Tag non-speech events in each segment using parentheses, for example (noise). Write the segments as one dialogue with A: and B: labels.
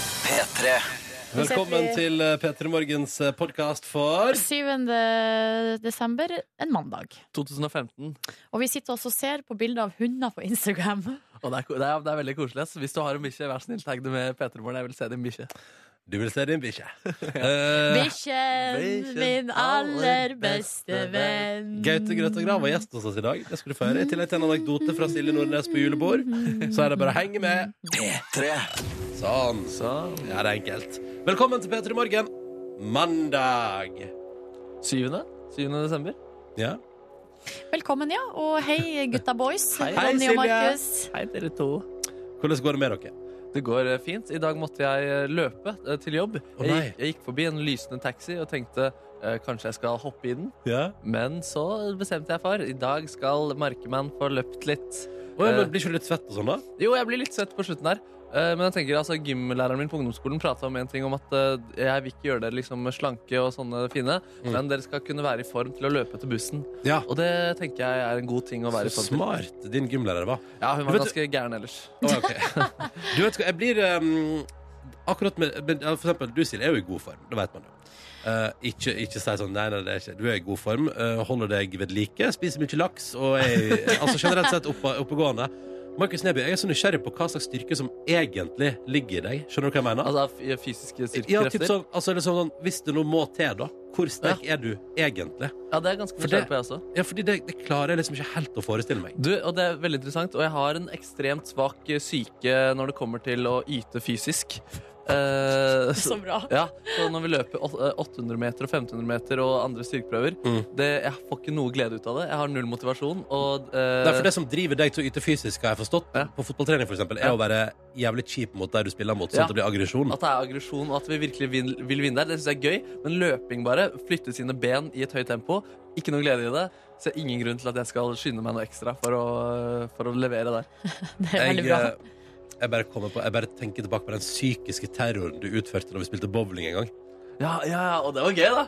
A: P3.
B: Velkommen til eh, P3 Morgens podkast for
C: 7. desember, en mandag.
D: 2015.
C: Og vi sitter også og ser på bilder av hunder på Instagram.
D: Og det er, ko- det er, det er veldig koselig. ass. Hvis du har en bikkje, vær snill, tagg det med P3morgen. Jeg vil se din bikkje.
B: Du vil se din bikkje. Eh,
C: Bikkjen, min aller beste venn.
B: Gaute Grøtta Grav var gjest hos oss i dag. Det skal du få høre. I tillegg til en anekdote fra Silje Nordnes på julebord. Så er det bare å henge med.
A: P3.
B: Sånn.
D: Sånn.
B: Ja, det er enkelt. Velkommen til P3 Morgen. Mandag.
D: 7. 7. desember.
B: Ja.
C: Velkommen, ja. Og hei, gutta boys.
D: Hei.
B: Hei,
C: Ronny
B: Silje.
C: og Markus.
D: Hei, dere to.
B: Hvordan går det med dere?
D: Det går eh, fint. I dag måtte jeg eh, løpe eh, til jobb.
B: Å,
D: jeg,
B: nei.
D: gikk, jeg gikk forbi en lysende taxi og tenkte eh, kanskje jeg skal hoppe i den.
B: Ja.
D: Men så bestemte jeg for. I dag skal Markemann få løpt litt.
B: Å, ja, men blir ikke du litt svett og sånn, da?
D: Jo, jeg blir litt svett på slutten her. Eh, Men jeg tenker, altså, gymlæreren min på ungdomsskolen prata om en ting om at eh, jeg vil ikke gjøre dere liksom slanke og sånne fine,
B: Mm.
D: men dere skal kunne være i form til å løpe til bussen.
B: Ja.
D: Og det tenker jeg er en god ting å være i
B: Så
D: form til.
B: smart din gymlærer var.
D: Ja, hun
B: Vet
D: var
B: du-
D: ganske gæren ellers.
B: Å, ok. (laughs) Du vet hva, jeg blir um, Akkurat med men, ja, For eksempel, du Silje er jo i god form, det vet man jo Eh, ikke, ikke si sånn, nei, nei, det er ikke Du er i god form, eh, holder deg ved like Spiser mye laks og er altså, generelt sett oppe, oppegående Markus Neby, jeg er så nysgjerrig på hva slags styrke som egentlig ligger i deg Skjønner du hva jeg mener?
D: Altså f- fysiske
B: ja, typ
D: styrkekrefter. Ja,
B: sånn, altså, eller sånn, sånn, hvis det nå må til da Hvor sterk er du egentlig?
D: det er ganske
B: For det-
D: nysgjerrig på, jeg også.
B: Ja, fordi det, det klarer jeg liksom ikke helt å forestille meg
D: Du, og det er veldig interessant, og jeg har en ekstremt svak eh, syke når det kommer til å yte fysisk. Eh,
C: Så bra.
D: Ja, så når vi løper åt- eh, 800 meter og 1500 meter og andre styrkeprøver
B: Mm.
D: det, Jeg får ikke noe glede ut av det. Jeg har null motivasjon. Og, eh,
B: Nei, for Det som driver deg til å yte fysisk, har jeg forstått,
D: Ja.
B: på fotballtrening for eksempel, er
D: Ja.
B: å være jævlig kjip mot der du spiller mot, sånn
D: Ja.
B: at det blir aggresjon.
D: At det er aggresjon og at vi virkelig vil, vil vinne der, det syns jeg er gøy. Men løping bare, flytte sine ben i et høyt tempo, ikke noe glede i det. Ser ingen grunn til at jeg skal skynde meg noe ekstra for å, for å levere der.
C: Det er
B: Jeg,
C: veldig bra.
B: eh, jeg bare kommer på Jeg bare tenker tilbake på den psykiske terroren du utførte da vi spilte bowling en gang.
D: Ja, ja, ja, og det var gøy, da.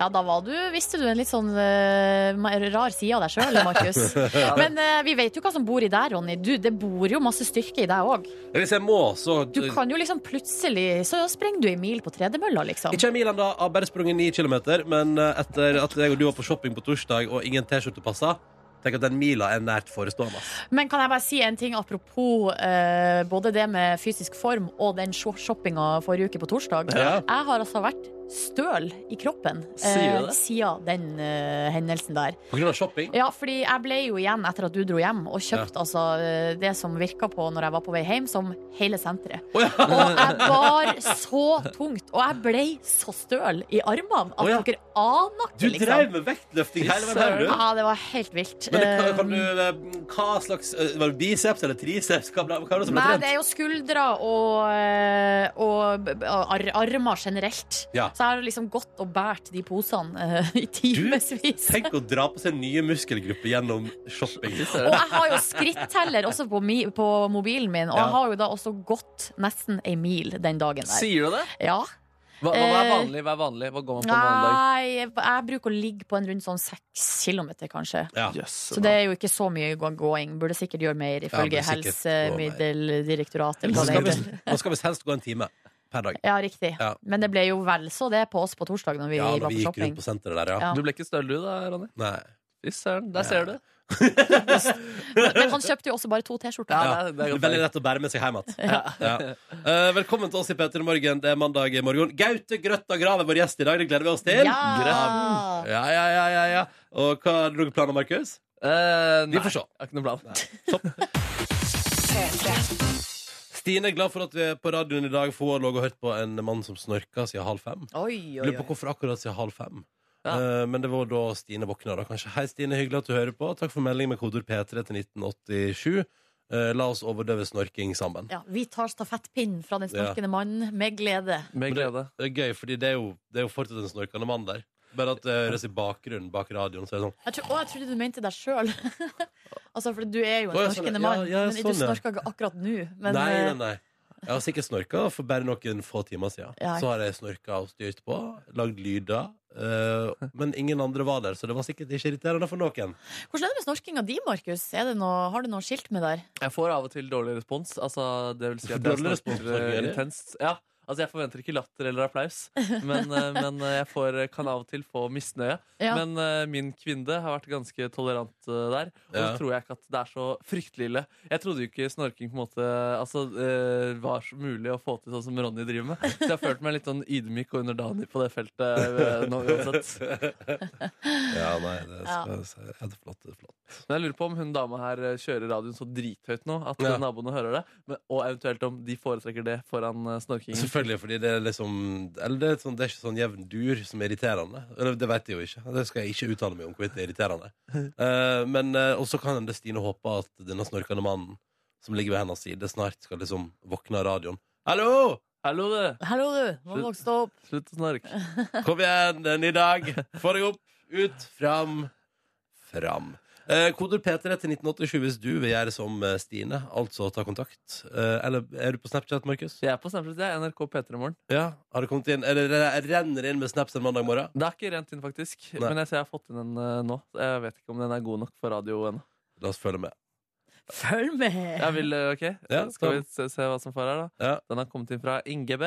C: Ja, da var du, visste du en litt sånn eh, ma- rar side av deg sjøl, Markus.
D: Ja, det-
C: Men eh, vi vet jo hva som bor i deg, Ronny. Du, det bor jo masse styrke i deg òg.
B: Hvis jeg må, så
C: Du kan jo liksom plutselig Så sprenger du i mil på tredemølla, liksom.
B: Ikke en mil ennå, har bare sprunget ni kilometer, men eh, etter at jeg og du var på shopping på torsdag og ingen T-skjorte passa, tenk at den mila er nært forestående. ass.
C: Men kan jeg bare si en ting apropos eh, både det med fysisk form og den sho- shoppinga forrige uke på torsdag?
B: Ja.
C: Jeg har altså vært støl i kroppen
D: Sier du
C: eh,
D: det?
C: siden den eh, hendelsen der.
B: På grunn av shopping.
C: Ja, fordi jeg ble jo igjen etter at du dro hjem og kjøpte altså eh, det som virka på når jeg var på vei hjem, som
B: (laughs)
C: hele senteret. Og jeg bar så tungt, og jeg ble så støl i armene at
B: Å, ja.
C: dere aner
B: Du
C: ikke, liksom.
B: drev med vektløfting hele veien her, du.
C: Ja, det var helt vilt.
B: Men det, hva,
C: Eh,
B: kan du, eh, hva slags eh, Var det biceps eller triceps? Hva, ble- hva er det som ble
C: Nei,
B: trent?
C: det er jo skuldre og, eh, og, b- b- ar armer generelt.
B: Ja.
C: Så jeg har liksom gått og båret de posene eh, i timevis.
B: Tenk å dra på seg nye muskelgrupper gjennom shopping.
C: Og jeg har jo skritteller også på, mi, på mobilen min, og
B: Ja.
C: jeg har jo da også gått nesten ei mil den dagen der.
D: Sier du det?
C: Ja.
D: Hva, hva hva er
C: Eh,
D: vanlig? Hva er vanlig? Hva går man på en mandag?
C: Nei, jeg jeg bruker å ligge på en rundt sånn seks kilometer, kanskje.
B: Ja.
D: Jøss,
C: Så det er jo ikke så mye gå- gåing. Burde sikkert gjøre mer, ifølge
B: burde sikkert gå mer.
C: Helsemiddeldirektoratet. eller
B: Man
C: hva det
B: skal,
C: heter.
B: visst, man skal visst helst gå en time per dag.
C: Ja, riktig.
B: Ja.
C: Men det ble jo vel så det på oss på torsdag når vi
B: Ja,
C: var
B: når vi
C: på
B: gikk
C: shopping.
B: rundt på senteret der, ja.
C: Ja.
D: Du ble ikke støl du da, Ronny?
B: Nei.
D: Fy søren, der ser du.
C: Men han kjøpte jo også bare to T-skjorter.
D: Ja,
B: Ja,
D: det er- det
B: det
D: er
B: er
D: godt
B: veldig
D: poeng.
B: lett å bære med seg hjem igjen. Ja. Eh, velkommen til oss i Peter Morgen. Det er mandag morgen. Gaute Grøtta Grav er vår gjest i dag. Det gleder vi oss til.
C: Ja.
B: Ja, ja, ja, ja, ja. Og hva har du noen planer, Markus?
D: Eh, nei,
B: Vi får se.
D: Jeg har ikke noe plan.
B: Stine er glad for at vi er på radioen i dag, for hun har ligget og hørt på en mann som snorka siden halv fem.
C: Oi, oi,
B: Lurer på
C: oi.
B: hvorfor akkurat siden halv fem.
D: Ja.
B: Eh, men det var da Stine våkna, da kanskje. Hei, Stine, hyggelig at du hører på. Takk for melding med kodord P3 til 1987. Eh, la oss overdøve snorking sammen.
C: Ja, vi tar stafettpinnen fra den snorkende mannen med glede.
D: Med glede.
B: Det er gøy, fordi det er jo, det er jo fortsatt en snorkende mann der. Bare at det høres i bakgrunnen bak radioen, så er det sånn
C: Jeg tror, å, jeg trodde du mente deg sjøl. (laughs) altså, for du er jo
B: Å, ja,
C: en
B: sånn,
C: snorkende
B: ja,
C: mann.
B: ja,
C: men
B: sånn,
C: du
B: ja.
C: snorka ikke akkurat nå. Men
B: Nei,
C: eh,
B: nei, nei. Jeg har sikkert snorka for bare noen få timer siden.
C: Ja.
B: Så har jeg snorka og styrt på, lagd lyder. eh, men ingen andre var der, så det var sikkert ikke irriterende for noen.
C: hvordan er det med snorkinga di, Markus? Er det noe, har du noe skilt med der?
D: Jeg får av og til dårlig respons. Altså, det vil si at
B: Dårlig
D: jeg
B: respons,
D: snakker eh,
B: Norge, er det?
D: intenst. Ja, Altså, jeg forventer ikke latter eller applaus, men,
B: (laughs)
D: eh, men eh, jeg får, kan av og til få misnøye.
C: Ja.
D: Men eh, min kvinne har vært ganske tolerant eh, der, og
B: Ja.
D: så tror jeg ikke at det er så fryktelig ille. Jeg trodde jo ikke snorking på en måte altså, eh, var så mulig å få til sånn som Ronny driver med. Så jeg har følt meg litt sånn ydmyk og underdanig på det feltet eh, nå uansett.
B: Ja, nei, det
C: Ja.
B: skal jeg si. Ja, det er flott. Det er flott.
D: Men jeg lurer på om hun dama her eh, kjører radioen så drithøyt nå at
B: Ja.
D: eh, naboene hører det. Men, og eventuelt om de foretrekker det foran eh, snorkingen.
B: Selvfølgelig, fordi det er liksom Eller det er, sånn, det er ikke sånn jevn dur som er irriterende. Eller det vet jeg jo ikke. Det skal jeg ikke uttale meg om hvorvidt det er irriterende. Eh, men eh, Og så kan det Stine håpe at denne snorkende mannen som ligger ved hennes side, snart skal liksom våkne av radioen. Hallo!
D: Hallo, du!
C: Hallo, du. Må
D: Slutt.
C: vokse opp.
D: Slutt å snorke.
B: Kom igjen, det er en ny dag. Få deg opp, ut, fram, fram. Eh, koder P3 til 1987 hvis du vil gjøre som eh, Stine, altså ta kontakt. Eh, eller er du på Snapchat, Markus?
D: Jeg er på Snapchat. Jeg er NRK P3 i morgen.
B: Ja. Har det kommet inn? Er det, renner det inn med snaps en mandag morgen?
D: Det er ikke rent inn, faktisk.
B: Nei.
D: Men jeg ser jeg har fått inn en eh, nå. Jeg vet ikke om den er god nok for radio ennå.
B: La oss følge med.
C: Følg med!
D: Jeg vil, eh, ok?
B: Ja,
D: Skal
B: ta
D: vi se, se hva som får her, da?
B: Ja.
D: Den har kommet inn fra Inge B.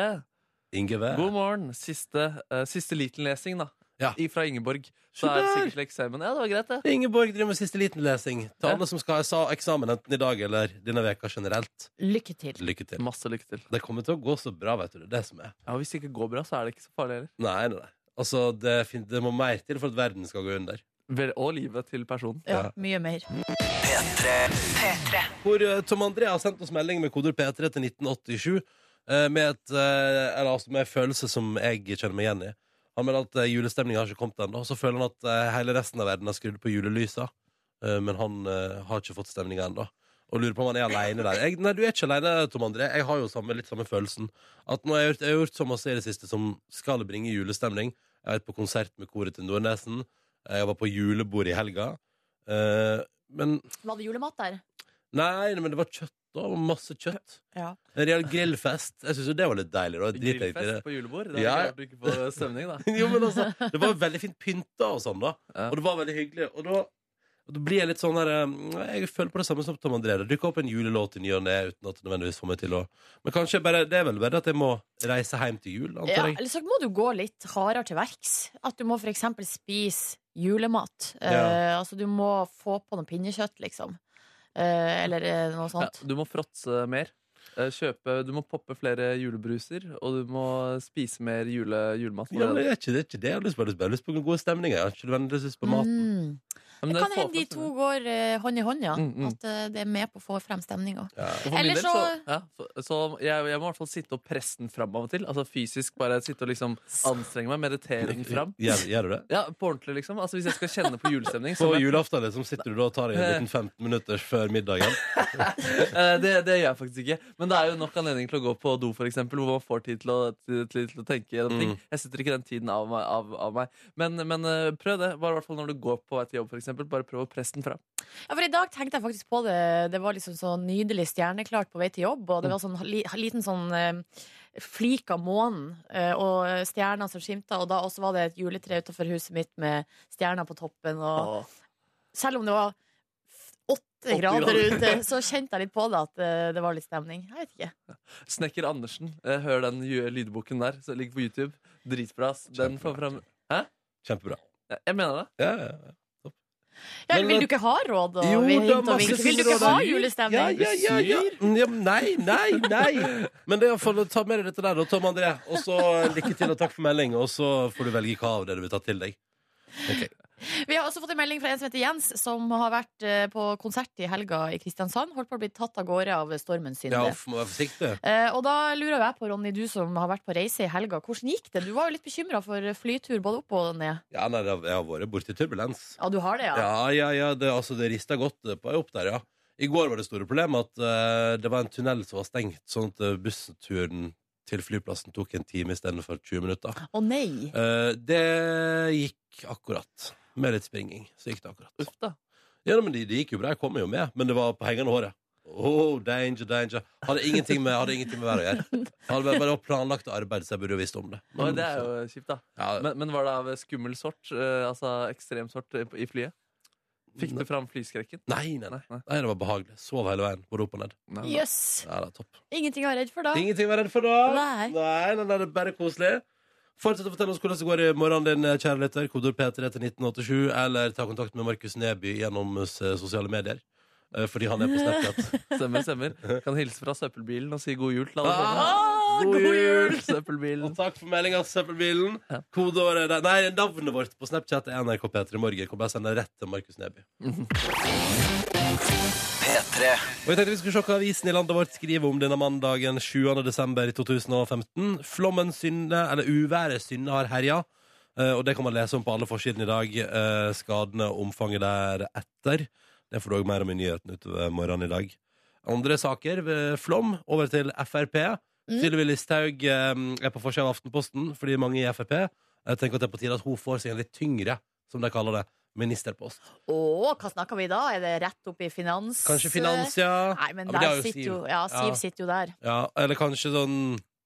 B: Inge V.
D: God morgen. Siste, uh, siste Liten-lesing, da.
B: Ja.
D: I, fra Ingeborg. Så er det
B: Se der!
D: sikkert slik eksamen. Ja, det var greit, det.
B: Ingeborg driver med siste liten-lesing. Til
D: Ja.
B: alle som skal ha sa- eksamen enten i dag eller denne veka generelt,
C: Lykke til.
B: lykke til.
D: Masse lykke til.
B: Det kommer til å gå så bra, vet du. Det er det som er.
D: Ja, Hvis det ikke går bra, så er det ikke så farlig heller.
B: Nei, nei, nei. Altså, det, fin- det må mer til for at verden skal gå under.
D: Vel- Og livet til personen.
B: Ja.
C: Ja, mye mer.
B: Hvor eh, Tom André har sendt oss melding med koder P3 til 1987 eh, med, et, eh, eller, altså, med en følelse som jeg kjenner meg igjen i. Han mener at julestemninga har ikke kommet ennå. Så føler han at eh, hele resten av verden har skrudd på julelysa, eh, men han eh, har ikke fått stemninga ennå. Og lurer på om han er aleine der. Jeg, nei, du er ikke aleine, Tom André. Jeg har jo samme, litt samme følelsen. At nå har jeg gjort, jeg har gjort så masse i det siste som skal bringe julestemning. Jeg har vært på konsert med koret til Nordnesen. Jeg var på julebord i helga. Eh, men
C: Var det julemat der?
B: Nei, men det var kjøtt da. Det var Masse kjøtt.
C: Ja.
B: En real grillfest. Jeg syns jo det var litt deilig. Da. Jeg driter egentlig i
D: Grillfest på julebord. Det er
B: Ja.
D: ikke rart du ikke får
B: (laughs)
D: stemning, da.
B: det. jo, men altså, det var veldig fint pynta og sånn, da.
D: Ja.
B: Og det var veldig hyggelig. Og da, og da blir jeg litt sånn der eh, Jeg føler på det samme som Tom André. Det dukker opp en julelåt i ny og ne uten at det nødvendigvis får meg til å Men kanskje bare, det er vel bare at jeg må reise hjem til jul,
C: Ja,
B: antar jeg.
C: eller så må du gå litt hardere til verks. At du må for eksempel spise julemat. Eh, altså du må få på noe pinnekjøtt, liksom. Eh, eller eh, noe
D: Ja,
C: sånt.
D: du må fråtse mer. Eh, Kjøpe, du må poppe flere julebruser, og du må spise mer jule, julemat.
B: Ja, men det er ikke det. Er ikke det. Jeg har lyst på, jeg har lyst på god stemning. Jeg har ikke nødvendigvis lyst på maten.
C: Mm.
D: Ja, men
C: Det
D: det
C: kan
D: får
C: hende de
D: frem
C: to
D: stemning.
C: går eh, hånd i hånd, ja.
D: Mm, mm.
C: At eh, det er med på å få frem stemninga.
B: Ja.
D: Og for min
C: Eller
D: del
C: så-
D: ja, så, så jeg, jeg må i hvert fall sitte og presse den fram av og til. Altså fysisk bare sitte og liksom anstrenge meg, meditere
B: (laughs)
D: den fram.
B: Gjør, gjør du det?
D: Ja, på ordentlig, liksom. Altså Hvis jeg skal kjenne på julestemning, så
B: På julaften liksom, sitter du da og tar deg
D: (laughs)
B: en liten 15 minutters før middagen?
D: Eh, det, det gjør jeg faktisk ikke. Men det er jo nok anledning til å gå på do, for eksempel, hvor man får tid til å, til, til, til å tenke gjennom ting.
B: Mm.
D: Jeg setter ikke den tiden av meg. Av, av meg. Men, men eh, prøv det. Bare i hvert fall når du går på vei til jobb, for eksempel. Bare prøv å presse den fram.
C: Ja, for i dag tenkte jeg faktisk på det. Det var liksom så nydelig stjerneklart på vei til jobb, og det
D: Mm.
C: var sånn li, liten sånn eh, flik av månen eh, og stjerner som skimta, og da også var det et juletre utenfor huset mitt med stjerner på toppen, og
D: Åh.
C: selv om det var f- åtte grader
D: grader.
C: ute, så kjente jeg litt på det at eh, det var litt stemning. Jeg vet ikke.
D: Snekker Andersen. eh, Hør den ju- lydboken der som ligger på YouTube. Dritbra. ass. Den får fram
B: Kjempebra.
D: Ja, Jeg mener det.
B: Ja, ja, ja.
C: Ja,
B: Men,
C: vil du ikke ha råd og
B: Jo,
C: hint
B: det er
C: og
B: masse
C: vink? Vil
B: fine
C: du ikke ha
B: råd. Ja,
C: julestemning?
B: ja, ja, ja. Mm, ja, men Nei, nei, nei. Men det er for å ta med deg dette der, da, Tom André. Og så eh, lykke til og takk for melding, og så får du velge hva av det du vil ta til deg. Ok.
C: Vi har også fått en melding fra en som heter Jens, som har vært eh, på konsert i helga i Kristiansand. Holdt på å bli tatt av gårde av stormens
B: Ja,
C: synder.
B: uff, må være forsiktig.
C: Eh, og da lurer jeg på, Ronny, du som har vært på reise i helga, hvordan gikk det? Du var jo litt bekymra for flytur både opp og ned.
B: Ja, nei, det har- jeg har vært borti turbulens.
C: Ja, du har det, ja?
B: Ja, ja, ja. Det, altså, det rista godt eh, på vei opp der, ja. I går var det store problemet at eh, det var en tunnel som var stengt, sånn at eh, bussturen til flyplassen tok en time istedenfor 20 minutter.
C: Å nei!
B: Eh, det gikk akkurat. Med litt springing, så gikk det akkurat.
D: Uff, da.
B: Ja, men det, det gikk jo bra, jeg kom jo med, men det var på hengende håret. Oh, danger, danger. Hadde ingenting med, hadde ingenting med været å gjøre. Hadde bare, bare planlagt arbeid, så jeg burde jo visst om det.
D: Oi, det er jo kjipt, da.
B: Mm. ja,
D: Men, men var det av skummel sort? eh, altså ekstrem sort i i eh, flyet?
E: Fikk du fram flyskrekken?
B: Nei, nei, nei. nei, det var behagelig. Sov hele veien, både opp og ned.
E: Nei, nei.
C: Jøss.
B: Ja, det er topp.
C: Ingenting å være redd for da.
B: Ingenting å være redd for da. Nei,
C: Nei.
B: nei, nei, det er bare koselig. Fortsett å fortelle oss hvordan det går i morgenen din, eh, kjære lytter. Kodord P3 til 1987, eller ta kontakt med Markus Neby gjennom eh, sosiale medier. Eh, Fordi han er på Snapchat.
E: Stemmer, stemmer. Kan hilse fra søppelbilen og si god jul til alle sammen.
B: Ah,
C: god jul!
B: Og
E: Søppelbilen.
B: takk for meldinga, søppelbilen.
E: Ja.
B: Kodeåret der- Nei, navnet vårt på Snapchat er NRK P3 Morgen. Kan bare sende det rett til Markus Neby. Og jeg tenkte vi skulle se hva avisen i landet vårt skriver om denne mandagen 7. desember i 2015. Flommen synde, eller uværet synde, har herja. Eh, Og det kan man lese om på alle forsidene i dag. Eh, Skadene og omfanget deretter. Det får du òg mer om i nyhetene utover morgenen i dag. Andre saker. eh, Flom over til Frp.
C: Mm.
B: Sylvi Listhaug eh, er på forsida av Aftenposten fordi mange i Frp eh, tenker at det er på tide at hun får seg en litt tyngre, som de kaller det, ministerpost.
C: Å, hva snakker vi da? Er det rett opp i finans? eh?
B: Kanskje finans, ja.
C: Nei, men
B: Ja, men det
C: der
B: er jo
C: sitter jo
B: Siv.
C: Ja, Siv
B: Ja.
C: sitter jo der.
B: Ja, eller kanskje sånn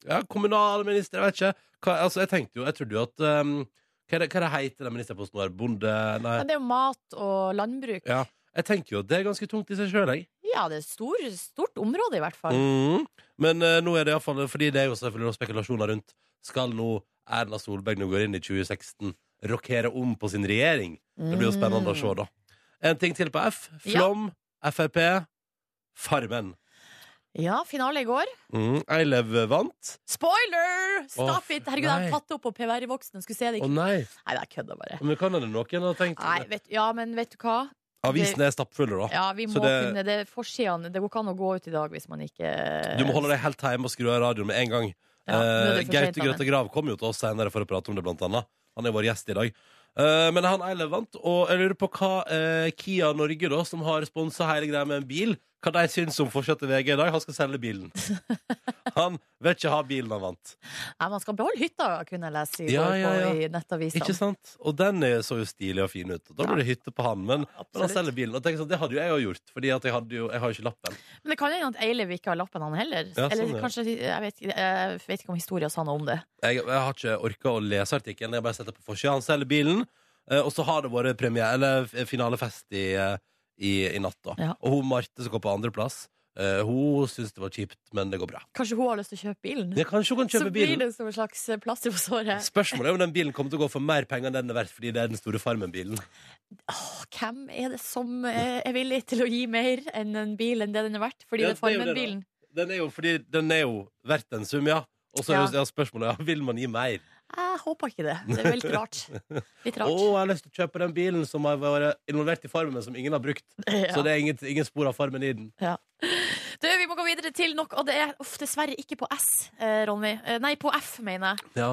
B: Ja, kommunalminister, jeg vet ikke. Hva, altså, jeg tenkte jo Jeg trodde jo at um, Hva er det, hva er det heter den ministerposten vår? Bonde... Nei.
C: Men det er jo mat og landbruk.
B: Ja. Jeg tenker jo at det er ganske tungt i seg sjøl, jeg.
C: Ja, det er stor, stort område, i hvert fall.
B: Mhm. Men eh, nå er det iallfall Fordi det er jo selvfølgelig noen spekulasjoner rundt Skal nå Erna Solberg nå går inn i 2016 rokere om på sin regjering? Mm. Det blir jo spennende
C: Mm.
B: å se, da. En ting til på F. Flom, Frp, Farmen.
C: Ja, finale i går.
B: Mm. Eilev vant.
C: Spoiler! Stop
B: Åh,
C: it! Herregud, jeg
B: nei.
C: har tatt det opp på PVR i voksen. Jeg Skulle se det
B: Å
C: ikke.
B: nei!
C: Nei, det er kødda bare.
B: Men kan hende noen har tenkt
C: Nei, vet, ja, men vet du hva?
B: Avisene er stappfulle, da.
C: Ja, vi
B: Så
C: må
B: det-
C: kunne det er forsidene. Det går ikke an å gå ut i dag hvis man ikke
B: Du må holde deg helt hjemme og skru av radioen med en gang.
C: Ja, nå er
B: Eh,
C: det for sent,
B: Gaute
C: Anne.
B: Grøtta Grav kom jo til oss senere for å prate om det, blant annet. Han er vår gjest i dag. Eh, men han Eile vant, og jeg lurer på hva eh, Kia Norge, da, som har sponsa hele greia med en bil, hva de syns om fortsatte VG i dag. Han skal selge
C: (laughs)
B: bilen. Han vil ikke ha bilen han vant.
C: Nei, man skal beholde hytta, kunne jeg lese i
B: Ja,
C: går
B: ja, ja.
C: på i nettavisene.
B: Ikke sant? Og den er- så jo stilig og fin ut. Og da blir det hytte på han, men, men han
C: Absolutt.
B: selger bilen. Og tenk sånn, det hadde jo jeg òg gjort, Fordi at jeg, hadde jo, jeg har jo ikke lappen.
C: Men det kan jo hende at Eilev ikke har lappen, han heller.
B: Ja, sånn,
C: Eller
B: ja.
C: kanskje, jeg vet, ikke- jeg vet ikke om historien sa noe om det.
B: Jeg, jeg har ikke orka å lese artikkelen. Jeg har bare sett det på forsida. Han selger bilen, eh, og så har det vært premiere, eller f- finalefest i, eh, i, i natt. da.
C: Ja.
B: Og hun Marte som går på andreplass, eh, hun syns det var kjipt, men det går bra.
C: Kanskje hun har lyst til å kjøpe bilen?
B: Jeg kanskje hun kan
C: Så
B: kjøpe
C: blir
B: bilen.
C: det som en slags eh, plaster på såret.
B: Spørsmålet er om den bilen kommer til å gå for mer penger enn den er verdt, fordi det er den store Farmen-bilen.
C: Åh, hvem er det som eh, er villig til å gi mer enn en bil enn det den er verdt? Fordi
B: Ja,
C: det er
B: det er jo det, da.
C: Farmen-bilen.
B: Den er jo, fordi den er jo verdt en sum, ja. Og så er det- ja. spørsmålet ja, vil man gi mer.
C: Jeg håper ikke det. Det er veldig rart. Litt
B: Å,
C: rart.
B: jeg har lyst til å kjøpe den bilen som har vært involvert i Farmen, men som ingen har brukt.
C: (laughs) Ja.
B: Så det er ingen, ingen spor av Farmen i den.
C: Du, vi må gå videre til nok, og det er uff, dessverre ikke på S, eh, Ronny. Eh, nei, på F, mener jeg.
B: Ja.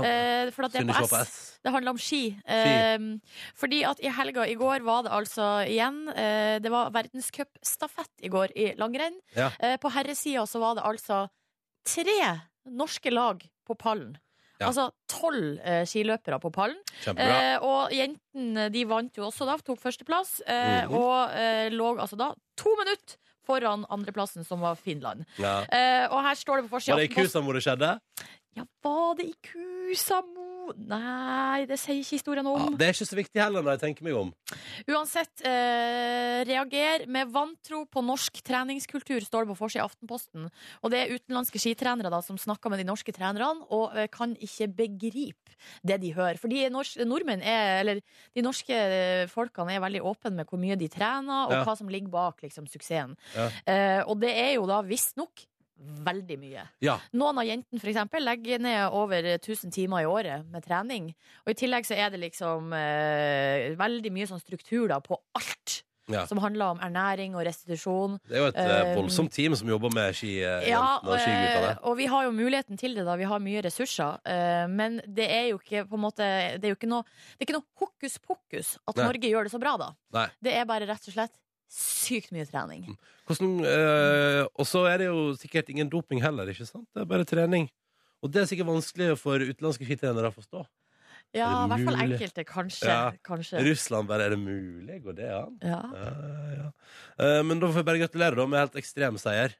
C: Eh, for at det er
B: Synd ikke
C: på
B: var på
C: S.
B: S.
C: Det handler om ski. Eh, fordi at i helga i går var det altså igjen eh, Det var verdenscupstafett i går i langrenn.
B: Ja.
C: Eh, på herresida så var det altså tre norske lag på pallen.
B: Ja.
C: Altså tolv eh, skiløpere på pallen.
B: Kjempebra.
C: Eh, og jentene de vant jo også da, tok førsteplass, eh,
B: Mhm.
C: og eh, lå altså da to minutter foran andreplassen, som var Finland.
B: ja.
C: Eh, og her står det på forsida
B: Var det i Kusam hvor det skjedde?
C: Ja, var det i Kusamo? Nei, det sier ikke historien
B: Ja,
C: om.
B: det er ikke så viktig heller når jeg tenker meg om.
C: Uansett, eh, reager med vantro på norsk treningskultur, står det på forsida i Aftenposten. Og det er utenlandske skitrenere da, som snakker med de norske trenerne, og eh, kan ikke begripe det de hører. Fordi nors nordmenn er, eller de norske eh, folkene er veldig åpne med hvor mye de trener, og
B: Ja.
C: hva som ligger bak liksom, suksessen.
B: Ja.
C: Eh, og det er jo da visstnok veldig mye.
B: Ja.
C: Noen av jentene for eksempel legger ned over 1000 timer i året med trening. Og i tillegg så er det liksom eh, veldig mye sånn struktur da på alt.
B: Ja.
C: Som handler om ernæring og restitusjon.
B: Det er jo et eh,
C: Eh,
B: voldsomt team som jobber med skijentene
C: Ja, og,
B: og skiguttene.
C: eh, og vi har jo muligheten til det, da. Vi har mye ressurser. eh, Men det er jo ikke på en måte Det er jo ikke noe, det er ikke noe hokus pokus at
B: Nei.
C: Norge gjør det så bra, da.
B: Nei. Mm.
C: Det er bare rett og slett sykt mye trening.
B: Hvordan, eh, og så er det jo sikkert ingen doping heller, ikke sant? Det er bare trening. Og det er sikkert vanskelig for utenlandske skitrenere å forstå.
C: Ja, i hvert fall
B: mulig?
C: enkelte, kanskje.
B: Ja.
C: kanskje.
B: Russland bare Er det mulig? Går det an?
C: Ja.
B: Ja, ja. Eh, men da får jeg bare gratulere da med helt ekstrem seier.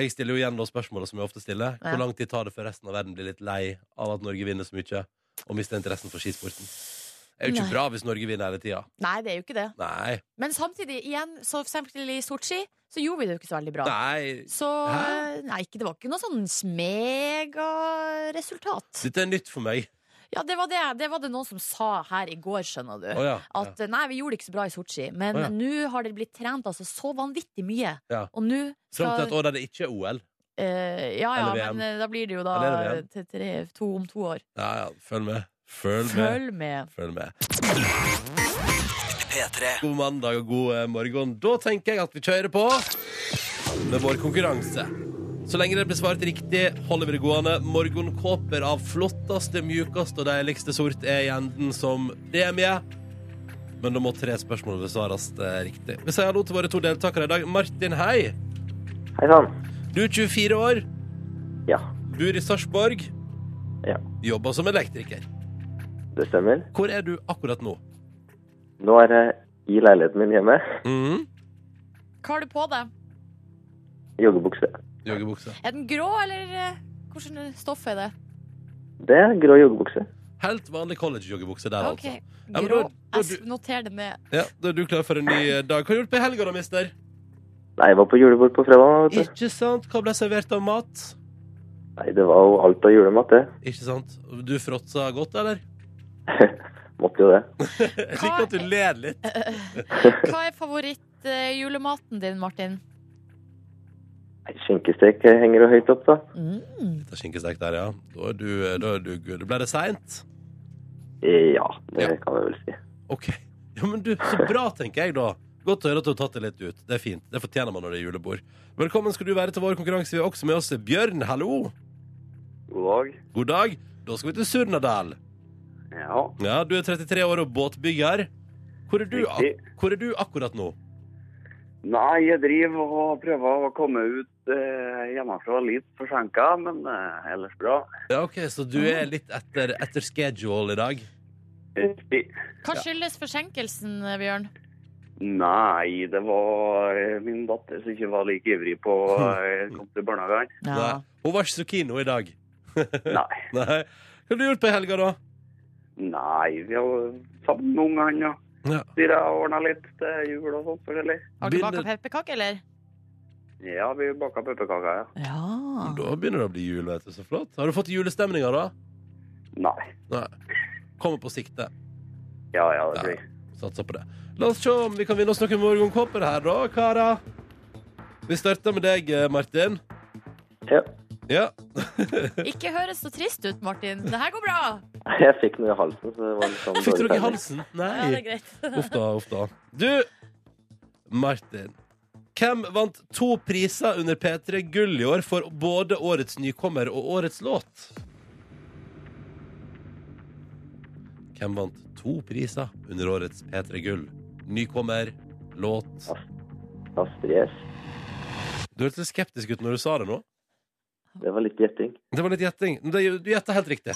B: Jeg stiller jo igjen da spørsmålet som jeg ofte stiller.
C: Ja.
B: Hvor lang tid tar det før resten av verden blir litt lei av at Norge vinner så mye og mister interessen for skisporten? Det er jo ikke
C: Nei.
B: bra hvis Norge vinner hele tida.
C: Nei, det er jo ikke det.
B: Nei.
C: Men samtidig, igjen, så for eksempel i Sotsji, så gjorde vi det jo ikke så veldig bra.
B: Nei.
C: Så
B: Hæ?
C: nei, ikke, det var ikke noe sånn megaresultat.
B: Dette er nytt for meg.
C: Ja, det var det, det var det noen som sa her i går, skjønner du.
B: Å ja. ja.
C: At nei, vi gjorde det ikke så bra i Sotsji, men
B: Å ja.
C: nå har det blitt trent altså, så vanvittig mye.
B: Ja.
C: Og nå
B: Fram til et
C: skal
B: år der det ikke er OL.
C: eh, Ja ja,
B: Eller VM.
C: men eh, da blir det jo da
B: Eller er det
C: til tre, to, om to år.
B: Ja, ja. Følg med. Følg med.
C: Følg
B: Følg med.
C: med.
B: God mandag og god eh, morgen. Da tenker jeg at vi kjører på med vår konkurranse. Så lenge det blir svart riktig, holder vi det gående. Morgenkåper av flotteste, mjukeste og deiligste sort er i enden som premie. Men da må tre spørsmål besvares eh, riktig. Vi sier hallo til våre to deltakere i dag. Martin, hei.
A: Hei sann.
B: Du er 24 år.
A: Ja,
B: Du er i Sarpsborg.
A: Ja.
B: Jobber som elektriker.
A: det stemmer.
B: Hvor er du akkurat nå?
A: Nå er jeg i leiligheten min hjemme.
B: Mm.
C: Hva har du på deg?
A: Joggebukse.
B: Joggebukse.
C: Er den grå, eller eh, hvordan stoff er det?
A: Det er grå joggebukse.
B: Helt vanlig college-joggebukse der,
C: Ok,
B: altså. men
C: grå.
B: da- da
C: Jeg
B: du-
C: s- noterer det ned.
B: Ja, Da er du klar for en ny eh, dag. Hva har du gjort på helga, da, mister?
A: Nei, jeg var på julebord på fredag. vet du.
B: Ikke sant? Hva ble servert av mat?
A: Nei, det var jo alt av julemat, det.
B: Ikke sant? Du fråtsa godt, eller?
A: Måtte jo det.
B: (laughs) Jeg liker at du ler litt.
C: Hva er favorittjulematen din, Martin?
A: Nei, Skinkestek eh, henger jo høyt opp, da.
B: Det er skinkestek der, ja. Da er du, eh, da er du good. Ble det seint?
A: Eh, Ja, det
B: Ja.
A: kan vi vel si.
B: OK. (laughs) Ja, men du, så bra, tenker jeg, da. Godt å høre at du har tatt det litt ut. Det er fint. Det fortjener man når det er julebord. Velkommen skal du være til vår konkurranse. Vi har også med oss Bjørn. Hallo.
A: God dag.
B: God dag. Da skal vi til Surnadal.
A: Ja,
B: Ja, du er 33 år og båtbygger. Hvor er du,
A: Riktig.
B: ak hvor er du akkurat nå?
F: Nei, jeg driver og prøver å komme ut eh, hjemmefra litt forsinka, men eh, ellers bra.
B: Ja, ok, Så du er litt etter, etter schedule i dag?
F: Riktig.
C: Hva skyldes forsinkelsen, Bjørn?
F: Nei, det var eh, min datter som ikke var like ivrig på
A: (laughs)
F: å eh, komme til barnehagen.
B: Nei. Hun var ikke så keen nå i dag.
F: Nei.
B: Nei. Hva har du gjort på helga, da?
F: Nei, vi har sammen med ungene og
B: Ja.
F: styrer og ordna litt til jul og sånt forskjellig.
C: Har du baka
B: Begynner-
C: pepperkake, eller?
F: Ja, vi baka pepperkaker, ja.
C: Ja.
B: Da begynner det å bli jul, vet du. Så flott. Har du fått julestemninga, da?
F: Nei.
B: Nei. Kommer på sikte.
F: Ja, ja, det
B: Ja.
F: blir
B: Satser på det. La oss se om vi kan vinne oss noen morgenkåper her, da, karer. Vi starter med deg, eh, Martin.
A: Ja.
B: Ja.
C: Ikke høres så trist ut, Martin. Det her går bra.
A: Jeg fikk noe i halsen, så det var litt sånn
B: Fikk du
A: dårlig
B: noe i
A: stemning.
B: halsen?
C: Ja, det
B: Nei.
C: er greit.
B: Uff da, uff da. Du, Martin. Hvem vant to priser under P3 Gull i år for både årets nykommer og årets låt? Hvem vant to priser under årets P3 Gull? Nykommer, låt
A: Astrid S.
B: Du hørtes litt skeptisk ut når du sa det nå.
A: Det var litt gjetting.
B: Det var litt gjetting. Men det- Du gjetta helt riktig.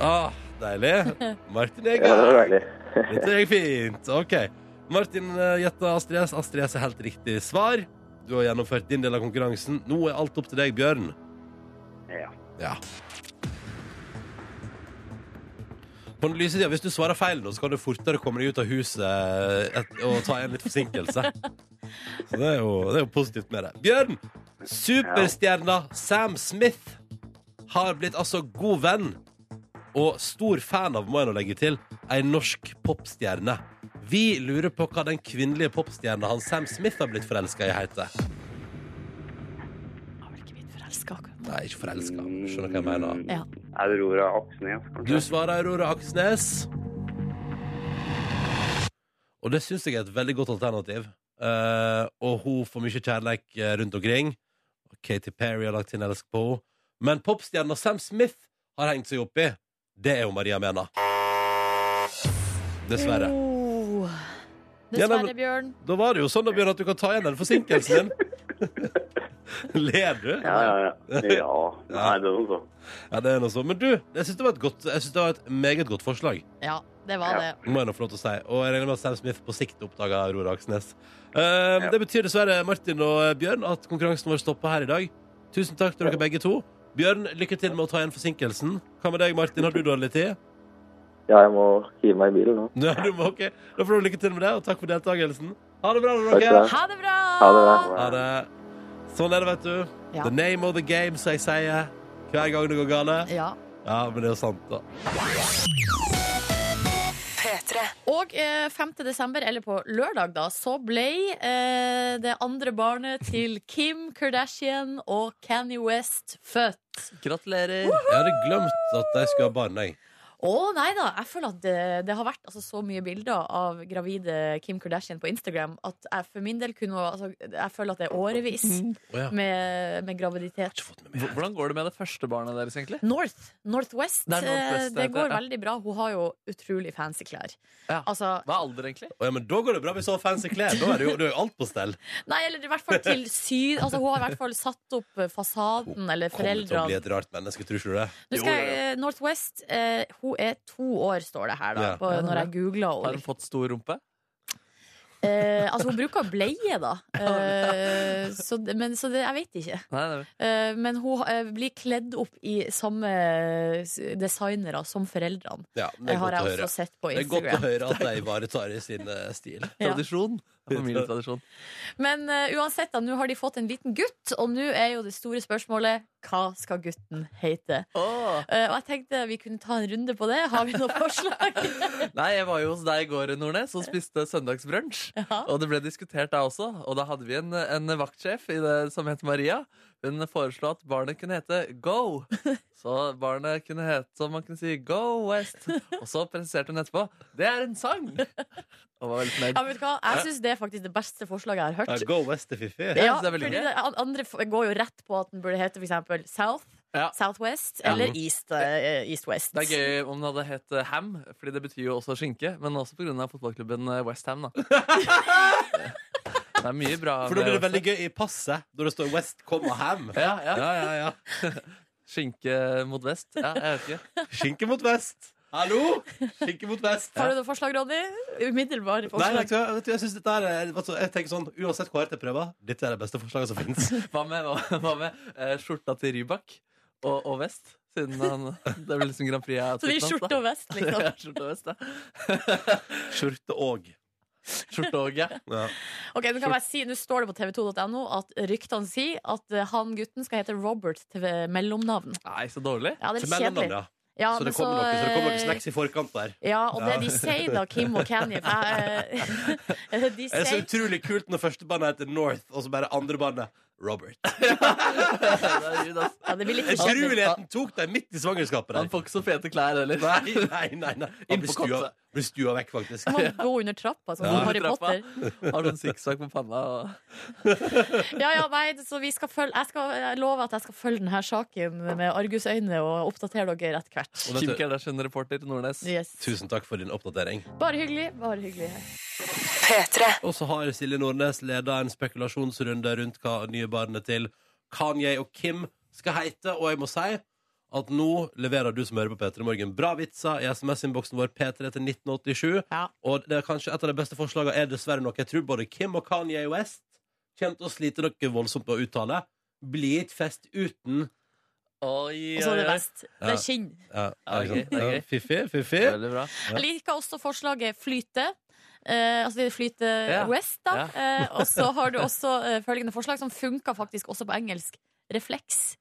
B: Ah, deilig. Martin er i
A: Ja, det var
B: gang.
A: deilig.
B: Dette gikk fint. Ok. Martin eh, gjetta Astrid S. Astrid S er helt riktig svar. Du har gjennomført din del av konkurransen. Nå er alt opp til deg, Bjørn.
F: Ja.
B: Ja. På den lyse tida, hvis du svarer feil nå, så kan du fortere komme deg ut av huset eh, et, og ta igjen litt forsinkelse. (laughs) Så det er, jo, det er jo positivt med det. Bjørn, superstjerna Sam Smith har blitt altså god venn og stor fan av, må jeg nå legge til, ei norsk popstjerne. Vi lurer på hva den kvinnelige popstjerna han Sam Smith har blitt forelska i, heter.
C: Jeg har vel ikke blitt forelska akkurat nå.
B: Nei, ikke forelska. Skjønner hva jeg mener.
F: Mm,
C: Ja.
F: Aurora Aksnes,
B: Du
F: kanskje.
B: svarer Aurora Aksnes. Og det syns jeg er et veldig godt alternativ. Eh, og hun får mye kjærleik eh, rundt omkring. Katy Perry har lagt sin elsk på henne. Men popstjerna Sam Smith har hengt seg opp i. Det er jo Maria Mena. Dessverre.
C: Oh.
B: Ja, nei,
C: Dessverre,
B: men-
C: Bjørn.
B: Da var det jo sånn da, Bjørn, at du kan ta igjen den forsinkelsen din. (laughs) Ler du?
F: Ja, ja, ja. ja. Nei, det er noe sånt.
B: Ja, det er noe sånn. Men du, jeg syns det var et godt, jeg synes det var et meget godt forslag.
C: Ja, det var det.
B: Må jeg nå få lov til å si. Og jeg regner med at Sam Smith på sikt oppdaga Aurora Aksnes. Eh,
F: Ja.
B: Det betyr dessverre, Martin og eh, Bjørn, at konkurransen vår stopper her i dag. Tusen takk til dere begge to. Bjørn, lykke til med å ta igjen forsinkelsen. Hva med deg, Martin? Har du dårlig tid? (laughs)
F: Ja, jeg må hive meg i bilen nå.
B: Nå, du må, ok. Da får du lykke til med det, og takk for deltakelsen. Ha det bra, da,
F: Takk
B: dere.
F: skal du
C: Ha det bra!
F: Ha det bra.
B: Ha det. Sånn er det, vet du.
C: Ja.
B: The name of the game, som jeg sier hver gang det går galt.
C: Ja.
B: Ja, men det er jo sant, da.
C: Og eh, 5. desember, eller på lørdag, da, så ble eh, det andre barnet til Kim Kardashian og Kanye West født.
D: Gratulerer.
B: Jeg hadde glemt at de skulle ha barn, jeg.
C: Å nei da, jeg føler at det, det har vært altså, så mye bilder av gravide Kim Kardashian på Instagram at jeg for min del kunne hun- altså, Jeg føler at det er årevis
B: Å, ja.
C: med, med graviditet.
D: H- Hvordan går det med det første barnet deres, egentlig?
C: North, Northwest,
D: Det er Northwest,
C: eh,
D: det
C: det
D: heter,
C: går
D: ja.
C: veldig bra. Hun har jo utrolig fancy klær.
D: Ja.
C: Altså,
D: Hva er alder, egentlig?
B: Å, ja, men da går det bra med så fancy klær. Da er det jo, da er jo alt på stell.
C: nei, eller i hvert fall til syd Altså, hun har i hvert fall satt opp eh, fasaden, eller
B: Kommer til å
C: foreldrene
B: bli et rart menneske, tror ikke du det?
C: Nå skal jeg, eh, Northwest eh, Hun er to år, står det her, da,
B: Ja.
C: på,
D: Ja,
C: når jeg googler
D: Har hun
C: henne.
D: fått stor rumpe?
C: Eh, altså,
B: (laughs)
C: hun bruker bleie, da. Eh, så, det- men, så det, jeg vet ikke.
D: Nei, nei.
C: Eh, men hun eh, blir kledd opp i samme s- designere som foreldrene.
B: Ja, men
C: Det
B: det er
C: har
B: godt å
C: jeg
B: høre.
C: også sett på
B: Det er godt å
C: Instagram.
B: høre at de ivaretar i sin eh, stil.
C: (laughs) Ja.
D: Tradisjon. Familietradisjon.
C: Men eh, uansett, da, nå har de fått en liten gutt, og nå er jo det store spørsmålet hva skal gutten hete?
D: Åh.
C: Eh, og jeg tenkte vi kunne ta en runde på det. Har vi noe
B: (laughs)
C: forslag?
D: Nei, jeg var jo hos deg i går, Nordnes, og spiste søndagsbrunsj.
C: ja.
D: Og det ble diskutert da også, og da hadde vi en, en vaktsjef i det som het Maria. Hun foreslo at barnet kunne hete
B: (laughs)
D: Go. Så barnet kunne hete Så man kunne si Go West. Og så presiserte hun etterpå det er en sang! Og var veldig fornøyd.
C: Ja, men vet du hva? Jeg syns det er faktisk det beste forslaget jeg har hørt.
B: Ja, go west til Fifi.
D: Ja,
C: Ja,
D: det er veldig
C: fordi
D: gøy.
C: det an- andre f- går jo rett på at den burde hete for eksempel South,
D: Ja.
C: Southwest
B: Ja.
C: eller East, eh, East West.
D: Det er gøy om den hadde hett eh, Ham, fordi det betyr jo også skinke. Men også pga. fotballklubben eh, West
B: (laughs)
D: Ham, da. Det er mye bra.
B: For da
D: med
B: blir det
D: West Ham.
B: veldig gøy i passet, når det står West, komma ham.
D: ja, ja.
B: Ja, ja, ja.
D: Skinke mot vest. Ja, jeg vet ikke.
B: Skinke mot vest. Hallo! Skinke mot vest.
C: Har du noe forslag, Ronny? Umiddelbare
B: Nei, vet
C: forslag.
B: du, hva, vet du, jeg synes dette her er, altså, jeg tenker sånn, Uansett hvor hardt jeg prøver, dette er det beste forslaget som finnes.
C: (laughs)
D: Hva med, (laughs) hva, hva med eh, skjorta til Rybak og, og vest? Siden han, det blir liksom Grand Prix.
C: Så det blir skjorte og vest, liksom.
D: (laughs) Ja,
B: (laughs)
D: skjorte og vest, ja.
B: Skjorte og.
D: Skjorte og ja.
B: Ja.
C: Ok, Nå kan jeg si, nå står det på tv2.no at ryktene sier at eh, han gutten skal hete Robert til eh, mellomnavn.
D: Nei, så dårlig.
C: Ja, det er
B: Til
C: litt
B: mellomnavn,
C: kjedelig.
B: ja.
C: Ja,
B: Så
C: men
B: det kommer noe, så det kommer noe
C: eh,
B: snacks i forkant der.
C: Ja, og det
B: Ja.
C: de sier da, Kim og Kanye eh, (laughs) De
B: Det er så
C: sier
B: utrolig kult når første bane heter North, og så bare andre bane Robert.
D: Det er gud, ass.
C: (laughs) ja, det blir litt
B: Jeg
C: kjedelig.
B: tror ligheten tok deg midt i svangerskapet
D: Han
B: der.
D: får ikke så fete klær heller.
B: (laughs) Nei, nei, nei. nei.
D: Han
B: Han blir
D: får
B: stua,
D: kotse.
B: blir stua vekk, faktisk.
C: Han må gå under trappa,
B: Ja.
C: sånn som Harry
D: Under trappa.
C: Potter.
D: Har sånn sikksakk på panna.
C: (laughs)
D: Og...
C: Ja, ja, nei, så vi skal følge, jeg, skal, jeg lover at jeg skal følge denne saken med argusøyne og oppdatere dere etter hvert.
D: Kim
B: Og dette,
D: Kardashian, reporter Nordnes.
C: Yes.
B: tusen takk for din oppdatering.
C: Bare hyggelig. bare hyggelig
B: Og så har Silje Nordnes leda en spekulasjonsrunde rundt hva nye barnet til Kanye og Kim skal heite, og jeg må si at nå leverer du som hører på P3 Morgen bra vitser i SMS-innboksen vår P3 til 1987.
C: Ja.
B: Og det er kanskje et av de beste forslagene er dessverre noe jeg tror både Kim og Kanye West kommer til å slite noe voldsomt med å uttale. Bli ikke fest uten
D: Oi,
C: Og
D: oi,
C: så er det
D: oi.
C: vest. Det
B: Ja.
C: er kinn.
B: ja,
D: Ja, det er gøy, det er gøy.
B: ja, Fiffig, fiffig.
D: Veldig bra.
B: Ja.
C: Jeg liker også forslaget flyte. Eh, altså det flyter
D: Ja.
C: west, da.
D: Ja.
C: Eh, og så har du også eh, følgende forslag, som funker faktisk også på engelsk. Refleks.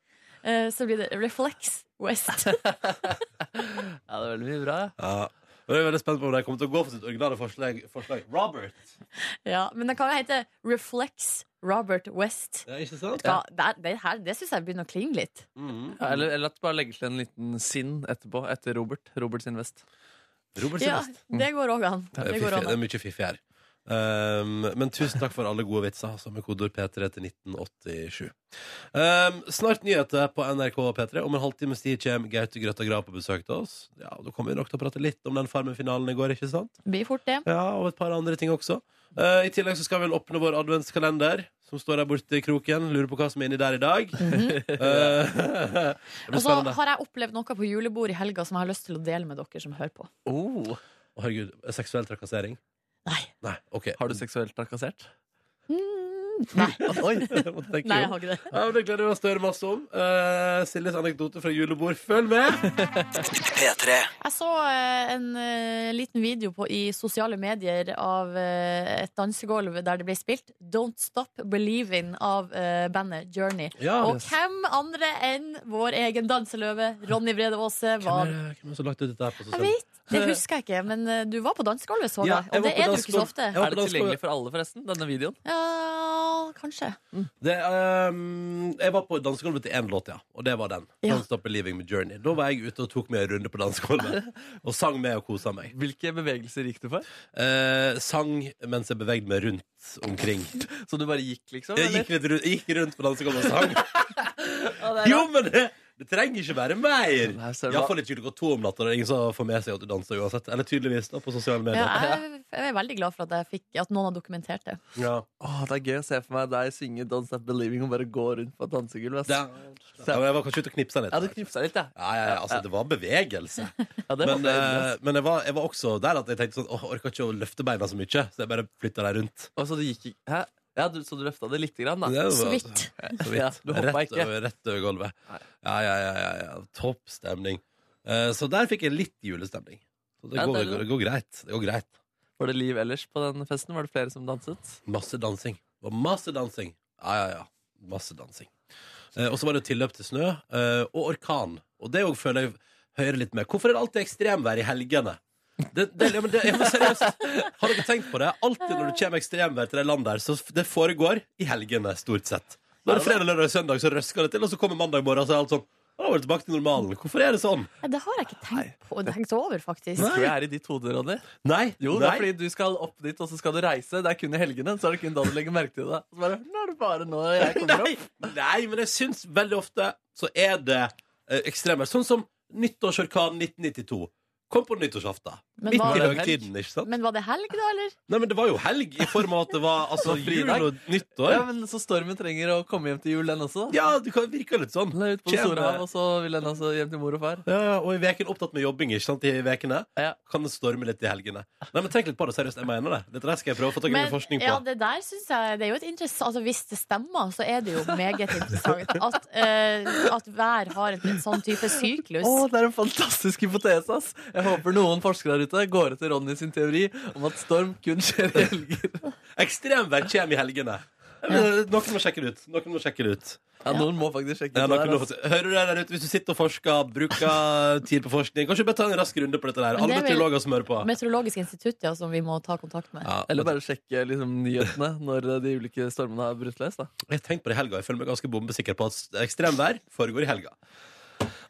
C: Eh, så blir det reflex
B: (laughs)
C: west.
D: Ja, det er veldig mye bra. ja.
B: Ja. Og jeg er veldig spent på om de kommer til å gå for sitt originale forslag. forslag. Robert.
C: ja, men den kan jo hete Reflex Robert West.
B: Ja, ikke sant?
C: Ja, det, det, her- det syns jeg begynner å klinge litt.
B: Mhm.
D: Ja, Eller, eller at du bare legger til en liten sinn etterpå, etter Robert. Robert sin vest.
B: Robert sin
C: Ja,
B: vest.
C: det går òg an.
B: Det er,
C: Det går
B: fiffig,
C: an.
B: det er mye fiffig her. Um, men tusen takk for alle gode vitser, som er kodeord P3 til 1987. Um, snart nyheter på NRK og P3. Om en halvtimes tid kommer Gaute Grøtta Grav på besøk til oss. Ja, og Da kommer vi nok til å prate litt om den Farmen-finalen i går, ikke sant?
C: Blir fort det.
B: Ja, Og et par andre ting også. Uh, I tillegg så skal vi vel åpne vår adventskalender, som står der borte i kroken. Lurer på hva som er inni der i dag.
C: Mhm.
B: (laughs) Uh, det
C: Og
B: blir
C: så
B: spennende.
C: har jeg opplevd noe på julebord i helga som jeg har lyst til å dele med dere som hører på.
D: Oh.
B: Å, herregud, seksuell trakassering?
C: Nei.
B: Nei, ok
D: Har du seksuelt trakassert?
C: Mm, Nei.
B: (laughs) Oi, jeg måtte tenke
C: Nei,
B: jo.
C: jeg har (laughs) ikke det.
B: Ja, men Det gleder vi oss til å høre masse om. Eh, Siljes anekdote fra julebord. Følg med!
F: P3.
C: Jeg så eh, en eh, liten video på, i sosiale medier av eh, et dansegulv der det ble spilt Don't Stop Believing av eh, bandet Journey.
B: Ja,
C: Og hvem andre enn vår egen danseløve, Ronny Brede Aase,
B: eh, Hvem er
C: var
B: det- hvem er det som har lagt ut dette her på
C: Jeg
B: sosiale
C: vet, det husker jeg ikke, men eh, du var på dansegulvet, så
B: Ja,
C: jeg.
B: jeg
C: Og
B: var
C: det
B: på
C: er du ikke så
B: dansegulvet.
C: ofte.
B: Jeg var-
D: Er det tilgjengelig for alle, forresten? Denne videoen?
C: Ja, kanskje.
B: Det, ehm, jeg var på dansegulvet til én låt, ja. Og det var den.
C: Ja.
B: Don't Stop Believing med Journey. Da var jeg ute og tok meg en runde på
C: (laughs)
B: dansegulvet. Og sang med og kosa meg.
D: Hvilke bevegelser gikk du for?
B: Eh, sang mens jeg bevegde meg rundt omkring.
D: Så du bare gikk, liksom?
B: Jeg gikk,
D: eller?
B: litt rundt, jeg gikk rundt på dansegulvet og sang.
D: Ja, det er
B: Jo, men det, det trenger ikke være mer!
D: Nei, ser du hva?
B: Iallfall ikke klokka to om natta. Det er ingen som får med seg at du danser uansett. Eller tydeligvis, da, på sosiale
C: Ja,
B: medier.
C: jeg, jeg er veldig glad for at, jeg fikk, at noen har dokumentert det.
B: Ja.
D: Åh, det er gøy å se for meg deg synge Don't Stop Believing og bare gå rundt på et dansegulv. ass.
B: Det, ja, men jeg var kanskje ute og knipsa litt.
D: Ja, du knipsa litt, ja.
B: Ja, ja, ja, altså, det var bevegelse.
D: ja det
B: Men,
D: men,
B: eh, men jeg, var, jeg var også der at jeg tenkte sånn Åh, jeg orker ikke å løfte beina så mye, så jeg bare flytta deg rundt.
D: så du gikk ikke Hæ? Ja, du, så du løfta det lite grann, da?
B: Det var-
C: Så vidt.
D: (laughs)
B: Så
D: Ja,
B: vidt.
D: du hoppa
B: rett,
D: ikke.
B: over, rett over gulvet.
D: Nei.
B: Ja, ja, ja, ja, ja. Topp stemning. Eh, så der fikk jeg litt julestemning. Så det,
D: Ja,
B: går,
D: det er
B: det,
D: det.
B: går greit. Det går greit.
D: Var det liv ellers på den festen? Var det flere som danset?
B: Masse dansing. Det var masse dansing. Ja, ja, ja. Masse dansing. Eh, og så var det tilløp til snø eh, og orkan. Og det òg føler jeg hører litt med. Hvorfor er det alltid ekstremvær i helgene? Det, det, ja, men det, ja, men seriøst, har dere tenkt på det? Alltid når det kommer ekstremvær til det landet der, så f- det foregår i helgene, stort sett. Når det er fredag, lørdag og søndag, så røsker det til, og så kommer mandag morgen, og så er alt sånn. Da var det tilbake til normalen. Hvorfor er det sånn?
C: Nei, Det har jeg ikke tenkt, på, tenkt over, faktisk.
B: Nei.
D: Tror jeg er i ditt hode, Ronny.
B: Nei,
D: Jo, det
B: nei.
D: er fordi du skal opp dit, og så skal du reise. Det er kun i helgene. Så er det kun da du legger merke til det. Så bare, nå er det bare nå
B: (laughs)
D: jeg kommer opp.
B: Nei, nei, men jeg syns veldig ofte så er det eh, ekstremvær. Sånn som nyttårsorkanen 1992. Kom på nyttårsaften.
C: Men
B: Midt
C: var
B: i
C: det
B: høgtiden, ikke sant?
C: Men var det helg, da, eller?
B: Nei, men det var jo helg, i form av at det var
D: (laughs)
B: altså,
D: Det var
B: jul
D: fridag.
B: og
D: Ja,
B: nyttår.
D: men Så stormen trenger å komme hjem til jul, den også.
B: Ja, det kan virke litt sånn.
D: Den er ute på det store hav, og så vil den altså hjem til mor og far.
B: Ja, ja, og i veken opptatt med jobbing, ikke sant, i vekene.
D: Ja.
B: Kan det storme litt i helgene. Nei, men tenk litt på det, seriøst, jeg mener det. Dette der skal jeg prøve å få tak i
C: Men,
B: litt forskning på.
C: ja, det der synes jeg Det er jo et interessant altså, Hvis det stemmer, så er det jo meget interessant at, eh, at vær har en, en sånn type syklus.
D: Å, det er en fantastisk hypotese, ass! Jeg håper noen forskere der ute går etter Ronny sin teori om at storm kun skjer i (laughs) helger.
B: Ekstremvær kommer i helgene. Jeg mener, Noen må sjekke det ut. Noen må sjekke det ut.
D: Ja, noen må faktisk sjekke
B: Ja,
D: ut det
B: noen
D: der.
B: må få
D: ass.
B: se. Hører du det der ute, hvis du sitter og forsker, bruker tid på forskning, kanskje bare ta en rask runde på dette der.
C: Men det
B: Alle
C: er vel-
B: meteorologer som hører på.
C: Meteorologisk institutt, ja, som vi må ta kontakt med.
B: Ja,
D: Eller bare sjekke liksom, nyhetene når de ulike stormene har brutt løs. da.
B: Jeg tenkte på det i helga. Jeg føler meg ganske bombesikker på at ekstremvær foregår i helga.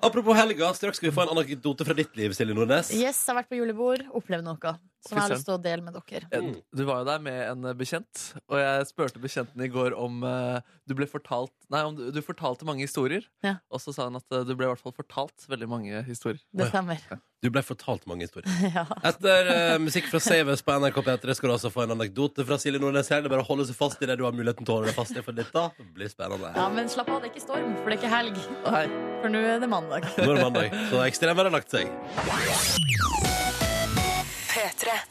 B: Apropos helga, straks skal vi få en anekdote fra ditt liv, Silje Nordnes.
C: Yes, jeg har vært på julebord, opplevd noe som jeg har lyst til å dele med dere.
B: Mm.
D: Du var jo der med en eh, bekjent, og jeg spurte bekjenten i går om eh, du ble fortalt Nei, om du, du fortalte mange historier,
C: Ja.
D: og så sa han at eh, du ble i hvert fall fortalt veldig mange historier.
C: Det stemmer. (laughs)
B: Du ble fortalt mange historier.
C: Ja.
B: Etter eh, musikk fra Saves på NRK P3 skal du altså få en anekdote fra Silje Nordnes. her. Det er bare å holde seg fast i det du har muligheten til å holde deg fast i, for dette blir spennende.
C: ja, Men slapp av, det er ikke storm, for det er ikke helg.
D: Nei,
C: For nå er det mandag.
B: Nå er det mandag, så ekstremværet har lagt seg.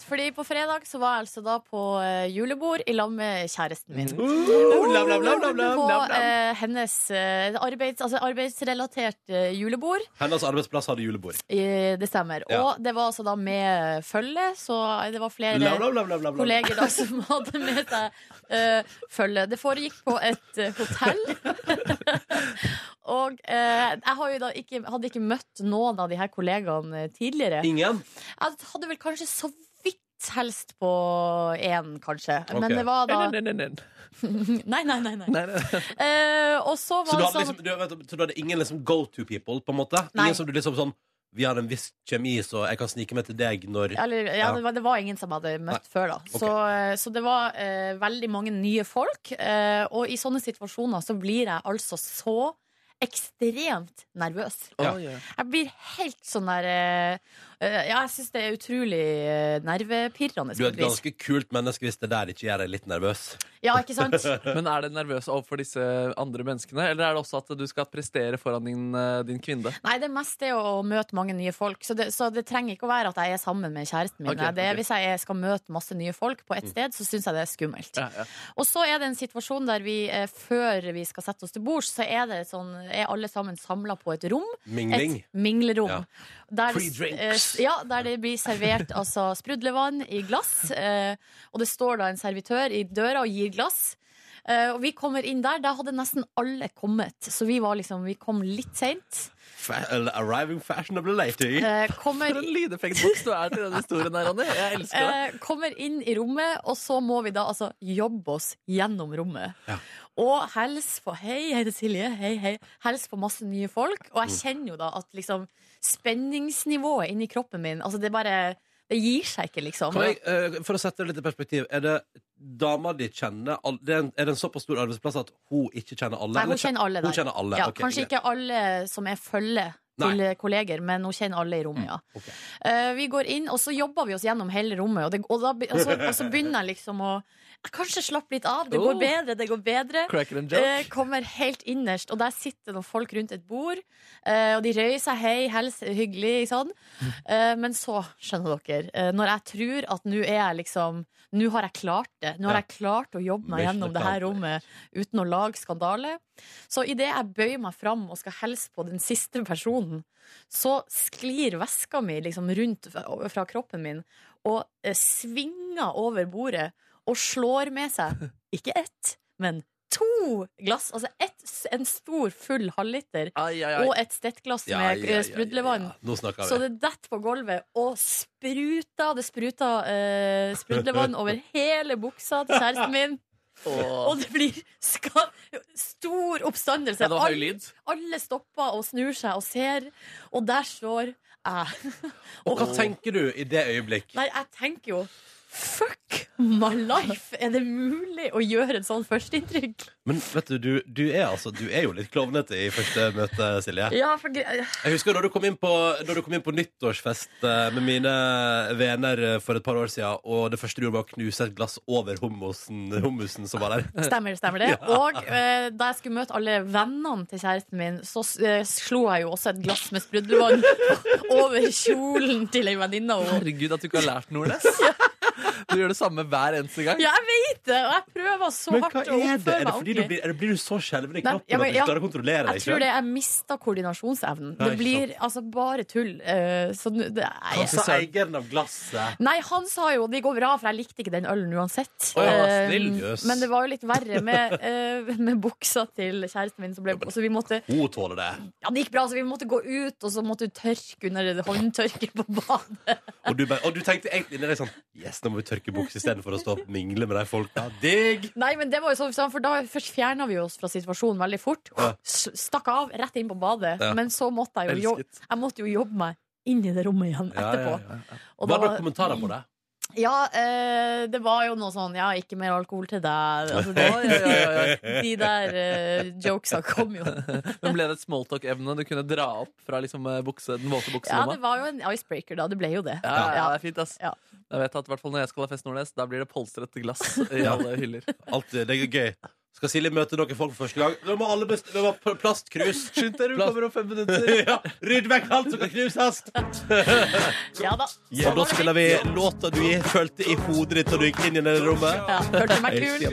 C: Fordi på fredag så var jeg altså da på eh, julebord i lag med kjæresten min.
B: Uh, lam, lam, lam, lam, lam,
C: På
B: lam, lam.
C: eh, hennes eh, arbeids, altså arbeidsrelatert eh, julebord.
B: Hennes arbeidsplass hadde julebord.
C: Eh, Det stemmer.
B: Ja.
C: Og det var altså da med følge, så det var flere
B: Lam, lam, lam, lam, lam.
C: kolleger da som (laughs) hadde med seg eh, følge. Det foregikk på et eh, hotell. (laughs) Og eh, jeg har jo da ikke, hadde ikke møtt noen av de her kollegaene eh, tidligere.
B: Ingen?
C: Jeg hadde vel kanskje så vidt helst på én, kanskje.
B: Ok.
C: Men det var da
D: nei, nei, nei, nei.
C: Nei, nei, nei. nei.
D: Nei, nei.
C: (laughs) Eh, og så
B: Så
C: var
B: du
C: det
B: hadde,
C: sånn
B: liksom, du, vet, du- så du hadde ingen liksom go to people, på en måte?
C: Nei.
B: Ingen som du liksom sånn Vi har en viss kjemi, så jeg kan snike meg til deg når
C: Eller, ja,
B: Ja.
C: Det, var, det var ingen som hadde møtt før, da. Så, så det var eh, veldig mange nye folk. eh, og i sånne situasjoner så blir jeg altså så ekstremt nervøs.
D: Å, ja.
C: Jeg blir helt sånn der eh, Eh, Ja, jeg syns det er utrolig eh, nervepirrende.
B: Du
C: på
B: er et
C: et vis.
B: ganske kult menneske hvis det der ikke gjør deg litt nervøs.
C: Ja, ikke sant?
E: Men er det nervøs overfor disse andre menneskene, eller er det også at du skal prestere foran din, eh, din kvinne?
C: Nei, det meste er å møte mange nye folk. Så det, så det trenger ikke å være at jeg er sammen med kjæresten min.
E: Ok,
C: Nei, det, er
E: ok.
C: Hvis jeg skal møte masse nye folk
B: Mm.
C: på ett sted, så syns jeg det er skummelt.
E: Ja, ja.
C: Og så er det en situasjon der vi, eh, før vi skal sette oss til bords, så er, det sånn, er alle sammen samla på et rom.
B: Mingling.
C: Et minglerom.
B: Ja.
C: Der,
B: Free
C: det-
B: drinks.
C: eh, Ja, der det blir servert altså, sprudlevann i glass. Eh, og det står da en servitør i døra og gir glass. Eh, og vi kommer inn der. Der hadde nesten alle kommet, så vi, var liksom, vi kom litt seint.
B: Fa- eller Arriving fashionable lady.
C: Eh,
E: For
C: kommer,
E: en lydeffektboks du er til denne historien her, Ronny. Jeg elsker det.
C: eh, kommer inn i rommet, og så må vi da altså jobbe oss gjennom rommet.
B: Ja.
C: Og hils på Hei, jeg heter Silje. Hei, hei. Hils på masse nye folk. Og
B: Mm.
C: jeg kjenner jo da at liksom spenningsnivået inni kroppen min Altså, det bare Det gir seg ikke, liksom.
B: Kan jeg, eh, for å sette det litt i perspektiv, er det dama di kjenner all, det er, en, er det en såpass stor arbeidsplass at hun ikke kjenner alle?
C: Nei,
B: Eller
C: hun kjenner alle
B: hun
C: der.
B: kjenner alle.
C: Ja,
B: ok,
C: kanskje
B: greit.
C: ikke alle som er følge til kolleger, men hun kjenner alle i rommet, ja.
B: Mm, ok.
C: Eh, vi går inn, og så jobber vi oss gjennom hele rommet, og, det, og, da, be- og, så, og så begynner jeg liksom å jeg Kanskje slappe litt av. Det
E: Oh.
C: går bedre, det går bedre.
E: Cracker and
C: Eh,
E: joke.
C: kommer helt innerst, og der sitter noen folk rundt et bord. eh, og de røyer seg, hei, hils, hyggelig, sånn. Eh, men så, skjønner dere, eh, når jeg tror at nå er jeg liksom Nå har jeg klart det. Nå har
B: Ja.
C: jeg klart å jobbe meg
B: Mission
C: gjennom det her
B: accomplished.
C: rommet uten å lage skandale. Så idet jeg bøyer meg fram og skal hilse på den siste personen, så sklir veska mi liksom rundt fra- fra kroppen min og eh, svinger over bordet og slår
B: (laughs)
C: med seg ikke ett, men to glass. Altså ett, en stor, full halvliter
E: Ai, ai, ai.
C: og et stettglass
B: Ja,
C: med
B: ja, ja, ja,
C: eh, sprudlevann.
B: ja. Nå snakker
C: Så
B: vi.
C: det detter på gulvet og spruta. Det spruta eh, sprudlevann over hele buksa til kjæresten min.
E: Åh.
C: Og det blir ska stor oppstandelse.
E: Ja, det var høy
C: Alle-
E: lyd.
C: alle stopper og snur seg og ser, og der står jeg.
B: Og hva tenker du i det øyeblikk?
C: Nei, jeg tenker jo Fuck my life! Er det mulig å gjøre et sånt førsteinntrykk?
B: Men vet du, du, du er altså Du er jo litt klovnete i første møte, Silje.
C: Ja, for gre-
B: Jeg husker da du kom inn på, da du kom inn på nyttårsfest eh, med mine venner eh, for et par år siden, og det første du gjorde, var å knuse et glass over hummusen, hummusen som (laughs) var der.
C: Stemmer, stemmer (laughs) det. Og eh, da jeg skulle møte alle vennene til kjæresten min, så eh, slo jeg jo også et glass med sprudlevann (laughs) over kjolen til ei venninne. av henne.
E: Herregud, at du ikke har lært noe, Les. Du gjør det samme hver eneste gang.
C: Ja, jeg vet det! Og jeg prøver så
B: Men
C: hardt
B: hva er
C: å
B: det?
C: oppføre
B: Er
C: meg
B: det fordi du
C: ordentlig.
B: blir, er det, blir du så skjelven i
C: Nei,
B: kroppen
C: ja,
B: at du
C: men ja,
B: ikke klarer å kontrollere deg
C: Jeg tror det jeg mista koordinasjonsevnen.
B: Ja,
C: Det
B: ikke
C: blir altså bare tull. Eh, så nu- det
B: Han
C: er
B: sa eieren av glasset.
C: Nei, han sa jo det går bra, for jeg likte ikke den ølen uansett.
B: Å ja,
C: Eh,
B: snill, jøs.
C: men det var jo litt verre med, eh, med buksa til kjæresten min. Som ble, så vi måtte,
B: Hun tåler det.
C: ja, det gikk bra, så vi måtte gå ut, og så måtte hun tørke under det håndtørket på badet.
B: Og du, bare, og du tenkte egentlig inni deg sånn Yes, nå må vi tørke buksa istedenfor å stå og mingle med de folka. Digg!
C: Nei, men det var jo sånn, for da først fjerna vi oss fra situasjonen veldig fort.
B: Ja.
C: S- Stakk av rett inn på badet.
B: Ja.
C: Men så måtte jeg jo, jo,
E: Elsket.
C: jeg måtte jo jobbe meg inn i det rommet igjen
B: Ja, ja,
C: etterpå.
B: ja.
C: Og
B: Var det
C: da-
B: noen kommentarer på det?
C: Ja, eh, det var jo noe sånn Ja, ikke mer alkohol til deg. Altså, det,
E: Oi, oi, oi, oi.
C: De der eh, jokesa kom jo.
E: Men ble det et smalltalk-evne du kunne dra opp fra liksom, eh, bukse, den
C: Ja, det
E: våte
D: Sånn
E: bukselomma?
C: var jo en icebreaker, da. Det ble jo det.
E: Ja, ja, det er fint, ass.
C: Ja.
E: Jeg vet at, i hvert fall Når jeg skal ha fest Nordnes, da blir det polstret glass i
B: Ja.
E: alle hyller.
B: Alt, det er gøy. Skal Silje møte noen folk for første gang? Da må alle bestille vi må ha plastkrus. (laughs) Skynd deg, du
E: kommer
B: om fem minutter. ja, Rydd vekk alt som kan knuses!
C: Ja da.
B: Og da spiller vi låta du følte i hodet ditt da du gikk inn i det rommet.
C: Ja, hørte du meg kul?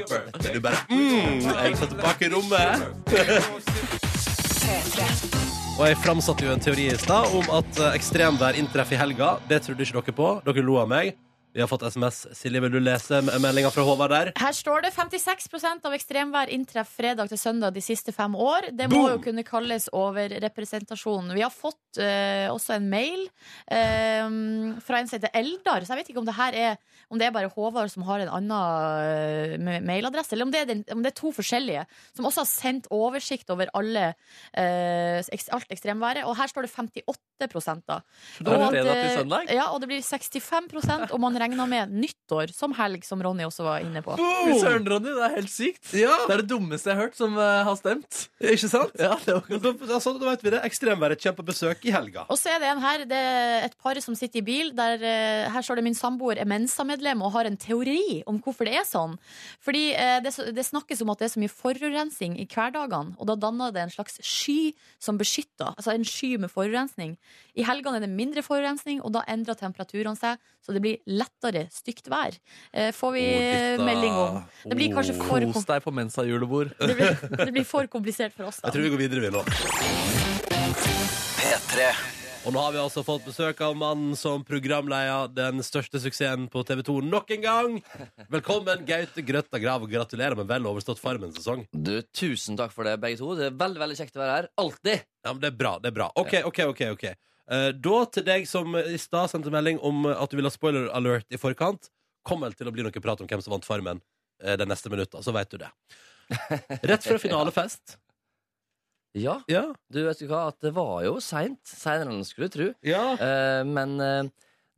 B: Du bare mm, Jeg satt tilbake i
C: (laughs)
B: rommet. Og jeg framsatte jo en teori i stad om at eh, ekstremvær inntreffer i helga. Det trodde ikke dere på. Dere lo av meg. Vi har fått SMS. Silje, vil du lese meldinga fra Håvard der?
C: Her står det 56 av ekstremvær inntreffer fredag til søndag de siste fem år. Det må jo kunne kalles overrepresentasjon. Vi har fått eh, også en mail eh, fra en som heter Eldar, så jeg vet ikke om det her er om det er bare Håvard som har en annen eh, me- mailadresse, eller om det, er den, om det er to forskjellige som også har sendt oversikt over alle, eh, eks- alt ekstremværet. Og her står det 58 da.
E: Da er det
C: Og at,
E: fredag til
C: eh,
E: søndag.
C: Ja, og det blir 65 om man regna med nyttår som helg, som Ronny også var inne på.
E: Fy søren, Ronny, det er helt sykt.
B: Ja,
E: Det er det dummeste jeg har hørt som eh, har stemt.
B: ikke sant?
E: Ja, det var
B: Men Da, altså, da vet vi det. Ekstremværet kommer på besøk i helga.
C: Og så er det en her, det er et par som sitter i bil. Der, eh, her står det 'min samboer er Mensa-medlem' og har en teori om hvorfor det er sånn. Fordi eh, det, så- det snakkes om at det er så mye forurensning i hverdagene, og da danner det en slags sky som beskytter. Altså en sky med forurensning. I helgene er det mindre forurensning, og da endrer temperaturene seg, så det blir lettere stygt vær. Eh, får vi eh, melding om. Det blir kanskje for
E: Kos deg på Mensa-julebord.
C: Det blir, det blir for komplisert for oss, da.
B: Jeg tror vi går videre, vi nå. Og nå har vi altså fått besøk av mannen som programleder den største suksessen på TV 2 nok en gang. Velkommen, Gaute Grøtta Grav, og gratulerer med vel overstått Farmen-sesong.
D: Du, Tusen takk for det, begge to. Det er veldig veldig kjekt å være her. Alltid!
B: Ja, men Det er bra. det er bra OK, OK, OK. ok Eh, Da til deg som i stad sendte melding om at du ville ha spoiler alert i forkant. Kommer vel til å bli noe prat om hvem som vant Farmen eh, de neste minutta, så veit du det. Rett fra finalefest.
D: Ja,
B: Ja.
D: du vet du hva, at det var jo seint. Seinere enn du skulle tro.
B: Ja.
D: Eh, men eh,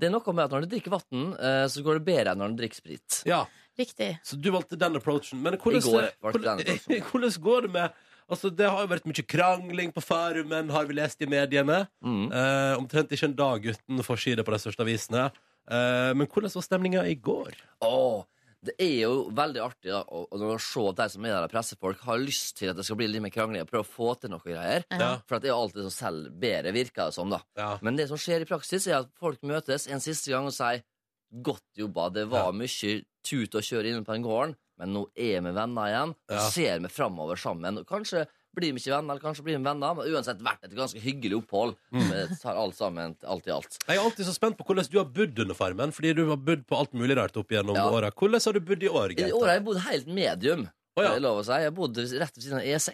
D: det er noe med at når du drikker vann, eh, så går det bedre enn når du drikker sprit.
B: ja.
C: Riktig.
B: Så du valgte den approachen. Men hvordan,
D: I går valgte
B: hvordan,
D: den approachen.
B: (laughs) hvordan går det med Altså, Det har jo vært mye krangling på Farmen, har vi lest i mediene.
D: Mm.
B: Eh, omtrent ikke en dag uten forside på de største avisene. Eh, men hvordan var stemninga i går?
D: Åh, det er jo veldig artig da, å, å se at de som er der, pressefolk, har lyst til at det skal bli litt mer krangling og prøve å få til noe greier.
B: Ja.
D: For at det er jo alltid som selv bedre, virker det som. da.
B: Ja.
D: Men det som skjer i praksis, er at folk møtes en siste gang og sier 'godt jobba', det var
B: Ja.
D: mye tut og kjør inne på den gården, men nå er vi venner igjen. og
B: Ja.
D: Ser vi framover sammen. og Kanskje blir vi ikke venner, eller kanskje blir vi venner, men uansett vært et ganske hyggelig opphold.
B: Mm.
D: Vi tar alt sammen, alt i alt.
B: Jeg er alltid så spent på hvordan du har bodd under Farmen. Fordi du har bodd på alt mulig rart opp gjennom
D: Ja.
B: åra. Hvordan har du bodd i år?
D: I
B: Gaute?
D: år har jeg bodd helt medium.
B: Å, ja.
D: er det lov å si. Jeg bodde rett ved siden av
B: (laughs)
D: E6.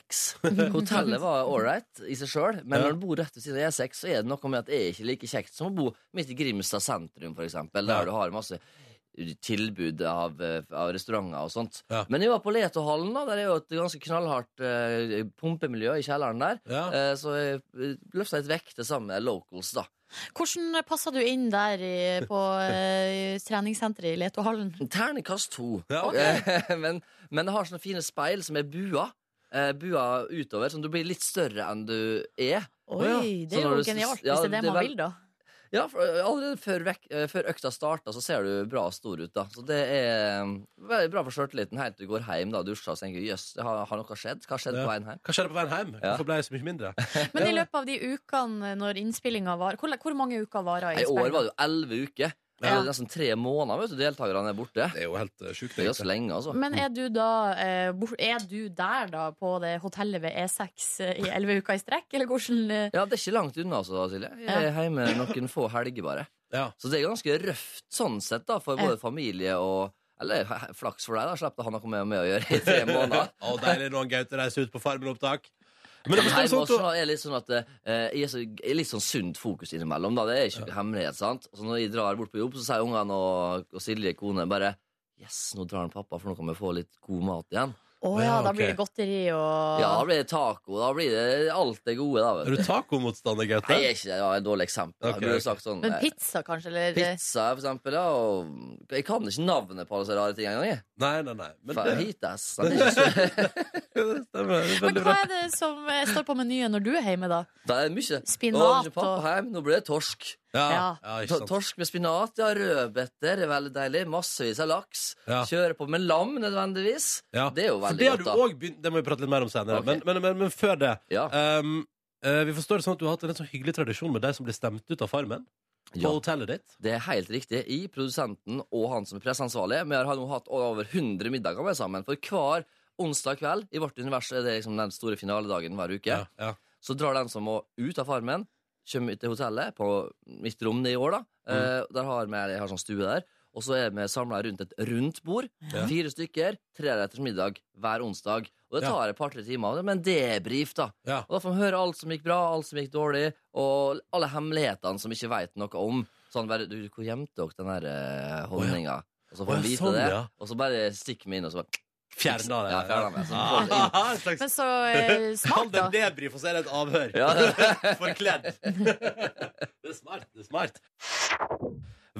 D: Hotellet var ålreit i seg sjøl, men
B: Ja.
D: når du bor rett ved siden av E6, så er det noe med at det er ikke like kjekt som å bo midt i Grimstad sentrum, for eksempel,
B: Ja.
D: der du har masse tilbud av, eh, av restauranter og sånt.
B: Ja.
D: Men jeg var på Letohallen, da. Der er jo et ganske knallhardt eh, pumpemiljø i kjelleren der.
B: Ja.
D: Eh, så jeg løfta litt vekk til sammen med locals, da.
C: Hvordan passa du inn der i, på eh, treningssenteret i Letohallen?
D: Ternekast to.
B: Ja, ok.
D: Eh, (laughs) men, men det har sånne fine speil som er bua. Eh, bua utover, sånn du blir litt større enn du er.
C: Oi,
D: Ja,
C: det
D: så
C: er
D: når
C: jo
D: du-
C: genialt,
D: ja,
C: hvis det er det,
D: det er
C: man
D: vel-
C: vil, da.
D: Ja, for eh, Allerede før, vek, eh, før økta starta, så ser du bra og stor ut. da Så det er eh, veldig bra for sjøltilliten helt til du går hjem da, og dusjer og tenker jøss, det har, har noe skjedd? Hva skjedde
B: Ja.
D: på veien hjem?
B: Hva skjedde på veien hjem?
D: Ja.
B: Hvorfor ble jeg så mye mindre?
C: Men i løpet av de ukene når innspillinga var Hvor, hvor mange uker varer
D: I år var det jo elleve uker. Det
C: Ja.
D: er nesten tre måneder vet du, deltakerne er borte.
B: Det er jo helt eh, sjukt.
D: Det er
B: egentlig.
D: ganske lenge, altså.
C: Men er du da eh, bor- Er du der, da, på det hotellet ved E6 eh, i elleve uker i strekk, eller hvordan eh,
D: Ja, Det er ikke langt unna, altså, Silje. Jeg er hjemme noen få helger, bare.
B: Ja.
D: Så det er ganske røft sånn sett da, for
C: Ja.
D: både familie og Eller he- flaks for deg, da. Slapp det å ha noe med meg å gjøre i
B: (laughs)
D: tre måneder.
B: Å, deilig når Gaute reiser ut på Farmen-opptak. Men
D: Nei,
B: det forstår
D: men
B: sånn,
D: også
B: at du-
D: er litt sånn at eh, jeg er, så, jeg er litt sånn sunt fokus innimellom. da, Det er ikke noe hemmelighet. sant? Så Når jeg drar bort på jobb, så sier ungene og, og Silje, kone, bare Yes, nå drar han pappa, for nå kan vi få litt god mat igjen.
C: Å ja,
B: Ja,
C: da
B: ok.
C: blir det godteri og
D: Ja, da blir det taco. Da blir det alt det gode, da.
B: Er
D: vet
B: du
D: du.
B: tacomotstander, Gaute?
D: Nei, jeg er ikke det. Det var et dårlig eksempel. da.
B: Ok,
D: Jeg burde
B: ok.
D: sagt sånn
C: Men
D: eh,
C: pizza, kanskje, eller
D: pizza, for eksempel. Ja, og jeg kan ikke navnet på alle så rare ting engang. jeg.
B: Nei, nei, nei. Men
D: Fa-
B: (laughs) det,
D: Hitas. Den er ikke så
B: det stemmer. Det er
C: Men
B: Veldig
C: hva
B: bra.
C: er det som eh, står på menyen når du er hjemme, da?
D: Det er mye.
C: Spinat
D: Å, ikke pappa
C: og-
D: hjem. Nå blir det torsk.
B: Ja,
C: Ja.
B: ja ikke
D: To-
B: sant.
D: Torsk med spinat, ja. Rødbeter er veldig deilig. Massevis av laks.
B: Ja.
D: Kjøre på med lam nødvendigvis.
B: Ja.
D: Det er jo
B: For
D: veldig
B: det har
D: godt,
B: du
D: da.
B: òg begynt Det må vi prate litt mer om senere.
D: Ok.
B: Men, men, men, men før det
D: Ja.
B: ehm, eh, Vi forstår det sånn at du har hatt en litt sånn hyggelig tradisjon med de som blir stemt ut av Farmen. På
D: Ja.
B: hotellet ditt.
D: Det er helt riktig. I produsenten og han som er presseansvarlig. Vi har nå hatt over 100 middager med sammen. For hver onsdag kveld i vårt univers er det liksom den store finaledagen hver uke.
B: Ja, ja.
D: Så drar den som må ut av farmen, kommer ut til hotellet på mitt rom det i år, da.
B: Mm.
D: Eh, der har vi, jeg har sånn stue der. Og så er vi samla rundt et rundt bord.
B: Ja.
D: Fire stykker, tre retters middag hver onsdag. Og det
B: Ja.
D: tar et par-tre timer. Men debrif, da.
B: Ja.
D: Og da får vi høre alt som gikk bra, alt som gikk dårlig, og alle hemmelighetene som vi ikke veit noe om. Sånn bare, du, Hvor gjemte dere den der eh, honninga? Og så
B: Å,
D: får
B: ja,
D: vi vite
B: sånn,
D: det,
B: ja.
D: og så bare stikker vi inn, og så bare
B: Fjerna det.
D: Ja, fjerna det. Så får det
B: (laughs)
D: inn.
B: Ah, en slags-
C: Men så eh,
B: Kall (laughs)
C: smart,
B: det en
C: da.
B: debrief, og så er det et avhør.
D: (laughs)
B: (laughs)
D: Ja, det-
B: Forkledd. det er smart. det er smart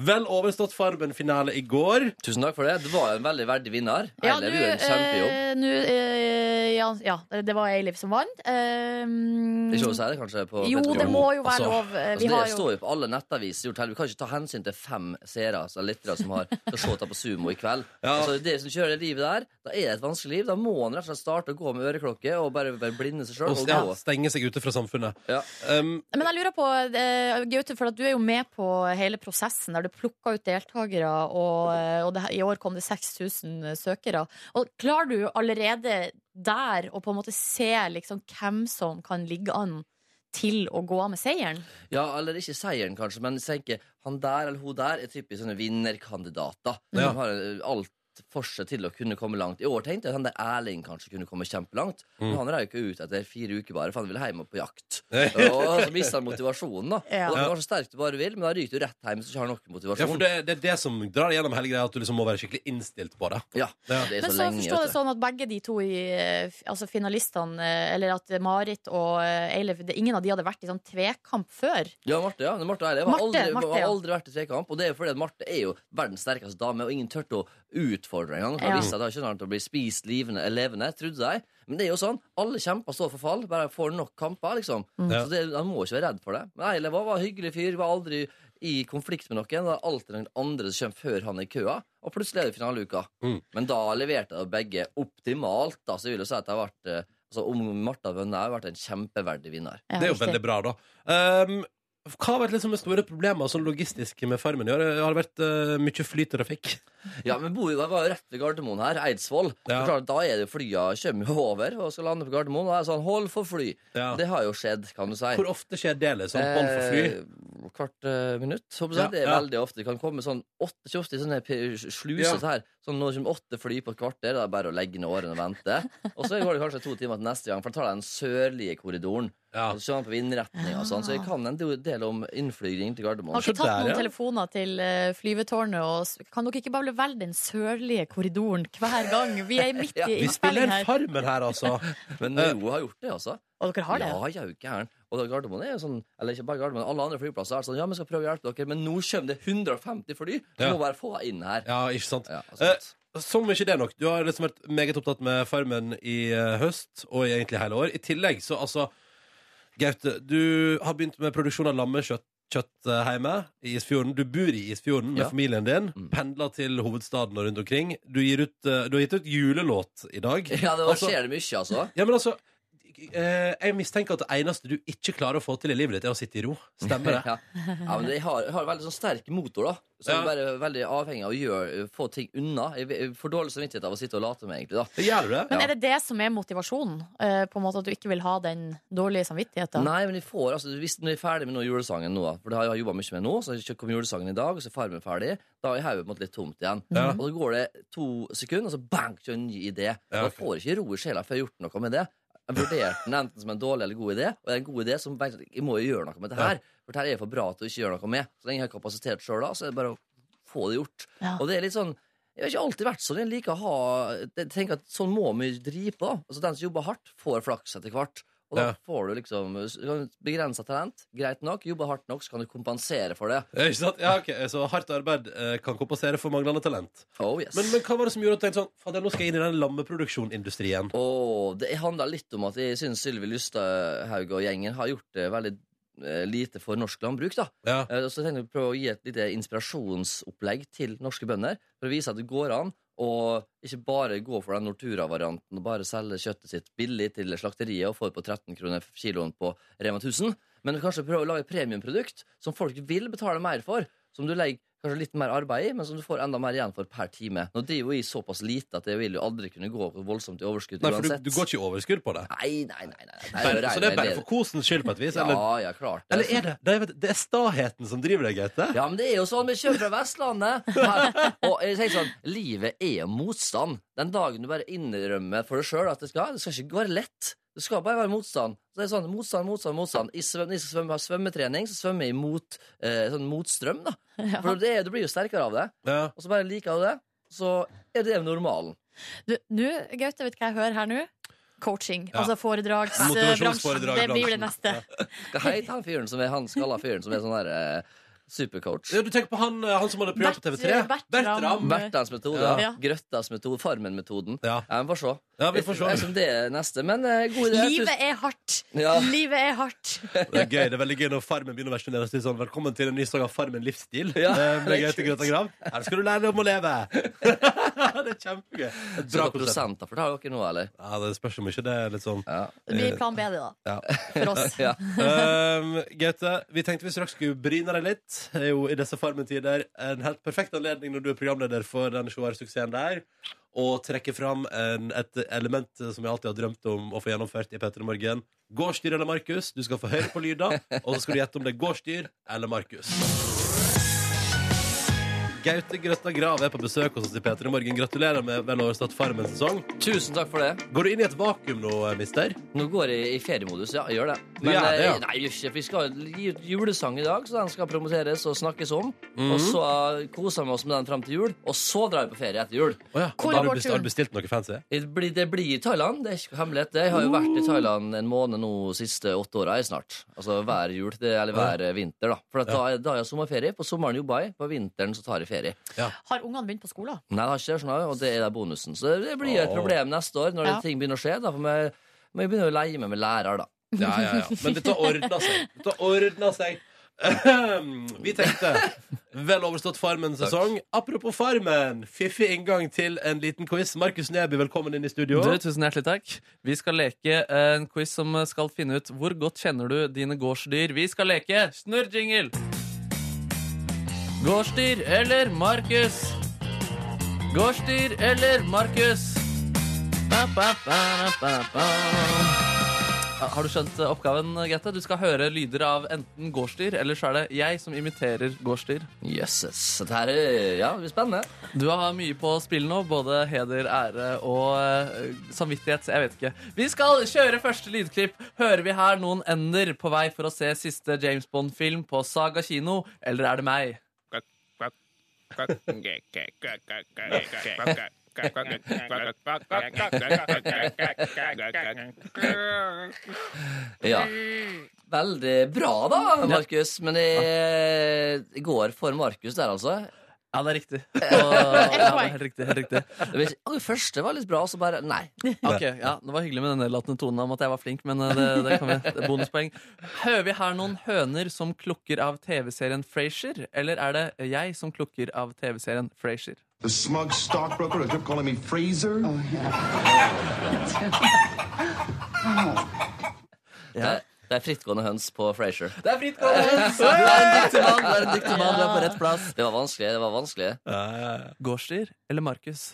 B: Vel overstått Farmen-finale i går.
D: Tusen takk for det. Du var jo en veldig verdig vinner.
C: Ja,
D: Eilev
C: nå,
D: gjorde en kjempejobb.
C: eh, nå, eh, ja, ja, det var Eilif som vant. Eh,
D: Det er Ikke lov å si det, kanskje? På
C: jo,
D: Petter
C: det
D: Gull?
C: må jo være
D: Altså,
C: lov. Eh,
D: Altså,
C: Vi
D: det
C: har jo
D: står jo på alle nettaviser. Gjort her. Vi kan ikke ta hensyn til fem seere altså, lyttere som har skal se dette på sumo i kveld.
B: Ja.
D: Altså, dere som kjører det livet der, da er det et vanskelig liv. Da må en rett og slett starte å gå med øreklokke og bare være blinde seg sjøl.
B: Og
D: Og
B: ja,
D: gå.
B: stenge seg ute fra samfunnet.
D: Ja.
B: Um,
C: Men jeg lurer på, eh, Gaute, for at du er jo med på hele prosessen der du plukka ut deltakere, og, eh, og det, her- i år kom det 6000 søkere. Og Klarer du allerede der å på en måte se liksom hvem som kan ligge an til å gå av med seieren?
D: ja, eller ikke seieren, kanskje, men tenker han der eller hun der er typisk sånne vinnerkandidater.
B: Ja.
D: Som har eh, alt for seg til å kunne komme langt. I år tenkte jeg at han der Erling kanskje kunne komme kjempelangt, men
B: Mm.
D: han røyk jo ut etter fire uker bare, for han ville hjem og på
B: (laughs)
D: jakt.
B: ja,
D: Og så mister han motivasjonen, da.
C: Ja.
D: Og da kan du være så sterk du bare vil, men da ryker du rett hjem hvis du ikke har nok
B: for
D: motivasjon.
B: det, det er det som drar gjennom hele greia, at du liksom må være skikkelig innstilt på det.
D: Ja,
B: Ja.
D: det er
C: Men
D: så
C: så
D: lenge.
C: forstår jeg
D: vet
C: det
D: du.
C: sånn at begge de to i, eh, f- altså finalistene, eh, eller at Marit og eh, Eilif, det, ingen av de hadde vært i sånn tvekamp før.
D: Ja, Marte, ja. Marte, og Eilif har
C: Marte,
D: aldri,
C: Marte,
D: har
C: ja.
D: aldri vært i trekamp. Og det er jo fordi at Marte er jo verdens sterkeste dame, og ingen turte å utfordre engang. For
C: Ja.
D: visste at hun ikke kom til å bli spist livende, levende, trodde de. Men det er jo sånn. Alle kjemper står for fall. Bare får nok kamper, liksom.
C: Mm.
B: Ja.
D: Så det, han må ikke være redd for det. Men Eilif var, var en hyggelig fyr. Var aldri i konflikt med noen. Det er alltid noen andre som kommer før han i køa. Og plutselig er det finaleuka.
B: Mm.
D: Men da leverte de begge optimalt, da. Så jeg vil jo si at det har vært eh, Altså, om Martha vunnet, har hun vært en kjempeverdig vinner.
C: Ja,
B: Det er jo
C: riktig.
B: veldig bra, da. Um, hva har vært liksom de store problemene sånn logistisk med Farmen i år? Har det vært eh, mye flytrafikk?
D: (laughs) Ja, men bor, jeg var jo rett ved Gardermoen her, Eidsvoll.
B: Ja.
D: Så klart, da er det jo flya kommer jo over og skal lande på Gardermoen. Og jeg sa sånn, hold for fly.
B: Ja.
D: Det har jo skjedd, kan du si.
B: Hvor ofte skjer det? liksom? Hold for fly?
D: Eh, Hvert eh, minutt. håper jeg.
B: Ja,
D: det er
B: ja.
D: veldig ofte. Det kan komme sånn åtte kiosker, sånne p-
B: Ja.
D: sluser til her. Sånn når det kommer åtte fly på et kvarter, da er det bare å legge ned årene og vente.
B: (laughs)
D: Og så går det kanskje to timer til neste gang, for da tar de den sørlige korridoren.
B: Ja.
D: Og så ser man på vindretning og sånn. Så jeg kan en do- del om innflygning til Gardermoen.
C: Har
B: Se
C: ikke tatt
B: der,
C: noen
B: ja.
C: telefoner til eh, flyvetårnet og s- Kan dere ikke bare velge den sørlige korridoren hver gang? Vi er
B: (laughs)
C: midt i
D: Ja,
B: Vi spiller
C: innspilling
B: en
C: her.
B: Farmen her, altså.
D: Men Noe har gjort det, altså.
C: Og dere har det?
D: Ja, jeg er jo gæren. Og da Gardermoen er jo sånn, eller ikke bare Gardermoen, alle andre flyplasser er sånn, ja, vi skal prøve å hjelpe dere, men nå kommer det 150 fly, vi
B: Ja.
D: må bare få inn her.
B: Ja, ikke sant?
D: Ja, altså.
B: Eh,
D: sånt.
B: Som ikke det nok. Du har liksom vært meget opptatt med Farmen i eh, høst, og egentlig hele år. I tillegg så altså Gaute, du har begynt med produksjon av lammekjøtt kjøtt eh, hjemme i Isfjorden. Du bor i Isfjorden med
D: Ja.
B: familien din.
D: Mm.
B: Pendler til hovedstaden og rundt omkring. Du, gir ut, eh, du har gitt ut julelåt i dag.
D: (laughs) (laughs) ja, det var,
B: altså-
D: skjer det mye, altså.
B: Ja, men altså eh, Jeg mistenker at det eneste du ikke klarer å få til i livet ditt, er å sitte i ro. Stemmer det?
D: Ja. ja, men jeg har, jeg har veldig sånn sterk motor, da. Så jeg
B: Ja.
D: er bare veldig avhengig av å gjøre, få ting unna. Jeg jeg får dårlig samvittighet av å sitte og late meg, egentlig, da.
B: Gjør du det?
D: (laughs)
C: Men
D: Ja.
C: er det det som er motivasjonen? eh, på en måte At du ikke vil ha den dårlige samvittigheten?
D: Nei, men de får, altså, hvis når jeg er ferdig med noe julesangen nå, da, for det har jeg jobba mye med nå, så jeg kom julesangen i dag, og så er Farmen ferdig, da er hodet på en måte litt tomt igjen.
B: Ja.
D: Og så går det to sekunder, og så bang, kjører en ny idé.
B: Ja,
D: Og
B: ok.
D: jeg får ikke ro i sjela før jeg har gjort noe med det. Jeg vurderte den enten som en dårlig eller god idé, og det er en god idé som bare- jeg må jo gjøre noe med det her. For det her er for bra til å ikke gjøre noe med. Så lenge jeg har kapasitet sjøl, da, så er det bare å få det gjort.
C: Ja.
D: Og det er litt sånn jeg har ikke alltid vært sånn. Jeg liker å ha Jeg tenker at Sånn må vi drive på. Altså Den som jobber hardt, får flaks etter hvert. Og da
B: Ja.
D: får du liksom begrensa talent. Greit nok. Jobber hardt nok, så kan du kompensere for det.
B: Ja, Ikke sant? Ja, ok, Så hardt arbeid eh, kan kompensere for manglende talent.
D: Oh yes
B: Men, men hva var det som gjorde at du tenkte sånn Fader, nå skal jeg inn i den lammeproduksjonindustrien?
D: Åh, det handler litt om at jeg syns Sylvi Lysthaug og gjengen har gjort det veldig eh, lite for norsk landbruk. da.
B: Ja.
D: Eh, og Så tenkte jeg å prøve å gi et lite inspirasjonsopplegg til norske bønder. For å vise at det går an å ikke bare gå for den Nortura-varianten og bare selge kjøttet sitt billig til slakteriet og få det på 13 kroner kiloen på Rema 1000, men kanskje prøve å lage et premiumprodukt som folk vil betale mer for. Som du legger kanskje litt mer arbeid i, men som du får enda mer igjen for per time. Nå driver jo jeg såpass lite at jeg vil jo aldri kunne gå voldsomt i overskudd
B: Nei, for du,
D: uansett.
B: du går ikke i overskudd på det?
D: Nei, nei, nei. nei, nei.
B: Bare,
D: jo
B: så det
D: rein
B: er bare
D: veldedighet.
B: for kosens skyld, på et vis? Eller,
D: Ja, ja, klart. det.
B: eller er det det er, vet du, det er staheten som driver deg, Gaute?
D: Ja, men det er jo sånn, vi kommer fra Vestlandet. Her. Og jeg tenker sånn, livet er jo motstand. Den dagen du bare innrømmer for deg sjøl at det skal, det skal ikke være lett. Det skal bare være motstand. Så det er sånn, Motstand, motstand, motstand. I svøm, når jeg skal svømme, har svømmetrening, så svømmer jeg mot, eh, sånn, mot strøm, da.
C: (laughs)
D: For det, er- du blir jo sterkere av det.
B: Ja.
D: Og så bare liker du det. Så er det normalen.
C: Du, Nå, Gaute, vet du hva jeg hører her nå? Coaching.
B: Ja.
C: Altså foredragsbransjen.
B: Motivasjonsforedrag,
C: Det blir det
B: bransjen.
C: neste.
D: Hva heter han fyren som er han skalla fyren som er sånn der eh, Supercoach.
B: Ja, du tenker på han, eh, han som hadde program på
C: Bert-
B: TV3?
C: Bertram.
D: Bertlands metode,
B: Ja.
D: ja. Grøttas metode, Farmen-metoden.
B: Ja.
D: Ja, vi får se.
B: ja, vi får se.
D: Jeg vet ikke om det er neste, men eh, god idé. Tusen-
C: Livet er hardt.
D: Ja.
C: Livet er hardt.
B: Det er gøy, det er veldig gøy når Farmen begynner å versjonere seg sånn Velkommen til en ny sang av Farmen livsstil
D: Ja,
B: Eh, Med
D: det er
B: Gaute Grøtta Grav Her skal du lære deg om å leve
D: (laughs)
B: (laughs) Det er kjempegøy Et
D: Så
B: Bra
D: noen
B: konsept
D: prosenter for det har dere nå, eller?
B: Ja, det spørs om ikke det er litt sånn (laughs)
D: Ja.
C: Det blir plan B, det, da.
B: ja.
C: For oss.
D: (laughs) ja.
B: um, Gaute, vi tenkte vi straks skulle bryne deg litt Det er jo i disse Farmen-tider En helt perfekt anledning når du er programleder for den sjoer-suksessen der Og trekke fram en, et element som jeg alltid har drømt om Å få gjennomført i Petter Morgen Gårdsdyr eller Markus, du skal få høre på lyda Og så skal du gjette om det er gårdsdyr eller Markus Gaute Grøtta Grav er på besøk hos oss i Peter i morgen. Gratulerer med vel overstått Farmen-sesong.
D: Tusen takk for det.
B: Går du inn i et vakuum nå, mister?
D: Nå går jeg i feriemodus. Ja, jeg gjør det. Men
B: gjør det, ja.
D: eh, nei, gjør ikke. vi skal gi ut julesang i dag, så den skal promoteres og snakkes om.
B: Mhm.
D: Og så eh, koser vi oss med den fram til jul, og så drar vi på ferie etter jul.
B: Å ja.
C: Hvor
B: Har
C: er
B: du
C: vår
B: bestilt, har
C: tur?
B: du bestilt noe fancy?
D: Det blir, det blir i Thailand. Det er ikke hemmelighet. det. Jeg har jo vært i Thailand en måned nå siste åtte åra snart. Altså hver jul, det, eller hver eh, vinter, da. For at da, er- da har jeg sommerferie. På sommeren jobber jeg, på vinteren så tar jeg ferie.
C: Har ungene begynt på skolen?
D: Nei, det har ikke det, skjønner du, og det er da bonusen. Så det blir jo et
B: Åh.
D: problem neste år når
C: Ja.
D: ting begynner å skje. da, for vi- Vi begynner å leie meg med lærer, da.
B: Ja, ja, ja. Men dette ordna seg. Dette ordna seg. Vi tenkte vel overstått Farmen-sesong. Apropos Farmen, fiffig inngang til en liten quiz. Markus Neby, velkommen inn i studio.
E: Du, tusen hjertelig takk. Vi skal leke eh, en quiz som skal finne ut hvor godt kjenner du dine gårdsdyr. Vi skal leke snurrjingle! Gårdsdyr eller Markus? Gårdsdyr eller Markus? Ba, ba, ba, ba, ba. Ja, Har du skjønt eh, oppgaven, Grete? Du skal høre lyder av enten gårdsdyr, eller så er det jeg som imiterer gårdsdyr.
D: Jøsses. Dette her er ja, det blir spennende.
E: Du har mye på spill nå, både heder, ære og eh, samvittighet. Jeg vet ikke. Vi skal kjøre første lydklipp. Hører vi her noen ender på vei for å se siste James Bond-film på Saga kino, eller er det meg?
D: Ja. Veldig bra, da, Markus. Men jeg, jeg går for Markus der, altså.
E: Ja, det er (laughs) riktig. Og, ja, det er helt riktig, helt riktig.
D: Det var ikke- Å, første var litt bra, og så bare Nei.
E: Ok, ja, Det var hyggelig med den nedlatende tonen om at jeg var flink, men eh, det, det kan vi. Det er bonuspoeng. Hører vi her noen høner som klukker av TV-serien Frasier, eller er det jeg som klukker av TV-serien Frasier?
G: The smug stockbroker who kept calling me Fraser.
D: Det, det er frittgående høns på Frasier.
E: Det er frittgående (laughs) høns! Du er en dyktig mann, du er en dyktig mann, du er på rett plass.
D: Det var vanskelig. det var vanskelig
B: Eh,
E: Gårdsdyr eller Markus?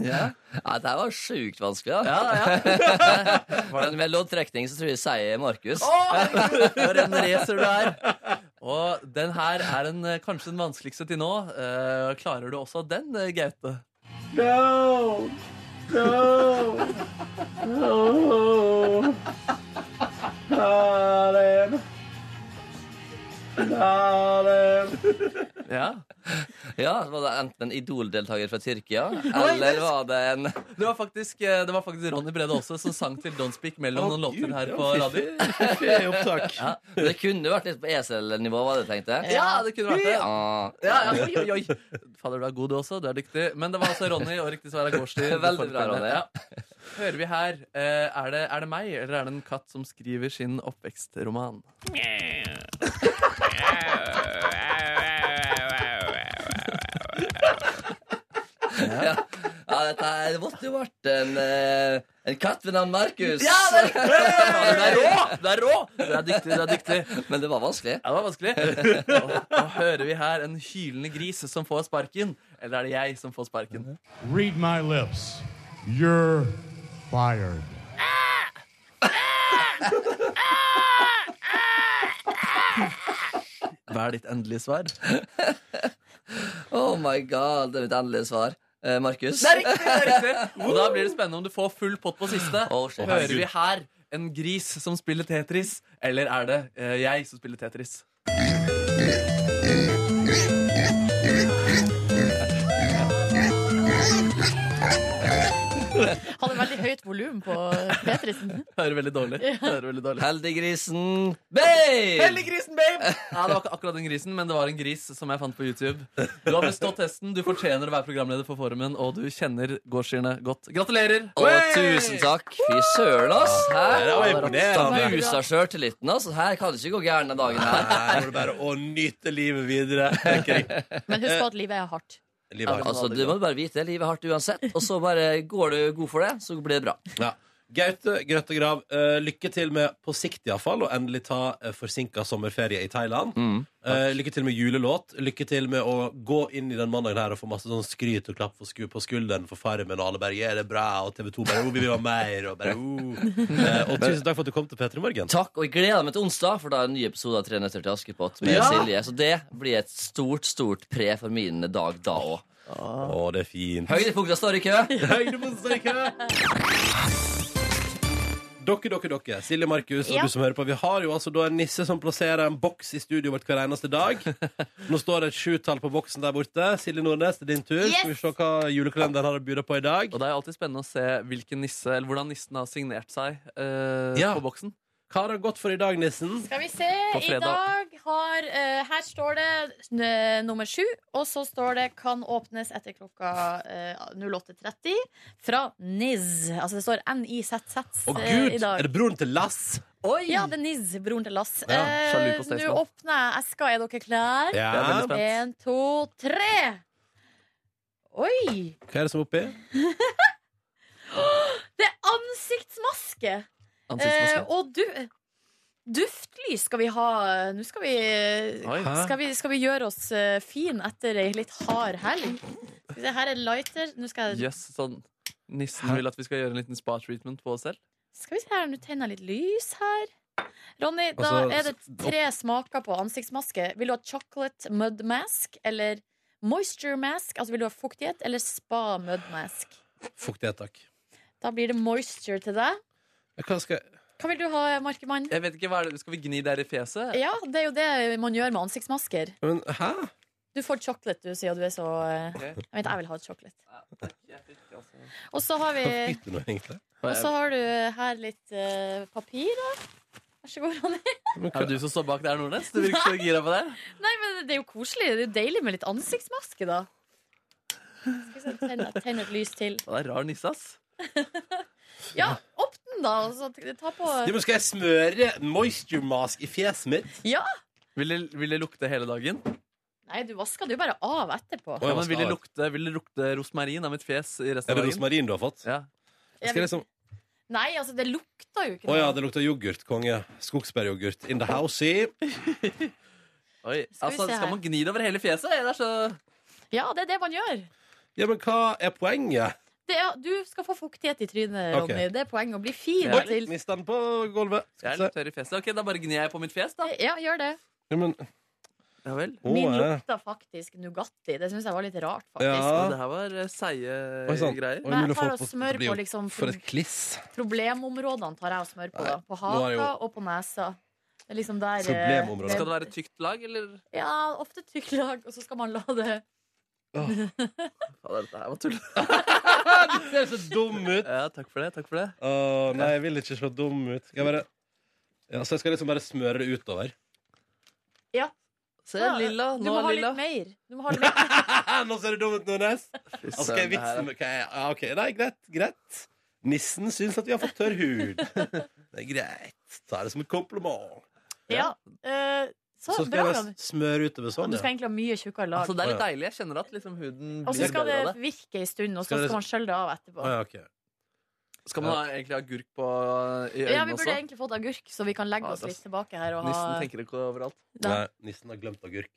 D: Ja, Det her var sjukt vanskelig, da. (laughs) Men med loddtrekning så tror jeg jeg sier Markus.
E: For en racer du er! Og den her er en, eh, kanskje den vanskeligste til nå. Eh, klarer du også den, eh, Gaute? Ja.
D: Ja, var det enten en Idol-deltaker fra Tyrkia, eller var det en
E: Det var, faktisk, eh, det var faktisk Ronny Brede også som sang til Don't Speak mellom noen
B: Gud,
E: låter her
B: ja,
E: på radio.
B: Fiffig opptak.
D: ja, Det kunne vært litt på eselnivå, var det jeg tenkte.
E: Ja, det kunne vært det.
D: Ja.
E: Ja, ja, oi, oi, oi. Fader, du er god du også. Du er dyktig. Men det var altså Ronny og riktig svar er Gårdstyr.
D: Veldig bra, Ronny.
E: Ja. Hører vi her eh, er, det, er det meg, eller er det en katt som skriver sin oppvekstroman?
D: Ja, dette her, det måtte jo vært en, eh, en katt ved navn Markus.
E: Ja, det er riktig! Ja, Du er rå! Du er rå! Du er dyktig, du er dyktig.
D: Men det var vanskelig.
E: Ja, det var vanskelig. (laughs) Og, og hører vi her en hylende gris som får sparken, eller er det jeg som får sparken?
H: Read my lips. You're fired.
E: Hva er ditt endelige svar?
D: Oh my god, det er mitt endelige svar. Eh, Markus.
E: Og da blir det spennende om du får full pott på siste.
D: Oh, shit.
E: Hører vi her en gris som spiller Tetris, eller er det eh, jeg som spiller Tetris?
C: Hadde veldig høyt volum på Petrisen.
E: Hører veldig dårlig. Hører veldig dårlig.
D: Heldiggrisen babe!
E: Heldiggrisen, babe! Ja, det var ikke akkurat den grisen, men det var en gris som jeg fant på YouTube. Du har bestått testen, du fortjener å være programleder for Forumen, og du kjenner gårdsdyrene godt. Gratulerer!
D: Og tusen takk. Fy søren, ass. Her
B: det var
D: har
B: imponerende.
D: han Musa sjøltilliten, ass. Her kan det ikke gå gærent den dagen
E: (laughs)
D: her.
B: Nei, nå er det bare å nyte livet videre. tenker jeg.
C: Men husk på at livet er hardt.
B: Livet er hardt.
D: Altså, Du må bare vite det. Livet er hardt uansett. Og så bare går du god for det, så blir det bra.
B: Ja. Gaute Grøtte Grav, eh, lykke til med på sikt iallfall å endelig ta uh, forsinka sommerferie i Thailand. Eh, lykke til med julelåt. Lykke til med å gå inn i den mandagen her og få masse sånn skryt og klapp for sku på skulderen for Farmen, og alle bare 'Er det bra?' og TV2 bare 'Oh, vi vil ha mer', og bare oh. Eh, Og tusen takk for at du kom til P3 Morgen.
D: Takk, og jeg gleder meg til onsdag, for da er det en ny episode av Tre nøtter til Askepott med
B: Ja!
D: Silje. Så det blir et stort, stort pre for min dag da òg.
B: Å, det er fint.
D: Høydepunkta står i kø.
B: Dere, dere, dere. Silje Markus og
C: Ja.
B: du som hører på. Vi har jo altså da en nisse som plasserer en boks i studioet vårt hver eneste dag. Nå står det et sjutall på boksen der borte. Silje Nordnes, det er din tur.
C: Yes!
B: Skal vi se hva julekalenderen har å by på i dag.
E: Og det er jo alltid spennende å se hvilken nisse, eller hvordan nissen har signert seg eh,
B: Ja.
E: på boksen.
B: Hva har det gått for i dag, nissen?
C: Skal vi se.
E: På
C: I
E: fredag.
C: dag har eh, Her står det eh, nummer sju, og så står det 'kan åpnes etter klokka eh, 08.30' fra NIZ. Altså det står NIZZ
B: Å
C: eh,
B: gud,
C: i dag.
B: er det broren til Lass?
C: Ja, det er NIZ, broren til Lass.
B: Ja,
C: Eh,
E: sjalu på Staysman.
C: Nå åpner jeg eska. Er dere klare?
B: Ja.
E: Jeg er veldig spent.
C: En, to, tre. Oi!
B: Hva er det som er oppi?
C: Det er ansiktsmaske! Eh,
E: Ansiktsmaske.
C: og du eh, Duftlys skal vi ha. Nå skal vi,
E: Oi.
C: skal vi, skal vi gjøre oss eh, fin etter ei litt hard helg. Skal vi se, Her er lighter. Nå skal, jeg,
E: Jøss, sånn Nissen vil at vi skal gjøre en liten spa-treatment på oss selv.
C: skal vi se her, nå tenner jeg litt lys her. Ronny, da
B: Altså,
C: er det tre smaker på ansiktsmaske. Vil du ha chocolate mud mask eller moisture mask? Altså vil du ha fuktighet eller spa mud mask?
B: Fuktighet, takk.
C: Da blir det moisture til deg.
B: Hva skal jeg
C: Hva vil du ha, Markemann?
E: Jeg vet ikke, hva er det? Skal vi gni der i fjeset?
C: Ja, det er jo det man gjør med ansiktsmasker.
B: Men hæ?
C: Du får chocolate, du, siden du er så eh,
E: Ok.
C: Jeg vet, jeg vil ha chocolate.
E: altså-
C: Og så har vi
B: Hva fikk du nå, egentlig?
E: Hva
C: Og så
E: er-
C: har du her litt eh, papir, da. Vær så god, Ronny. (laughs)
B: Men
E: Er
B: hva-
E: det du som står bak der, Nordnes? Du virker så gira på det.
C: Nei, men det er jo koselig. Det er jo deilig med litt ansiktsmaske, da. Skal vi se, tenne, tenne et lys til.
E: Og det er rar nisse, ass.
C: Ja, opp den, da. Og så ta på
B: Ja, men skal jeg smøre moisture mask i fjeset mitt?
C: Ja!
E: Vil det, vil det lukte hele dagen?
C: Nei, du vasker det jo bare av etterpå.
B: Å,
E: Ja, men
B: skal
E: vil det
B: ha-
E: lukte, vil det lukte rosmarin av mitt fjes i resten
B: Er
E: av
B: det
E: dagen?
B: rosmarin du har fått?
E: Ja.
B: Skal jeg liksom
C: Nei, altså, det lukter jo ikke
B: Å
C: noe.
B: ja, det lukter yoghurt, konge. Skogsbæryoghurt in the house.
E: Oi.
C: Skal vi
E: altså,
C: se
E: skal
C: her.
E: man gni det over hele fjeset? Det er så...
C: Ja, det er det man gjør.
B: Ja, men hva er poenget?
C: Det er, du skal få fuktighet i trynet,
B: Ok.
C: Ronny. Det er poenget. Å bli fin
E: Ja.
C: til
B: Mista den på gulvet. Skal
E: Jeg er
B: vi
E: litt
B: se.
E: tørr i fjeset. Ok, da bare gnir jeg på mitt fjes, da.
C: Ja, gjør det.
B: Ja, men,
E: Ja vel.
B: å,
C: Min
B: eh.
C: lukta faktisk Nugatti. Det syns jeg var litt rart, faktisk.
E: Så
B: Ja.
E: det her var eh, seige
B: Oi sånn. sann.
E: greier.
B: Oi,
C: Men
B: mulig
C: jeg tar
B: å
C: og
B: få på-
C: smør
B: det blir
C: på
B: jo-
C: liksom
B: For et kliss.
C: problemområdene tar jeg og smør på. da På
B: nå er det
C: haka
B: jo-
C: og på nesa. Det er liksom der eh,
B: Problemområder.
E: Skal det være et tykt lag, eller?
C: Ja, ofte tykk lag, og så skal man la det
E: Ja, dette her var tull.
B: Du ser så dum ut.
E: Ja, takk for det. takk for det.
B: Å, nei, jeg vil ikke se dum ut. Skal jeg bare ja, Så jeg skal liksom bare smøre det utover?
E: Se, lilla.
C: Du
E: Nå
C: må ha
E: er lilla.
C: litt mer. Du må ha litt
B: (laughs)
C: mer.
B: Nå ser du dum ut, Nordnes. Altså, skal jeg
E: det her
B: vitse med hva jeg- ja, OK, nei, greit. Greit. Nissen syns at vi har fått tørr hud. Det er greit. Ta det som et kompliment.
C: Ja. eh, så,
B: Så skal
C: bra.
B: jeg bare
C: Ronny.
B: smøre utover sånn.
C: Du
B: Ja.
C: skal egentlig ha mye tjukkere lag.
E: Altså, det er litt deilig. Jeg kjenner at liksom, huden
C: og så
E: blir
C: skal det
E: bedre av det.
C: virke en stund, og så
B: Skal det-
C: skal man skjølle det av etterpå.
B: Å, ja, ok.
E: Skal man ha, egentlig ha agurk på eh, i
C: Ja, vi
E: øynene
C: burde
E: også?
C: egentlig fått agurk, så vi kan legge
E: Ja,
C: oss
E: det-
C: litt tilbake her. Og ha...
E: Nissen tenker ikke overalt.
C: Nei.
B: Nei, nissen har glemt agurk.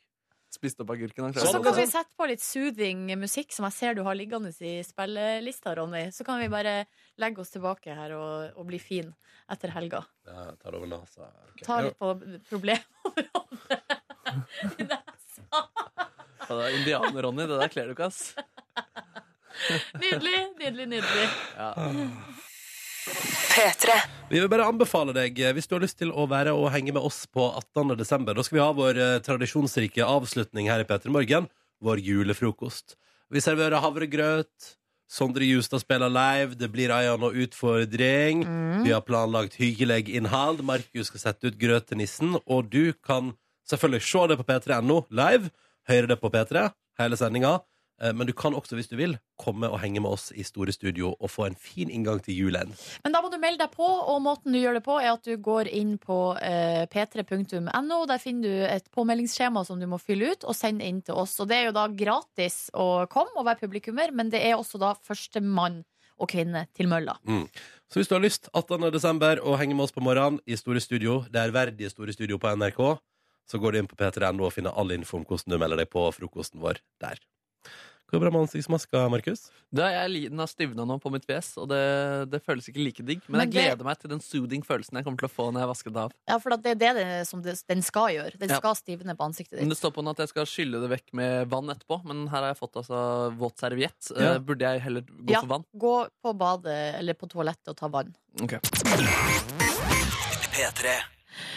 E: Spist opp agurken. han
B: Sånn,
C: Og
E: klarer
C: så
E: det.
C: kan vi sette på litt soothing musikk, som jeg ser du har liggende i spillelista, Ronny. Så kan vi bare legge oss tilbake her og, og bli fin etter helga.
B: Ja, jeg tar det over nesa. Ok.
C: Ta litt på problemområdet i nesa.
E: Ja, det er Indianer-Ronny, det der kler du ikke, ass.
C: (laughs) Nydelig, nydelig, nydelig.
B: Vi vil bare anbefale deg, eh, hvis du har lyst til å være og henge med oss på 18. desember, da skal vi ha vår eh, tradisjonsrike avslutning her i Petter Morgen, vår julefrokost. Vi serverer havregrøt, Sondre Justad spiller live. Det blir ei anna utfordring. Vi har planlagt hyggelig innhold. Markus skal sette ut grøt til nissen. Og du kan selvfølgelig se det på p3.no live. Høre det på P3 hele sendinga. Eh, Men du kan også, hvis du vil, komme og henge med oss i Store Studio og få en fin inngang til julen.
C: Men da må du melde deg på, og måten du gjør det på, er at du går inn på eh, p3.no. Der finner du et påmeldingsskjema som du må fylle ut og sende inn til oss. Og det er jo da gratis å komme og være publikummer, men det er også da førstemann og kvinne til mølla.
B: Så hvis du har lyst, 18. desember, og henge med oss på morgenen i Store Studio, det ærverdige Store Studio på NRK, så går du inn på p3.no og finner all info om hvordan du melder deg på frokosten vår der. Går det bra med ansiktsmaska, Markus?
E: Da er jeg, li- den har stivna nå på mitt fjes, og det, det føles ikke like digg. Men,
C: Men
E: jeg
C: det-
E: gleder meg til den soothing følelsen jeg kommer til å få når jeg vasker det av.
C: Ja, for det er det, det som det, den skal gjøre. Den
E: Ja.
C: skal stivne på ansiktet
E: Men
C: ditt.
E: Det står på den at jeg skal skylle det vekk med vann etterpå, men her har jeg fått altså våt serviett.
B: Ja.
E: Eh, Burde jeg heller gå
C: Ja.
E: for vann?
C: Gå på badet eller på toalettet og ta vann.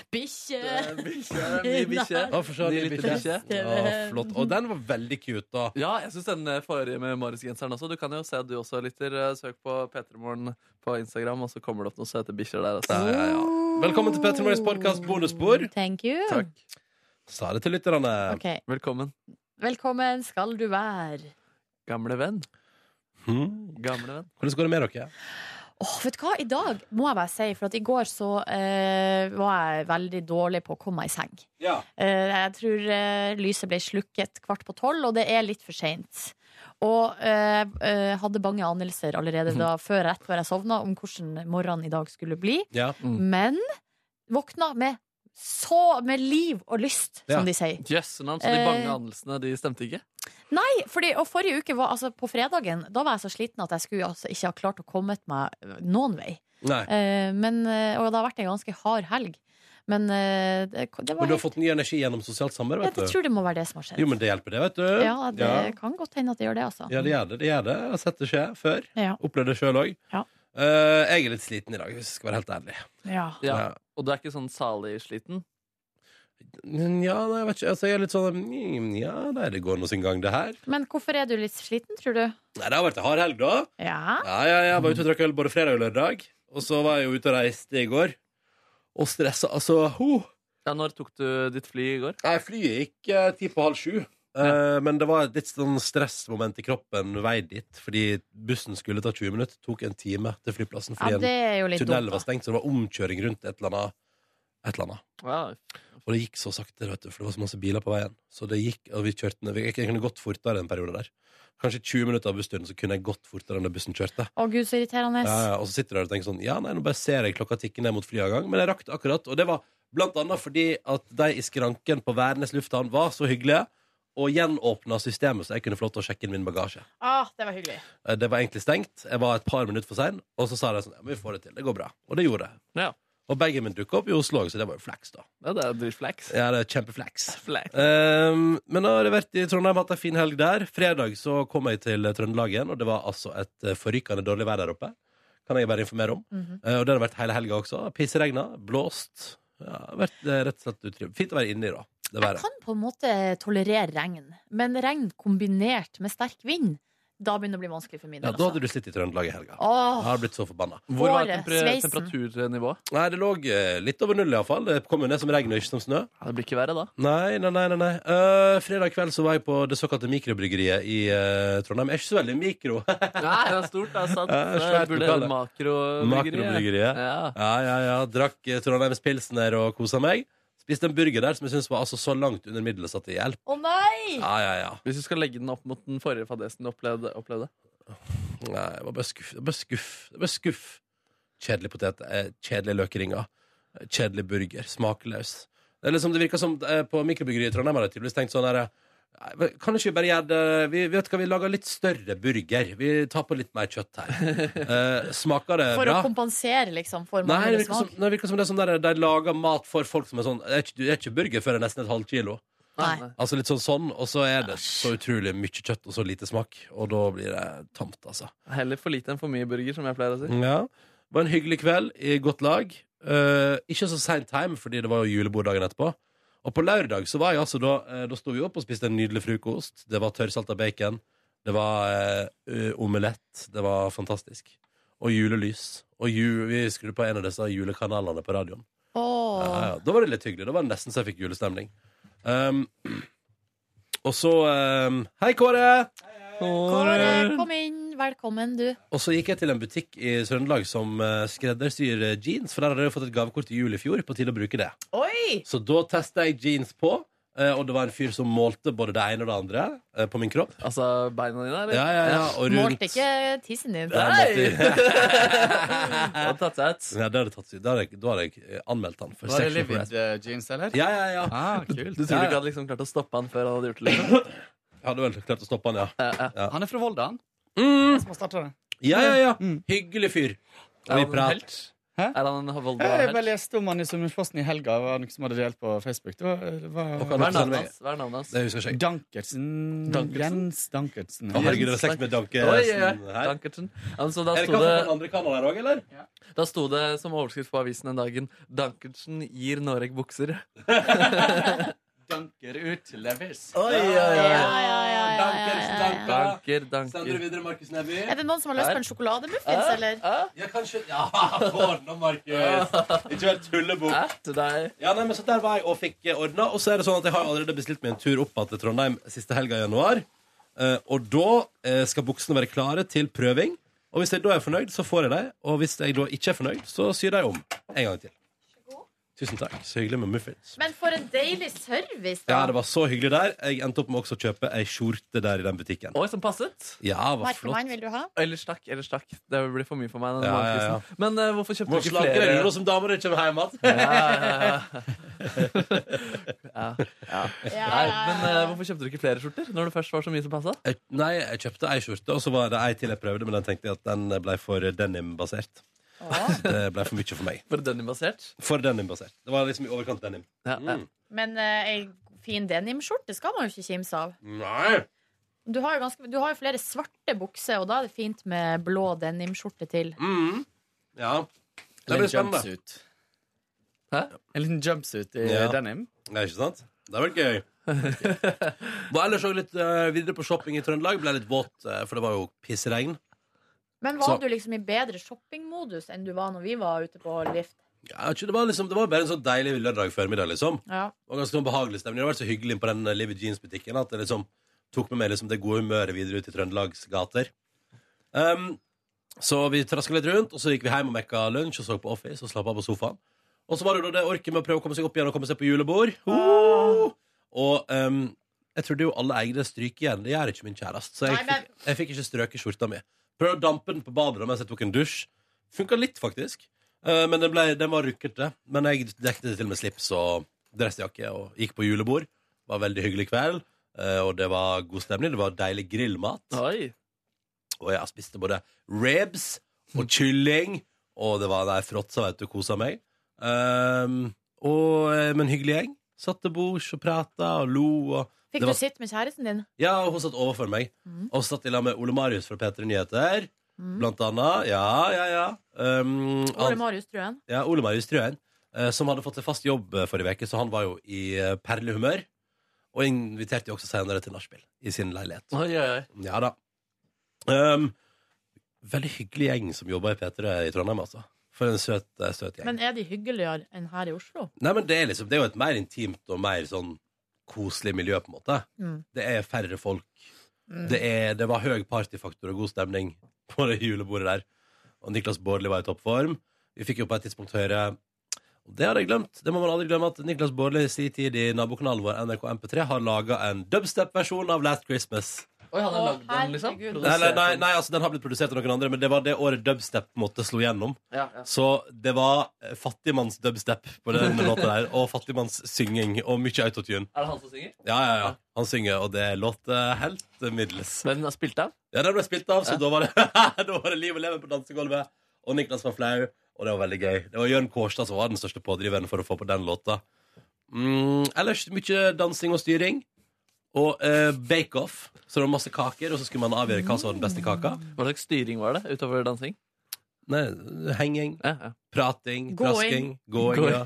C: Bikkje!
E: Ny bikkje.
B: Å, for så,
E: Ny
B: ny
E: liten
B: bikkje.
E: bikkje.
B: Å, flott. Og den var veldig cute, da.
E: Ja, jeg syns den eh, forrige med Marius-genseren også. Du kan jo se at du også lytter. Eh, Søk på P3morgen på Instagram, og så kommer det opp noen søte bikkjer der. Altså.
B: Ja, ja, ja. Velkommen til Petter Morgens podkast bonusbord.
C: Thank you.
E: Takk.
B: Sa det til lytterne.
C: Ok.
E: Velkommen,
C: Velkommen skal du være.
E: gamle venn.
B: Hmm.
E: Gamle venn.
B: Hvordan går det med dere?
C: Åh, vet du hva? I dag må jeg bare si, for at i går så eh, var jeg veldig dårlig på å komme meg i seng.
B: Ja.
C: Eh, jeg tror eh, lyset ble slukket kvart på tolv, og det er litt for seint. Og eh, eh, hadde bange anelser allerede da,
B: (laughs)
C: før rett før jeg sovna, om hvordan morgenen i dag skulle bli.
B: ja.
E: Mm.
C: Men våkna med så med liv og lyst,
B: Ja.
C: som de sier.
E: Jøss, men altså, de bange
C: Eh.
E: anelsene de stemte ikke?
C: Nei, fordi, og forrige uke var, altså, på fredagen Da var jeg så sliten at jeg skulle altså, ikke ha klart å komme meg eh, noen vei.
B: Nei.
C: Eh, men, eh, og det har vært en ganske hard helg. Men eh, det, det
B: Men
C: var
B: du har
C: helt,
B: fått ny energi gjennom sosialt
C: jeg,
B: samarbeid, vet du.
C: tror det må være det som har skjedd.
B: Jo, men det hjelper, det, vet du.
C: ja, det
B: Ja.
C: kan godt hende at det gjør det, altså.
B: Ja, det gjør det. det, gjør det. Jeg har sett det skje før.
C: Ja.
B: Opplevd det sjøl òg.
C: Ja.
B: jeg er litt sliten i dag, hvis jeg skal være helt ærlig.
C: Ja.
E: Ja. Og du er ikke sånn salig-sliten?
B: Nja, nei, jeg vet ikke. Altså, jeg er litt sånn mm, Ja, nei, det går nå sin gang, det her.
C: Men hvorfor er du litt sliten, tror du?
B: Nei, det har vært en hard helg, da.
C: Ja.
B: Ja, ja, jeg var ute og drakk øl både fredag og lørdag. Og så var jeg jo ute og reiste i går. Og stressa. Altså, ho!
E: Ja, når tok du ditt fly i går?
B: Nei, flyet gikk eh, ti på halv sju. Eh, Men det var et litt sånn stressmoment i kroppen vei dit. Fordi bussen skulle ta 20 minutter, tok en time til flyplassen. Fordi
C: ja, det er jo
B: en
C: litt
B: tunnel
C: dumt.
B: var
C: da.
B: stengt, så det var omkjøring rundt et eller annet. Et eller annet.
E: Ja.
B: Og det gikk så sakte, vet du, for det var så masse biler på veien. Så det gikk, og vi kjørte ned. Jeg kunne gått fortere en periode der. Kanskje 20 minutter av bussturen, så kunne jeg gått fortere enn da bussen kjørte.
C: Å gud, så irriterende.
B: Ja, ja, og så sitter du der og tenker sånn Ja, nei, nå bare ser jeg klokka tikke ned mot flyavgang Men jeg rakk det akkurat Og det var blant annet fordi at de i skranken på Værnes lufthavn var så hyggelige Og gjenåpnet systemet så jeg kunne få lov til å sjekke inn min bagasje
C: Ah, det var hyggelig.
B: Eh, Det var egentlig stengt Jeg var et par minutter for sen Og så sa de sånn Ja, men vi får det til, det går bra Og det gjorde jeg
E: Ja.
B: Og begge min dukket opp i Oslo også, Så det var jo flaks da
E: Ja, det er dritflaks.
B: Ja, det er kjempeflaks
E: Flaks.
B: Ehm, men nå har jeg vært i Trondheim, hatt en fin helg der. Fredag så kom jeg til Trøndelag igjen, og det var altså et eh, forrykende dårlig vær der oppe. Kan jeg bare informere om.
C: Mhm.
B: Eh, og det har det vært hele helga også. Pisseregna, blåst. Ja, det har vært eh, rett og slett utrivelig. Fint å være inni, da. Det
C: Jeg
B: været.
C: kan på en måte tolerere regn, men regn kombinert med sterk vind, da begynner det å bli vanskelig for min
B: Ja,
C: del.
B: da hadde
C: Altså.
B: du slitt i Trøndelag i helga. Jeg
C: Åh,
B: har blitt så forbanna.
E: Hvor var
C: Håret,
E: temper
C: sveisen.
E: temperaturnivået?
B: Nei, det lå eh, litt over null, iallfall. Det kom jo ned som regn og ikke som snø.
E: Ja, det blir ikke verre da.
B: Nei, nei, nei. nei, nei. Eh, fredag kveld så var jeg på det såkalte mikrobryggeriet i eh, Trondheim. Jeg er ikke så veldig mikro.
E: (laughs)
B: (laughs)
E: Nei, det er stort. Det er sant.
B: Ja,
E: Det
B: svært
E: burde
B: lokale.
E: hete makrobryggeriet.
B: Makrobryggeriet.
E: Ja.
B: Ja, ja, ja. Drakk eh, Trondheims pilsner og kosa meg. Spiste en burger der som jeg syntes var altså så langt under middelet at det hjelper.
C: Å nei!
B: Ja, ja, ja.
E: Hvis du skal legge den opp mot den forrige fadesen du opplevde, opplevde.
B: Nei, det var bare skuff. Det var bare skuff. Det var skuff. Kjedelig potet. eh, Kjedelige løkringer. eh, Kjedelig burger. Smakløs. Det, er liksom, det virker som eh, på mikrobryggeriet i Trondheim har de tydeligvis tenkt sånn her eh, nei, Kan ikke vi bare gjøre det Vi, vet hva, vi lager litt større burger. Vi tar på litt mer kjøtt
C: (laughs)
B: her. Eh, smaker det
C: For
B: bra?
C: å kompensere, liksom, for
B: Nei, det
C: manglende
B: virker, som,
C: smak.
B: nei, det virker som det er sånn der de lager mat for folk som er sånn Det er ikke, det er ikke burger før det er nesten et halvt kilo.
C: Nei.
B: Altså litt sånn sånn, og så er det så utrolig mye kjøtt og så lite smak. Og da blir det tamt, altså.
E: Heller for lite enn for mye burger, som jeg pleier å si.
B: Ja. Det var en hyggelig kveld i godt lag. Eh, ikke så seint hjem, fordi det var jo julebord dagen etterpå. Og på lørdag så var jeg altså da eh, Da sto vi opp og spiste en nydelig frokost. Det var tørrsalta bacon. Det var eh, omelett. Det var fantastisk. Og julelys. Og ju, vi skrudde på en av disse julekanalene på radioen.
C: Åh.
B: Ja, ja. Da var det litt hyggelig. Da var det nesten så jeg fikk julestemning. Um, (clears throat) og så um, Hei, Kåre!
C: Kåre, kom inn. Velkommen, du.
B: Og så gikk jeg til en butikk i Trøndelag som eh, skreddersyr eh, jeans, for der hadde jeg jo fått et gavekort i jul i fjor. På tide å bruke det.
I: Oi!
B: Så da testa jeg jeans på, eh, og det var en fyr som målte både det ene og det andre eh, på min kropp.
E: Altså beina dine, eller?
B: Ja, ja, ja, og rundt.
C: Målte ikke tissen din.
B: Nei, (laughs) målte-
E: Det har tatt seg ut.
B: Ja, det hadde tatt Da hadde jeg, da hadde jeg eh, anmeldt han for
J: Var det
B: sexual
J: Livid
B: harassment.
J: eh, jeans, eller?
B: Ja, ja, ja.
J: Ah,
E: Du
J: kult.
B: Ja,
E: tror ikke
B: ja.
E: hadde liksom klart å stoppe han før han hadde gjort det? (laughs) Liksom.
B: Jeg hadde vel klart å stoppe han, ja.
J: Han er fra Volda, han.
B: Mm.
J: Han Som har startet det.
B: Ja, ja, ja.
J: Mm.
B: Hyggelig fyr. Og vi
E: Er han en
B: prat-
E: helt? Er han en
J: Jeg bare
E: Volda-helt?
J: leste om han i Sunnmørsposten i helga. Det var noen som hadde delt på Facebook. Det var, det
B: Og
J: var
B: kan
E: Hva
B: du
E: er
B: sende
E: navnet
B: meg?
E: hans? Hva er navnet hans?
B: Det husker jeg ikke.
J: Dankertsen.
E: Dankertsen?
J: Jens Dankertsen.
B: Å, herregud, det var sex med Danke.
E: Oi, oi,
B: Jensen
E: oi.
B: her.
E: Dankertsen. Altså, da,
B: Er det
E: sto
B: kaffe på den
E: det,
B: andre kanalen her òg, eller?
E: da sto det som overskrift på avisen den dagen 'Dankertsen gir Noreg bukser'.
J: Danker ut til levis.
E: Oi,
C: Ja, ja, ja, ja, ja, ja, ja.
E: Danker, danker.
B: Sender du videre Markus Neby?
C: Er det noen som har lyst på en sjokolademuffins, eller?
B: Ja, kanskje Ja, (laughs) få den nå, Markus! Ikke vær tullebukk.
E: Æ, til deg.
B: Ja, nei, men så Der var jeg og fikk ordna. Og så er det sånn at jeg har allerede bestilt meg en tur opp igjen til Trondheim siste helga i januar. Eh, og da eh, skal buksene være klare til prøving. Og hvis jeg da er fornøyd, så får jeg dem. Og hvis jeg da ikke er fornøyd, så syr jeg om en gang til. Tusen takk. Så hyggelig med muffins.
C: Men for en deilig service,
B: Ja,
C: da.
B: det var så hyggelig der. Jeg endte opp med også å kjøpe ei skjorte der i den butikken.
E: Oi, som passet.
B: Ja, var
C: Markoman
B: flott.
C: vil du ha?
E: Ellers takk. ellers takk Det blir for mye for meg. Denne
B: Ja,
E: ja,
B: ja, ja.
E: Men eh, hvorfor kjøpte
B: Må
E: du ikke
B: slanke deg nå
E: flere?
B: som damer ikke kommer hjem (laughs) igjen.
E: Ja, ja, ja. ja.
C: Ja,
E: Nei, men eh, hvorfor kjøpte du ikke flere skjorter når det først var så mye som passa?
B: Jeg- Nei, jeg kjøpte ei skjorte, og så var det ei til jeg prøvde, men den tenkte jeg at den ble for denim-basert.
J: Ah.
B: (laughs) Det ble for mye for meg.
E: For denimbasert.
B: For denim-basert. Det var liksom i overkant denim.
E: Ja, ja.
B: Mm.
C: Men eh, ei fin denimskjorte skal man jo ikke kimse av.
B: Nei!
C: Du har, jo ganske, du har jo flere svarte bukser, og da er det fint med blå denimskjorte til.
B: Mm. Ja. Det
J: Eller
B: blir
J: en
B: spennende.
J: jumpsuit.
E: Hæ?
J: En liten jumpsuit i
B: Ja.
J: denim.
B: Nei, ikke sant? Det var
J: (laughs)
B: gøy. Var ellers òg litt eh, videre på shopping i Trøndelag. Ble litt våt, eh, for det var jo pissregn.
C: Men
B: Så-
C: var du liksom i bedre shoppingmodus enn du var når vi var ute på lift?
B: Ja, jeg tror det, var liksom, det var bare en sånn deilig lørdag formiddag, liksom.
C: Ja.
B: Det var ganske sånn behagelig stemning. Det har vært så hyggelig på den eh, Liv Jeans-butikken at det liksom tok med meg liksom det gode humøret videre ut i Trøndelags gater. Um, så vi traska litt rundt, og så gikk vi hjem og mekka lunsj og så på Office og slapp av på sofaen. Og så var det jo da det orket med å prøve å komme seg opp igjen og komme seg på julebord.
C: Ah.
B: Uh! Og um, jeg trodde jo alle eide stryk igjen. Det gjør ikke min kjæreste. Så jeg,
C: Nei, men-
B: fikk, jeg fikk ikke strøket skjorta mi. Prøvde å dampe den på badet da, mens jeg tok en dusj. Funka litt, faktisk. Eh, men den, ble, den var rukkete. Men jeg dekket det til med slips og dressjakke og gikk på julebord. Det var en veldig hyggelig kveld, eh, og det var god stemning. Det var deilig grillmat.
E: Oi.
B: Og jeg spiste både ribs og kylling, og det var der fråtsa, vet du, kosa meg. Um, og, eh, men hyggelig gjeng. Satt til bords og prata og lo. Og Det
C: Fikk
B: var-
C: du sitte med kjæresten din?
B: ja, og hun satt overfor meg.
C: Mhm.
B: Og satt i lag med Ole Marius fra P3 Nyheter.
C: Mhm.
B: Blant annet. Ja, ja, ja. Um,
C: Ole
B: han-
C: Marius Trøen?
B: ja, Ole Marius Trøen, eh, som hadde fått seg fast jobb eh, forrige uke, så han var jo i eh, perlehumør. Og inviterte jo også senere til nachspiel i sin leilighet.
E: Oi, oi, oi.
B: Ja da. Um, veldig hyggelig gjeng som jobber i P3 i Trondheim, altså. For en søt, eh, søt gjeng.
C: Men er de hyggeligere enn her i Oslo?
B: Nei, men det er, liksom, det er jo et mer intimt og mer sånn koselig miljø, på en måte.
C: Mm.
B: Det er færre folk. Det, er, det var høy partyfaktor og god stemning på det julebordet der. Og Niklas Bårdli var i toppform. Vi fikk jo på et tidspunkt høre og det hadde jeg glemt. Det må man aldri glemme at Niklas Bårdli i sin tid i nabokanalen vår NRK MP3 har laga en dubstep-versjon av Last Christmas.
E: Oi, han har
C: Å,
E: lagd den, liksom?
C: herregud.
B: Nei, nei,
E: Produsert
B: nei,
E: den.
B: nei altså, den har blitt produsert av noen andre, men det var det året dubstep på en måte slo gjennom.
E: Ja, ja.
B: Så det var eh, fattigmanns dubstep på den låta der, og fattigmanns synging, og mye autotune.
E: Er det han som synger?
B: Ja, ja, ja. Han synger, og det låter helt middels.
E: Men har spilt av?
B: Ja, den ble spilt av, så da, var det, (laughs) da var det liv og leven på dansegulvet. Og Niklas var flau, og det var veldig gøy. Det var Jørn Kårstad som var den største pådriveren for å få på den låta. Mm, ellers mye dansing og styring. Og eh, bake-off. Så det var masse kaker, og så skulle man avgjøre hva som var den beste kaka.
E: Hva slags styring var det utover dansing?
B: Nei, henging,
E: Ja, ja.
B: prating,
C: Going.
B: trasking, going.
E: Går-
B: Ja.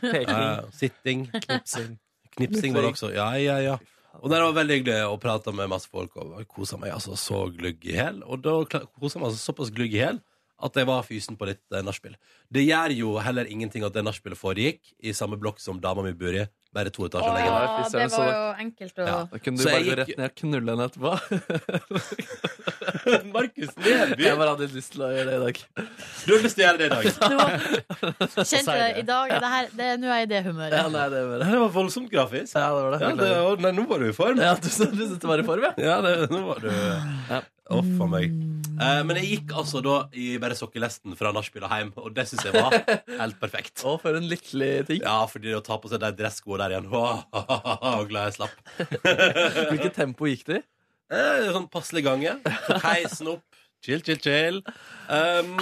E: Peking.
B: Ja, sitting, knipsing. Knipsing var det også. Ja, ja, ja. Og der var det veldig hyggelig å prate med masse folk og kosa meg altså så glugg i hæl. Og da kosa meg altså såpass glugg i hæl at jeg var fysen på litt eh, nachspiel. Det gjør jo heller ingenting at det nachspielet foregikk i samme blokk som dama mi bor i, bare to etasjer lenger.
E: Åh.
C: Å,
E: fy
C: det
E: søren,
C: var
E: så-
C: jo enkelt å
B: Ja.
E: Da kunne du
B: Så
E: bare
B: jeg
E: gå
B: gikk-
E: rett ned og knulle henne
B: (laughs)
E: etterpå.
B: Markus Neby!
E: Jeg bare hadde litt lyst til å gjøre det i dag.
B: Du har lyst til å gjøre det i dag.
C: Det var- Kjente
J: det.
C: i dag det her, det, Nå er jeg i det humøret.
E: Ja, nei, det var det.
B: (laughs) Det var voldsomt grafisk.
E: Ja, det var det.
B: Ja, det, å, nei, nå var du i form.
E: Ja, du sa du syntes det var i form, ja?
B: Ja, det, nå var du Å, faen meg. Eh, men jeg gikk altså da i bare sokkelesten fra nachspielet hjem, og det syns jeg (laughs) var helt perfekt.
E: Å, for en lykkelig ting.
B: Ja, fordi det å ta på seg de dresskoene der igjen Åh, (laughs) Og glad jeg slapp.
E: Hvilket tempo gikk det i?
B: Eh, sånn passelig gange. Tok Heisen opp. Chill, chill, chill. Um,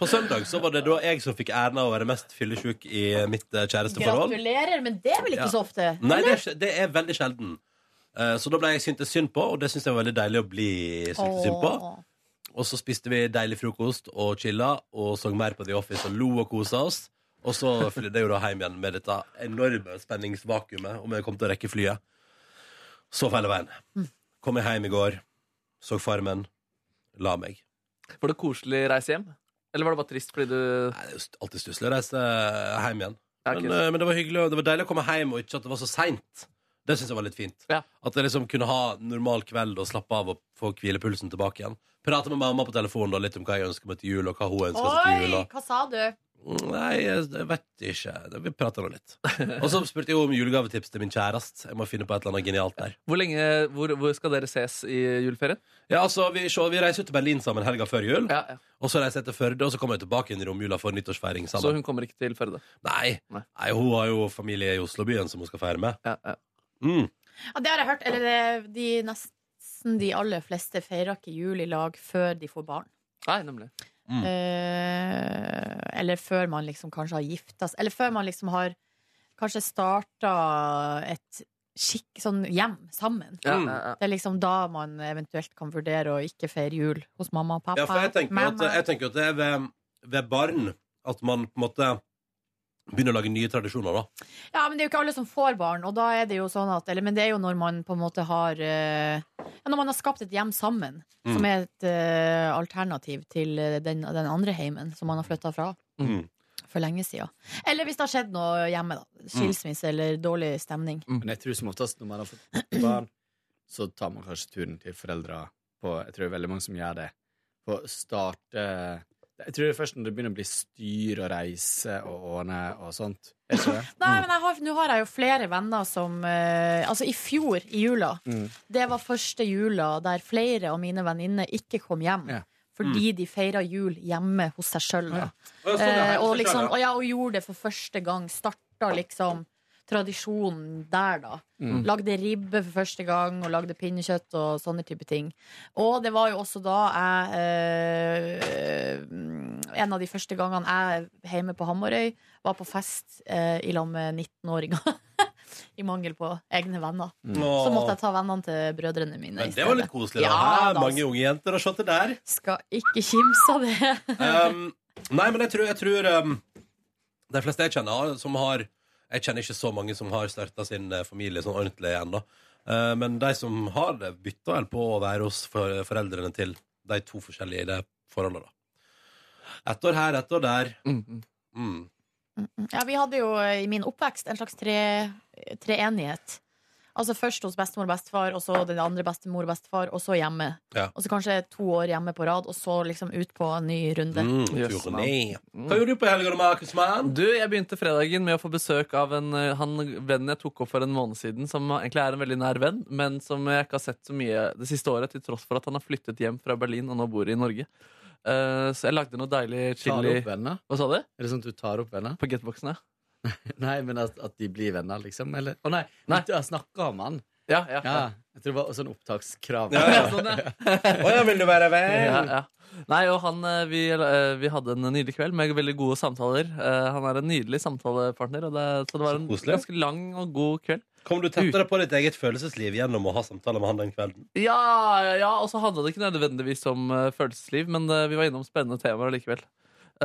B: på søndag så var det da jeg som fikk æren av å være mest fyllesyk i mitt eh, kjæresteforhold.
C: Gratulerer, men det er vel ikke
B: Ja. Mm,
C: så ofte?
B: Nei, det er, ikke- det er veldig sjelden. Eh, så da ble jeg syntes synd på, og det syns jeg var veldig deilig å bli syntes synd på.
C: Åh.
B: Og så spiste vi deilig frokost og chilla og så mer på The Office og lo og kosa oss. Og så flydde jeg jo da hjem igjen med dette enorme spenningsvakuumet om jeg kom til å rekke flyet. Så feil veien. Kom jeg hjem i går, så Farmen, la meg.
E: Var det koselig reise hjem? Eller var det bare trist fordi du
B: Nei, det er jo st- alltid stusslig å reise hjem igjen.
E: Ja,
B: Men,
E: ok.
B: eh, men det var hyggelig, og det var deilig å komme hjem, og ikke at det var så seint. Det syns jeg var litt fint.
E: Ja.
B: At jeg liksom kunne ha normal kveld og slappe av og få hvilepulsen tilbake igjen. Prate med mamma på telefonen da, litt om hva jeg ønsker meg til jul, og hva hun ønsker seg til jul.
C: Oi,
B: Og...
C: hva sa du?
B: Nei, jeg jeg vet ikke. Det- Vi prater nå litt. Og så spurte jeg om julegavetips til min kjæreste. Jeg må finne på et eller annet genialt der.
E: Hvor lenge hvor, hvor skal dere ses i juleferien?
B: Ja, altså, Vi, så, vi reiser jo til Berlin sammen helga før jul,
E: Ja, ja.
B: og så reiser jeg til Førde, og så kommer jeg tilbake inn i romjula for nyttårsfeiring
E: Så
B: sammen.
E: hun kommer ikke til Førde?
B: Nei.
E: Nei.
B: Nei, hun har jo familie i Oslobyen som hun skal feire med.
E: Ja, ja.
B: Mm.
C: Ja, det har jeg hørt. Eller det, de nesten de aller fleste feirer ikke jul i lag før de får barn.
E: Nei, nemlig.
B: Mm.
C: Eh, eller før man liksom kanskje har gifta seg. Eller før man liksom har kanskje starta et skikk sånn hjem sammen.
E: Ja,
B: Mm.
E: ja, ja.
C: Det er liksom da man eventuelt kan vurdere å ikke feire jul hos mamma og pappa.
B: Ja, for jeg tenker, jo at,
C: Mamma.
B: jeg tenker jo at det er ved, ved barn at man på en måte begynner å lage nye tradisjoner, da.
C: Ja, men det er jo ikke alle som får barn, og da er det jo sånn at Eller, men det er jo når man på en måte har eh, ja, Når man har skapt et hjem sammen,
B: Mm.
C: som er et eh, alternativ til eh, den, den andre heimen som man har flytta fra.
B: Mm.
C: For lenge sida. Eller hvis det har skjedd noe hjemme. da Skilsmisse eller dårlig stemning.
J: Men jeg tror som oftest når man har fått barn, så tar man kanskje turen til foreldre på Jeg tror det er veldig mange som gjør det. På å starte Jeg tror det er først når det begynner å bli styr og reise og ordne og sånt. Er det ikke det?
C: Nei, men jeg har- nå har jeg jo flere venner som eh, Altså, i fjor, i jula,
J: Mm.
C: det var første jula der flere av mine venninner ikke kom hjem.
J: Ja. Mm.
C: Fordi de feira jul hjemme hos seg sjøl. da. Eh,
B: Eh,
C: og, liksom, og, ja, og gjorde det for første gang. Starta liksom tradisjonen der, da.
J: Mm.
C: Lagde ribbe for første gang, og lagde pinnekjøtt og sånne type ting. Og det var jo også da jeg eh, En av de første gangene jeg hjemme på Hamarøy var på fest eh, i lag med 19-åringer. (laughs) I mangel på egne venner. Mm. Så måtte jeg ta vennene til brødrene mine. i
B: Mm. Men det var
C: stedet.
B: litt koselig, da.
C: Ja,
B: Hæ,
C: da.
B: Mange unge jenter har skjønt det der.
C: Skal ikke kimse av det. (laughs)
B: Um, nei, men jeg tror, jeg tror um, De fleste jeg kjenner har- som har Jeg kjenner ikke så mange som har starta sin eh, familie sånn ordentlig ennå. Eh, men de som har det, bytter vel på å være hos for, foreldrene til de to forskjellige i det forholdet, da. Ett år her, ett år der.
E: Mm, mm.
B: Mm.
C: Ja, vi hadde jo eh, i min oppvekst en slags tre- treenighet. altså først hos bestemor og bestefar, og så den andre bestemor og bestefar, og så hjemme.
B: Ja.
C: Og så kanskje to år hjemme på rad, og så liksom ut på en ny runde.
B: Mm,
E: Yes,
B: turné. Hva gjorde du på helga, da, Markus Mann?
E: Du, jeg begynte fredagen med å få besøk av en eh, han, vennen jeg tok opp for en måned siden, som egentlig er en veldig nær venn, men som jeg ikke har sett så mye det siste året, til tross for at han har flyttet hjem fra Berlin og nå bor i Norge. Eh, så jeg lagde noe deilig
J: Tar du
E: chili
J: opp venner?
E: Hva sa du?
J: Er det sånn at du tar opp venner?
E: På getboxen, ja.
J: Nei, men at, at de blir venner, liksom? Eller Å nei,
E: Nei.
J: du har snakka om han.
E: Ja, ja.
J: Ja, jeg tror det var sånn opptakskrav.
B: Ja, ja.
E: Sånn, ja.
B: (laughs) Å ja, vil du være
E: Ja,
B: venn?
E: ja. Nei, og han, eh, vi, eh, vi hadde en nydelig kveld med veldig gode samtaler. Eh, Han er en nydelig samtalepartner, og det, så det var en
B: Så koselig.
E: ganske lang og god kveld.
B: Kom du tettere på ditt eget følelsesliv gjennom å ha samtaler med han den kvelden?
E: Ja, ja, ja, og så handla det ikke nødvendigvis om eh, følelsesliv, men eh, vi var innom spennende temaer likevel.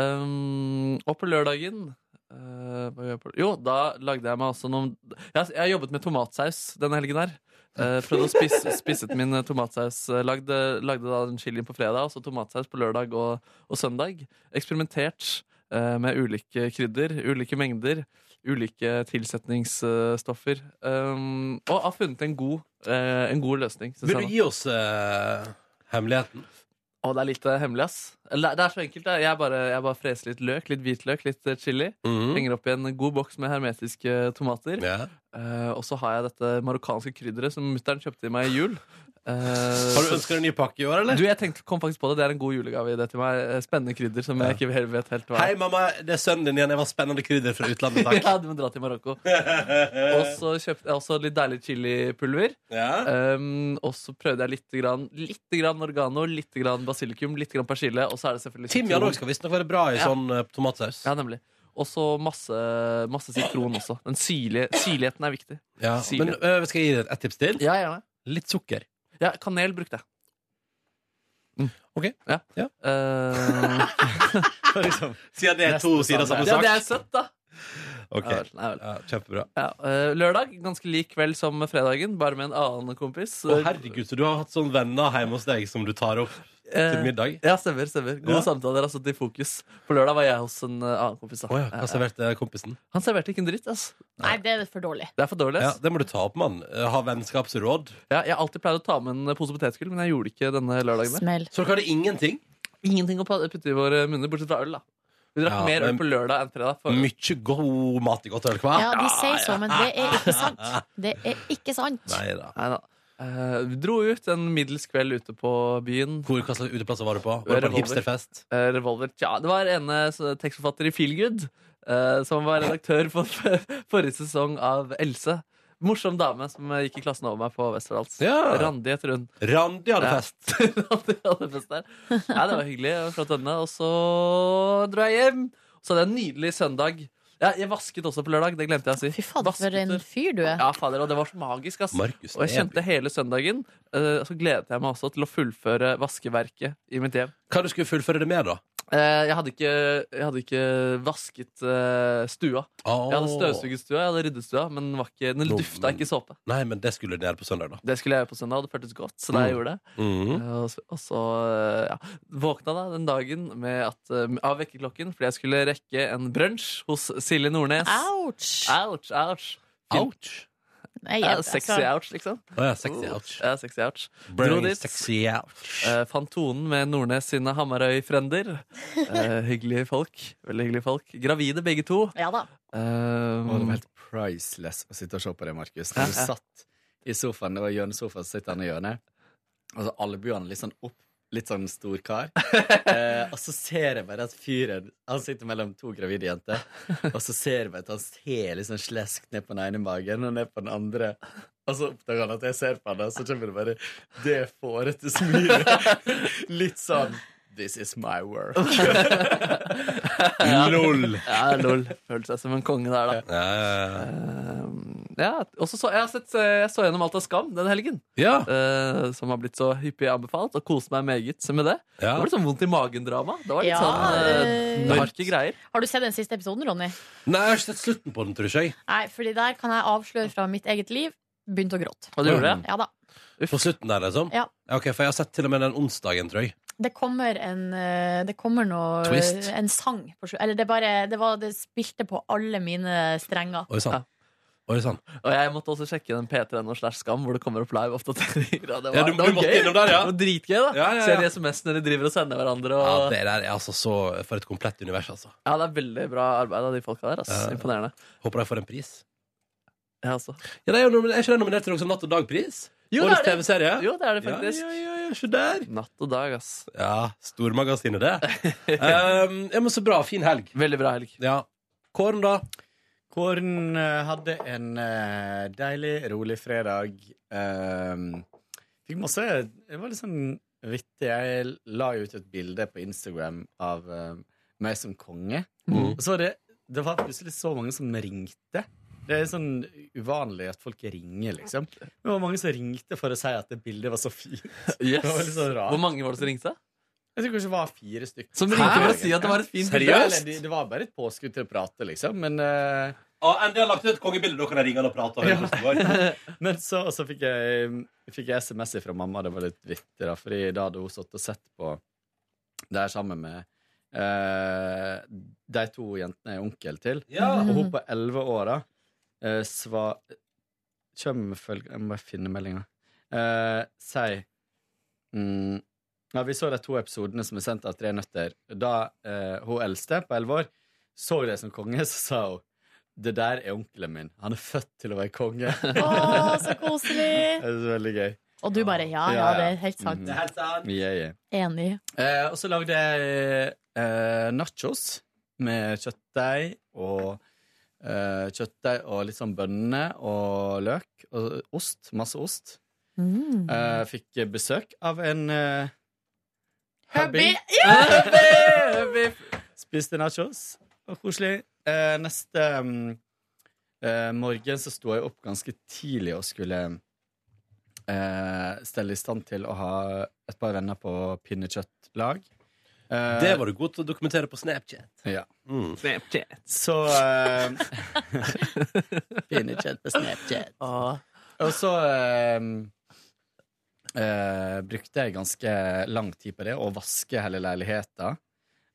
E: Um, og på lørdagen eh, hva gjør jeg på, Jo, da lagde jeg meg også noen jeg, jeg har jobbet med tomatsaus denne helgen her. Eh, prøvde å spisse, (laughs) spisset min tomatsaus. Eh, Lagde, lagde da den chilien på fredag, og så tomatsaus på lørdag og, og søndag. Eksperimentert eh, med ulike krydder, ulike mengder, ulike tilsetningsstoffer. Um, og har funnet en god, eh, en god løsning. synes
B: Vil
E: jeg
B: du
E: da.
B: gi oss eh, hemmeligheten?
E: Å, det er litt eh, hemmelig, ass. Eller, det er så enkelt. da. Jeg bare, jeg bare freser litt løk, litt hvitløk, litt eh, chili.
B: Mhm.
E: Henger opp i en god boks med hermetiske tomater.
B: Ja.
E: Eh, og så har jeg dette marokkanske krydderet som mutter'n kjøpte til meg i jul. Eh,
B: (laughs) Har du
E: så-
B: ønska deg en ny pakke i år, eller?
E: du, jeg tenkte, kom faktisk på det. Det er en god julegave i det til meg. Eh, Spennende krydder som jeg ikke helt vet helt hva
B: Hei,
E: er.
B: mamma, det er sønnen din igjen. Jeg var spennende krydder fra utlandet, takk.
E: (laughs) Ja, du må dra til Marokko. Og så kjøpte jeg også litt deilig chilipulver.
B: ja.
E: Um, og så prøvde jeg litt, grann, litt grann oregano, litt grann basilikum, litt grann persille. Og så er det selvfølgelig
B: Timian
E: sitron.
B: òg skal visstnok være bra i
E: Ja.
B: sånn eh, tomatsaus.
E: Ja, nemlig. Og så masse, masse sitron også. Den syrlige, syrligheten er viktig.
B: Ja. Men
E: Sirlig.
B: eh, skal jeg gi deg et tips til?
E: Ja, gjerne.
B: Litt
E: (laughs)
B: sukker.
E: Ja, kanel brukte jeg.
B: Mm. Ok.
E: Ja.
B: Ja.
E: Eh,
B: Siden (laughs) det er to sider av samme
E: ja,
B: sak.
E: det er søtt, da.
B: Ok.
E: Ja, vel, ja, vel.
B: Ja, kjempebra.
E: Ja, eh, lørdag, ganske lik kveld som fredagen, bare med en annen kompis.
B: Å, herregud, så du har hatt sånn venner hjemme hos deg som du tar opp
E: Eh,
B: til middag?
E: Ja, stemmer. stemmer Gode
B: Ja.
E: samtaler. altså til fokus På lørdag var jeg hos en eh, annen kompis. Da.
B: Å ja,
E: Ja,
B: hva serverte kompisen?
E: ja. Han serverte ikke en dritt. ass
C: Nei, det er for dårlig.
E: Det er for dårlig.
B: Ja,
E: ass
B: Det må du ta opp, mann. Eh, Ha vennskapsråd.
E: ja, Jeg har alltid pleid å ta med en pose potetgull, men jeg gjorde ikke denne lørdagen.
C: Smell.
B: Så dere hadde ingenting?
E: Ingenting å pa- putte i våre munner, bortsett fra øl. da Vi drakk
B: Ja,
E: mer øl
B: men-
E: på lørdag enn fredag. For...
B: Mye god mat i godt øl, hva?
C: Ja, de sier så, men det er ikke sant. Det er ikke sant.
B: Nei da.
E: Nei da. Eh, vi dro ut en middels kveld ute på byen.
B: Hvor, hva slags uteplasser var du på? Var du på en
E: Revolver.
B: hipsterfest?
E: Eh, Revolver Tja, det var ene s- tekstforfatter i Feelgood eh, som var redaktør på forrige sesong av Else. Morsom dame som eh, gikk i klassen over meg på Westerdals.
B: Ja.
E: Randi heter (laughs) hun.
B: Randi hadde
E: Ja.
B: fest.
E: Randi hadde fest der. Nei, det var hyggelig. og Flott denne. Og så dro jeg hjem. Og så hadde jeg en nydelig søndag. Ja, jeg vasket også på lørdag. Det glemte jeg å si.
C: Fy fader, for en
E: Vasketur.
C: fyr du er.
E: Ja, fader, og det var så magisk, ass.
B: Markus
E: Og jeg kjente hele søndagen. eh, Så gledet jeg meg også til å fullføre vaskeverket i mitt hjem.
B: Hva du skulle fullføre det med, da?
E: Eh, Jeg hadde ikke, jeg hadde ikke vasket eh, stua. Jeg hadde støvsuget stua, jeg hadde ryddet stua, men den var ikke, den
B: Nå,
E: dufta
B: men-
E: ikke såpe.
B: Nei, men det skulle du gjøre på søndag, da.
E: Det skulle jeg gjøre på søndag, og det føltes godt. Så da jeg gjorde det
B: Mhm.
E: Eh, Og så, og så eh, ja, våkna da den dagen med at, eh, av vekkerklokken fordi jeg skulle rekke en brunsj hos Silje Nordnes.
C: Ouch!
E: Ouch, ouch.
B: Ouch.
C: Nei,
E: Ja,
C: jeg-
E: sexy ouch, liksom.
B: Å ja, sexy ouch.
E: Ja, sexy ouch. Dro
B: Burning
E: dit.
B: sexy ouch.
E: Eh, fant tonen med Nordnes sine Hamarøy-frender. Eh, hyggelige folk. Veldig hyggelige folk. Gravide begge to.
C: Ja da.
E: Eh,
J: Og det var helt priceless å sitte og se på det, Markus.
E: Ja,
J: Når du
E: ja.
J: satt i sofaen, det var hjørnesofa, så sitter han i hjørnet. Og så albuene litt sånn opp, litt sånn stor kar. Eh, og så ser jeg bare at fyren Han sitter mellom to gravide jenter. Og så ser jeg bare at han ser litt sånn sleskt ned på den ene magen og ned på den andre. Og så oppdager han at jeg ser på han, og så kommer det bare det fårete smilet. (laughs) Litt sånn This is my work.
E: (laughs)
B: Lol.
E: Ja, lol. Følte seg som en konge der, da.
B: Ja, ja, ja.
E: Eh, ja, og så så jeg, har sett, eh, jeg så gjennom Alt av skam den helgen,
B: ja.
E: eh, som har blitt så hyppig anbefalt, og koste meg meget med det.
B: ja.
E: Det var litt sånn vondt i magen-drama. Det var litt
C: Ja,
E: sånn eh,
C: eh,
E: mørke greier.
C: Har du sett den siste episoden, Ronny?
B: Nei, jeg har ikke sett slutten på den, tror ikke jeg.
C: Nei, fordi der kan jeg avsløre fra mitt eget liv. Begynte å gråte.
E: Og du gjorde det?
C: Ja da.
B: På slutten der, liksom?
C: Ja.
B: Ok, For jeg har sett til og med den onsdagen, tror jeg.
C: Det kommer en eh, Det kommer noe eh,
B: Twist.
C: En sang. På, slu- eller det bare det, var, det spilte på alle mine strenger.
B: Oi sann.
E: Ja.
B: Oi sann.
E: Og jeg måtte også sjekke den p3.no slash skam, hvor det kommer opp live (laughs) oppdateringer. og Det var,
B: Ja, du-
E: det var
B: du måtte
E: gøy.
B: innom der, ja.
E: Det var dritgøy, da.
B: Ja, ja, ja.
E: Ser de SMS-ene de driver og sender hverandre. Og...
B: Ja, det der er altså så For et komplett univers, altså.
E: Ja, det er veldig bra arbeid av de folka der. Ass.
B: Ja.
E: Imponerende.
B: Håper de får en pris.
E: Ja, altså.
B: Ja, det er, jo nominert, er ikke det nominert til noen sånn Natt og dag-pris?
E: Jo,
B: Årets
E: det er det.
B: TV-serie?
E: Jo, det er
B: ja,
E: det
B: ja,
E: faktisk.
B: ja, ja, se der.
E: Natt og dag, ass.
B: Ja, stormagasinet, det. um, ja, men så bra. Fin helg.
E: Veldig bra helg.
B: Ja. Kåren, da?
J: Kåren eh, hadde en eh, deilig, rolig fredag. Ehm, fikk masse Det var litt sånn vittig. Jeg la jo ut et bilde på Instagram av eh, meg som konge.
B: Mhm.
J: Og så var det Det var plutselig så mange som ringte. Det er sånn uvanlig at folk ringer, liksom. Men det var mange som ringte for å si at det bildet var så fint.
E: Yes.
J: Det var litt sånn rart.
E: Hvor mange var det som ringte?
J: Jeg tror kanskje det var fire stykker.
E: Som ringte for å si at det var et fint
J: Seriøst?
E: bilde?
J: Eller, det, det var bare et påskudd til å prate, liksom. Men eh,
B: Og endelig har jeg lagt ut et kongebilde. Da kan jeg ringe han og prate. Og høre hvordan det går.
J: (laughs) Men så, og så fikk jeg, fikk jeg SMS fra mamma, det var litt vittig, da, fordi da hadde hun stått og sett på det her sammen med eh, de to jentene jeg er onkel til.
B: Ja.
J: Og hun på elleve åra uh, sva... Kjem med følge... Jeg må bare finne meldinga. Uh, si mm, ja, Vi så de to episodene som er sendt av Tre nøtter. Da eh, hun eldste, på elleve år, så det som konge, så sa hun det der er onkelen min. Han er født til å være konge. (laughs) det
C: Å, så koselig!
J: er så veldig gøy.
C: Og du bare ja, ja, det er helt sant.
B: Det er helt sant.
J: Yeah, yeah.
C: Enig.
J: Eh, og så lagde jeg eh, nachos med kjøttdeig og eh, Kjøttdeig og litt sånn bønner og løk og ost. Masse ost.
C: Mm.
J: Eh, fikk besøk av en eh,
C: Hubby!
J: Hubby! Spiste nachos. Og koselig. Eh, neste mm, eh, morgen så sto jeg opp ganske tidlig og skulle eh, stelle i stand til å ha et par venner på pinnekjøttlag. Eh,
B: Det var du god til å dokumentere på Snapchat.
J: Ja.
B: Mm. (laughs)
J: Så eh, Pinnekjøtt på Snapchat. Og så eh, eh, brukte jeg ganske lang tid på det, å vaske hele leiligheta.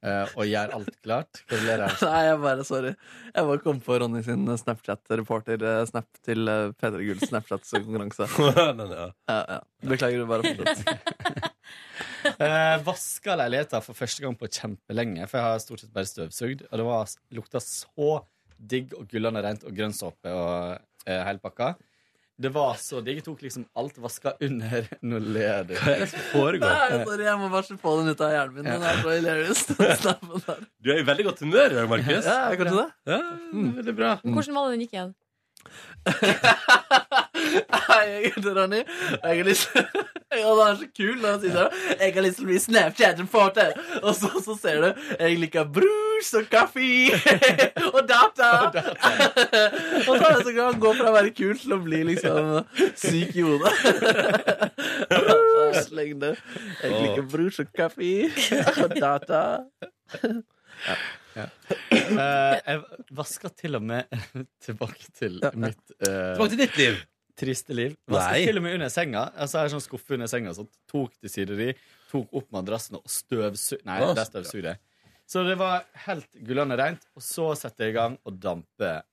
J: eh, og gjøre alt klart. Hva ler jeg av?
E: Nei, jeg bare, sorry. Jeg bare kom på Ronny sin Snapchat-reporter-snap til eh, P3 Gulls Snapchat-konkurranse. (laughs)
B: Men, ja.
E: Ja, ja. Beklager, du bare fortsatt.
J: Eh, vaska leiligheta for første gang på kjempelenge, for jeg har stort sett bare støvsugd. Og det var, lukta så digg og gullende rent og grønnsåpe og eh, hele pakka. Det var så digg. Jeg tok liksom alt vaska under. Nå ler du.
B: Foregår.
E: Nei, sorry, jeg må bare få den ut av hjernen min. Den er så hilarious. (laughs) den snappen der.
B: Du er i veldig godt humør i dag, Markus.
E: Ja, kanskje det?
B: Ja, veldig bra.
C: Hvordan var det den gikk igjen?
E: Hei, jeg heter Ronny. og Jeg har lyst (laughs) Ja, det er så kul når han sier sånn. Jeg har lyst til å bli Snapchat-reporter. Og så, så ser du Jeg liker brus og kaffe (laughs) og data. (laughs) og så er det så gøy han går fra å være kul til å bli liksom syk i hodet. (laughs) Brus, lengde. Jeg liker brus og kaffe (laughs) og data.
J: Eh, jeg vaska til og med (laughs) Tilbake til mitt eh,
B: Tilbake til ditt liv.
J: triste liv. Vaska
B: Nei.
J: til og med under senga. Altså, jeg har sånn skuffe under senga sånn, Tok til sider i, tok opp madrassen og støvsug... Nei,
B: Å,
J: der støvsugde jeg. Så det var helt gullende rent. Og så setter jeg i gang og damper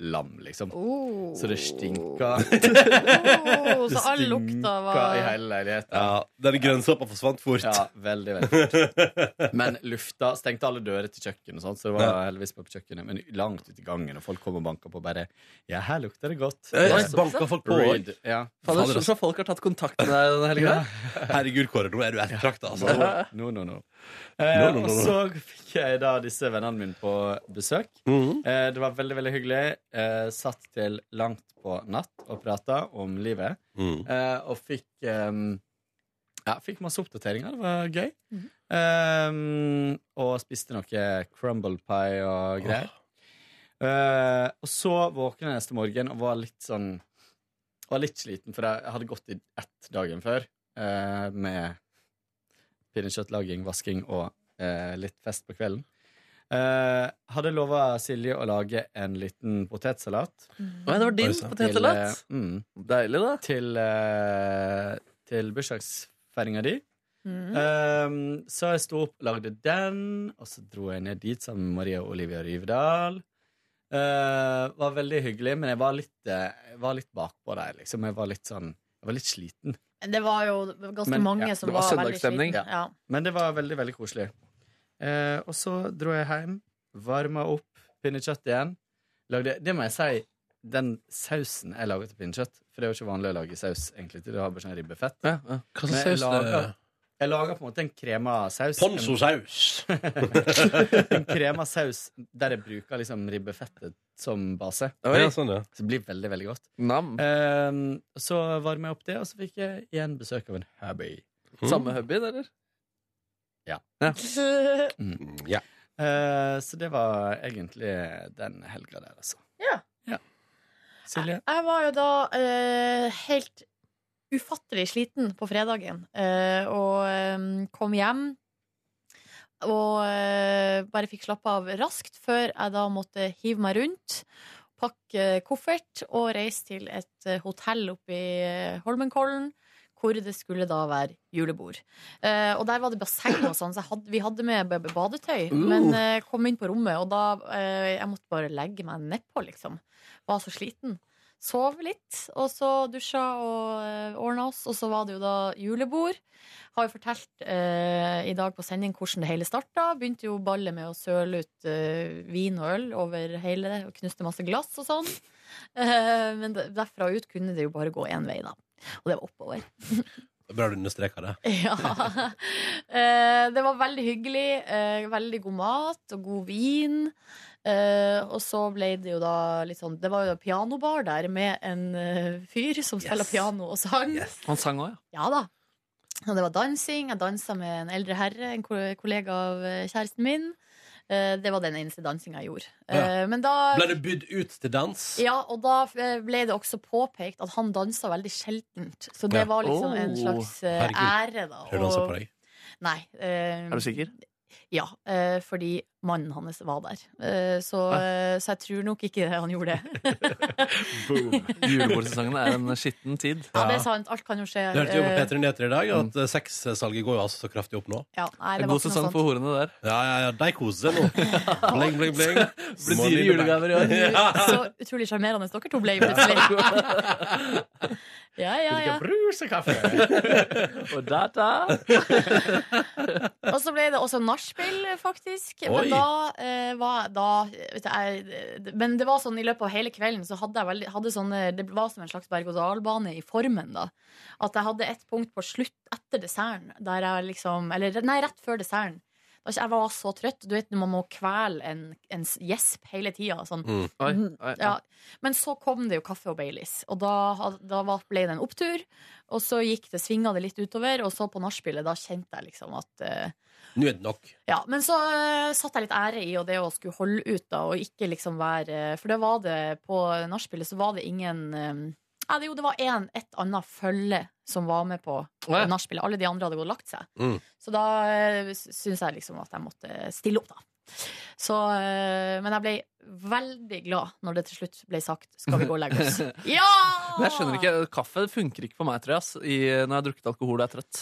J: lam, liksom.
C: Oh.
J: Så det stinka.
C: Oh,
J: (laughs) Det
C: så all lukta var
J: i hele leiligheten.
B: Ja, Den grønnsåpa forsvant fort. (laughs)
J: Ja, veldig, (laughs) veldig fort. Men lufta stengte alle dører til kjøkkenet, og sånt, så det var heldigvis på kjøkkenet. Men langt ute i gangen, og folk kom og banka på og bare Ja, her lukter det godt.
B: Eh,
J: Det er
B: Banka folk på altså.
J: Reed, ja.
E: Fader, altså. så, så folk har tatt kontakt med deg denne helga?
B: Herregud, Kåre, nå er du ettertrakta, altså.
J: No, no, no. Eh,
B: no, no, no.
J: Og så fikk jeg da disse vennene mine på besøk.
B: Mm.
J: Eh, det var veldig veldig hyggelig. Eh, satt til langt på natt og prata om livet.
B: Mm.
J: Eh, og fikk eh, Ja, fikk masse oppdateringer. Det var gøy. Eh, og spiste noe crumble pie og greier. Eh, og så våkna jeg neste morgen og var litt sånn Var litt sliten, for jeg hadde gått i ett dagen før eh, med pinnekjøttlaging, vasking og eh, litt fest på kvelden. Eh, hadde lova Silje å lage en liten potetsalat.
E: Oi, det var din
B: Oi, sant.
J: Til, eh,
E: potetsalat.
J: mm,
E: Deilig, da.
J: til, eh, til bursdagsfeiringa di.
C: Mm.
J: Um, så jeg sto opp og lagde den, og så dro jeg ned dit sammen med Maria og Olivia Ryvdal. Uh, var veldig hyggelig, men jeg var litt, eh, jeg var litt bakpå der, liksom. Jeg var litt sånn Jeg var litt sliten.
C: Det var jo ganske
J: Men, ja,
C: mange som
E: det var
C: var, veldig
E: søndagsstemning.
C: slitne. Ja.
J: Men det var veldig, veldig koselig. Eh, og så dro jeg hjem, varma opp pinnekjøtt igjen. Lagde, det må jeg si, den sausen jeg lager til pinnekjøtt For det er jo ikke vanlig å lage saus egentlig til det har bare sånn ribbefett.
E: Ja, ja. Hva
J: Men
E: slags
J: jeg
E: saus eh.
J: lager,
E: det?
J: jeg lager på en måte en krema saus. En-
B: Ponzosaus.
J: en krema saus der jeg bruker liksom ribbefettet som base.
E: Oi,
B: Ja, sånn, ja.
J: Så det blir veldig, veldig godt.
E: nam.
J: Ehm, så varmer jeg opp det, og så fikk jeg igjen besøk av en hubby.
E: Samme hubby, eller?
C: (laughs)
B: Mm, ja.
J: Eh, så det var egentlig den helga der, altså.
C: Ja.
J: Silje?
C: Jeg var jo da eh, helt ufattelig sliten på fredagen, eh, og eh, kom hjem. Og eh, bare fikk slappe av raskt før jeg da måtte hive meg rundt pakke eh, koffert og reise til et eh, hotell oppe i eh, Holmenkollen. Hvor det skulle da være julebord. Eh, og der var det basseng og sånn, så jeg hadde, vi hadde med b- b- badetøy. Men eh, kom inn på rommet, og da eh, Jeg måtte bare legge meg nedpå, liksom. Var så sliten. Sov litt, og så dusja og eh, ordna oss. Og så var det jo da julebord. Har jo fortalt eh, i dag på sending hvordan det hele starta. Begynte jo ballet med å søle ut eh, vin og øl over hele det, og knuste masse glass og sånn. (laughs) Eh, men de- derfra ut kunne det jo bare gå én vei, da. Og det var oppover.
B: Bra du understreker det.
C: Ja. (laughs) Eh, det var veldig hyggelig. eh, veldig god mat og god vin. Eh, og så ble det jo da litt sånn Det var jo pianobar der med en eh, fyr som spiller piano og sang.
E: Han sang òg, ja.
C: Ja da. Og det var dansing. Jeg dansa med en eldre herre, en ko- kollega av eh, kjæresten min. Eh, Det var den eneste dansinga jeg gjorde.
B: Ja.
C: Eh, Men da
B: Ble du bydd ut til dans?
C: ja, og da eh, ble det også påpekt at han dansa veldig sjeldent. Så
B: Ja.
C: det var liksom en
E: Oh.
C: slags eh,
B: Herregud.
C: ære, da.
B: Prøvde han seg på deg?
C: Nei. eh,
E: Er du sikker?
C: Ja, eh, fordi mannen hans var der. Eh, Så, eh, så jeg tror nok ikke han gjorde det.
E: Julebordsesongen er en skitten tid.
C: Ja, det er sant. Alt kan jo skje.
B: Det hørte jo på
C: Eh,
B: P3 Nyheter i dag at eh, sexsalget går jo altså så kraftig opp nå.
C: Ja, nei, det
E: En
C: var
E: god
C: ikke noe
E: sesong
C: sånt.
E: for horene der.
B: Ja, ja, ja, de koser seg nå. Bling, bling, bling.
E: Blir dyre julegaver i år.
C: (laughs) Så utrolig sjarmerende dere to ble plutselig. Ja, ja, ja.
E: Og da, da.
C: Og så ble det også nachspiel, faktisk.
B: Oi.
C: Men da eh, var da vet du, jeg, Men det var sånn i løpet av hele kvelden så hadde jeg veldig, hadde sånne, Det var som en slags berg-og-dal-bane i formen, da. At jeg hadde et punkt på slutt etter desserten der jeg liksom Eller nei, rett før desserten. Da Jeg var så trøtt. Du vet når man må kvele en, en gjesp hele tida. Sånn
E: Oi, oi, oi.
C: ja. Men så kom det jo kaffe og Baileys, og da, had- da var- ble det en opptur. Og så gikk det, svinga det litt utover, og så på nachspielet, da kjente jeg liksom at eh,
B: Nå er det nok.
C: Ja. Men så eh, satte jeg litt ære i og det å skulle holde ut, da, og ikke liksom være For det var det på nachspielet, så var det ingen eh, ja, det, jo, det var en, et annet følge som var med på
E: ja.
C: nachspielet. Alle de andre hadde gått og lagt seg.
B: Mm.
C: Så da eh, syns jeg liksom at jeg måtte stille opp, da. Så, eh, men jeg ble veldig glad når det til slutt ble sagt 'skal vi gå og legge
E: (laughs)
C: oss'. Ja!
E: Men jeg skjønner ikke, Kaffe funker ikke på meg, tror jeg, ass, i, når jeg har drukket alkohol og er trøtt.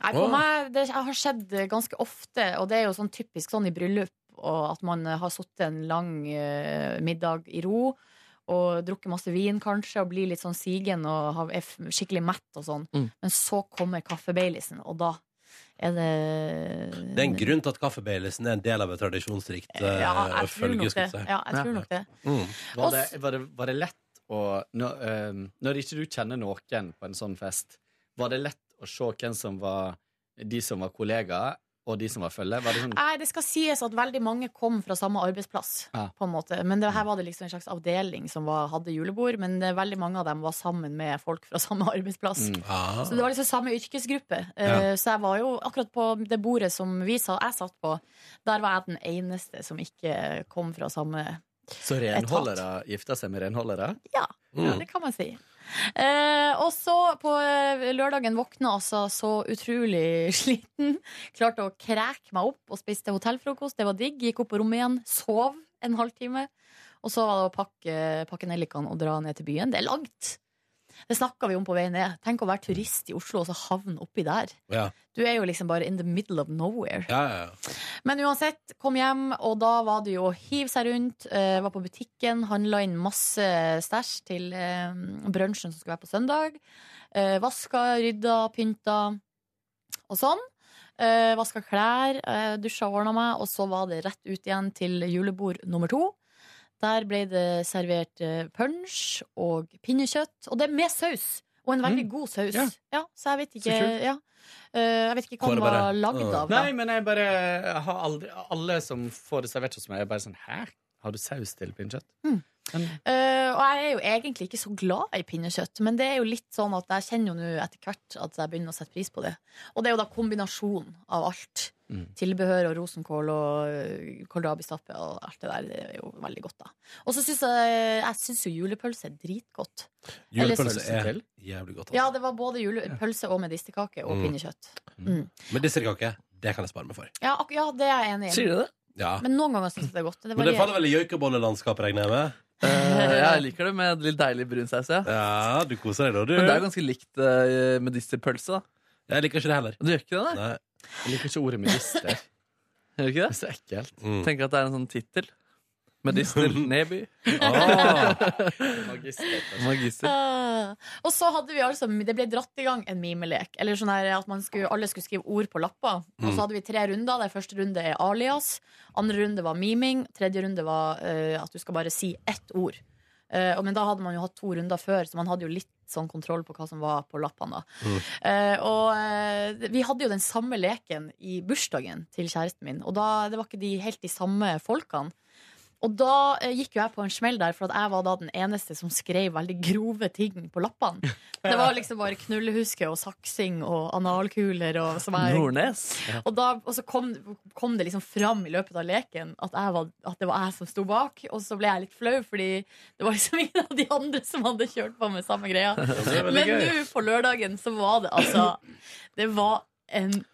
C: Nei, på
B: Åh.
C: meg, det har skjedd ganske ofte, og det er jo sånn typisk sånn i bryllup, og at man eh, har sittet en lang eh, middag i ro, og drukket masse vin kanskje, og blir litt sånn sigen og har- er f- skikkelig mett og sånn.
E: Mm.
C: Men så kommer kaffebeilisen, og da er det
B: Det er en grunn til at kaffebeilelsen er en del av et tradisjonsrikt eh,
C: Mm. ja, jeg tror
B: følge.
C: nok det.
B: skulle jeg si.
C: Ja, jeg tror nok det.
B: Mm.
J: Var
C: Og
J: det,
C: s-
J: var det, var det lett å når, ehm, når ikke du kjenner noen på en sånn fest, var det lett å se hvem som var de som var kollegaer, og de som var følge? Var det sånn
C: Nei, det skal sies at veldig mange kom fra samme arbeidsplass.
J: Ja.
C: På en måte. Men det
B: Mm.
C: her var det liksom en slags avdeling som var, hadde julebord. Men eh, veldig mange av dem var sammen med folk fra samme arbeidsplass.
J: Mm.
B: Ah.
C: Så det var liksom samme yrkesgruppe. Eh, Så jeg var jo akkurat på det bordet som vi sa, jeg satt på, der var jeg den eneste som ikke kom fra samme
J: Så renholdere gifta seg med renholdere?
C: Ja, det kan man si. Eh, og så på eh, lørdagen våkna altså så utrolig (laughs) sliten. Klarte å kreke meg opp og spiste hotellfrokost. Det var digg. Gikk opp på rommet igjen, sov en halvtime. Og så var det å pakke, pakke nellikene og dra ned til byen. Det er langt! Det snakka vi om på vei ned. Tenk å være turist i Oslo og så havne oppi der.
B: Ja.
C: Du er jo liksom bare in the middle of nowhere.
B: Ja, ja, ja.
C: Men uansett, kom hjem, og da var det jo å hive seg rundt. eh, var på butikken, handla inn masse stæsj til eh, brunsjen som skulle være på søndag. Eh, vaska, rydda, pynta og sånn. Eh, vaska klær, eh, dusja og ordna meg, og så var det rett ut igjen til julebord nummer to. Der ble det servert eh, punch og pinnekjøtt, og det med saus. Og en veldig god saus. Mm. Ja. så jeg vet ikke ja. Eh, Jeg vet ikke hva
B: Hvor er det
C: den var
B: bare-
C: lagd av. da.
J: Nei, men jeg bare jeg har aldri Alle som får det servert hos meg, er bare sånn Hæ? Har du saus til pinnekjøtt?
C: Eh, og jeg er jo egentlig ikke så glad i pinnekjøtt, men det er jo litt sånn at jeg kjenner jo nå etter hvert at jeg begynner å sette pris på det. Og det er jo da kombinasjonen av alt.
J: Mm.
C: Tilbehør og rosenkål og eh, kålrabistappe og alt det der. Det er jo veldig godt, da. Og så syns jeg Jeg syns jo julepølse er dritgodt.
B: Julepølse er
J: Eller-
B: jævlig godt.
C: Ja,
B: Altså.
C: det var både julepølse og medisterkake og
B: Mm.
C: pinnekjøtt.
B: altså. Men dessertkake, det kan jeg spare meg for.
C: Ja, ak ja, det er jeg enig i.
E: Sier du det? (laughs)
B: Ja.
C: Men noen ganger syns jeg det er godt. Det
B: Men det
C: varierer.
B: faller vel i joikabollelandskapet, regner jeg med?
E: Eh, jeg liker det med litt deilig brun saus, ja.
B: Ja, du koser deg da,
E: Men det er
B: du.
E: ganske likt uh, medisterpølse, da.
B: Jeg liker ikke det heller.
E: Du gjør ikke det, da?
B: Nei.
J: Jeg liker ikke ordet medister.
E: Gjør du ikke det?
J: Det er så ekkelt.
B: Mm.
E: Tenker at det er en sånn tittel. (laughs) Medister Neby.
B: Ah.
E: (laughs) Magister.
C: Ah. Og så hadde vi altså Det ble dratt i gang en mimelek. Eller sånn her at man skulle, Alle skulle skrive ord på lapper. Og
B: Mm.
C: så hadde vi tre runder. Der første runde er alias. Andre runde var miming. Tredje runde var eh, at du skal bare si ett ord. Eh, og- men da hadde man jo hatt to runder før, så man hadde jo litt sånn kontroll på hva som var på lappene. da. Eh, og eh, vi hadde jo den samme leken i bursdagen til kjæresten min, og da, det var ikke de, helt de samme folkene. Og da eh, gikk jo jeg på en smell der, for at jeg var da den eneste som skrev veldig grove ting på lappene. Det var liksom bare knullehuske og saksing og analkuler og som jeg
E: Nordnes.
C: og, da, og så kom, kom det liksom fram i løpet av leken at, jeg var, at det var jeg som sto bak. Og så ble jeg litt flau, fordi det var liksom (laughs) ingen av de andre som hadde kjørt på med samme
B: (laughs)
C: greia.
B: er veldig
C: Men
B: gøy.
C: nå på lørdagen så var det altså Det var en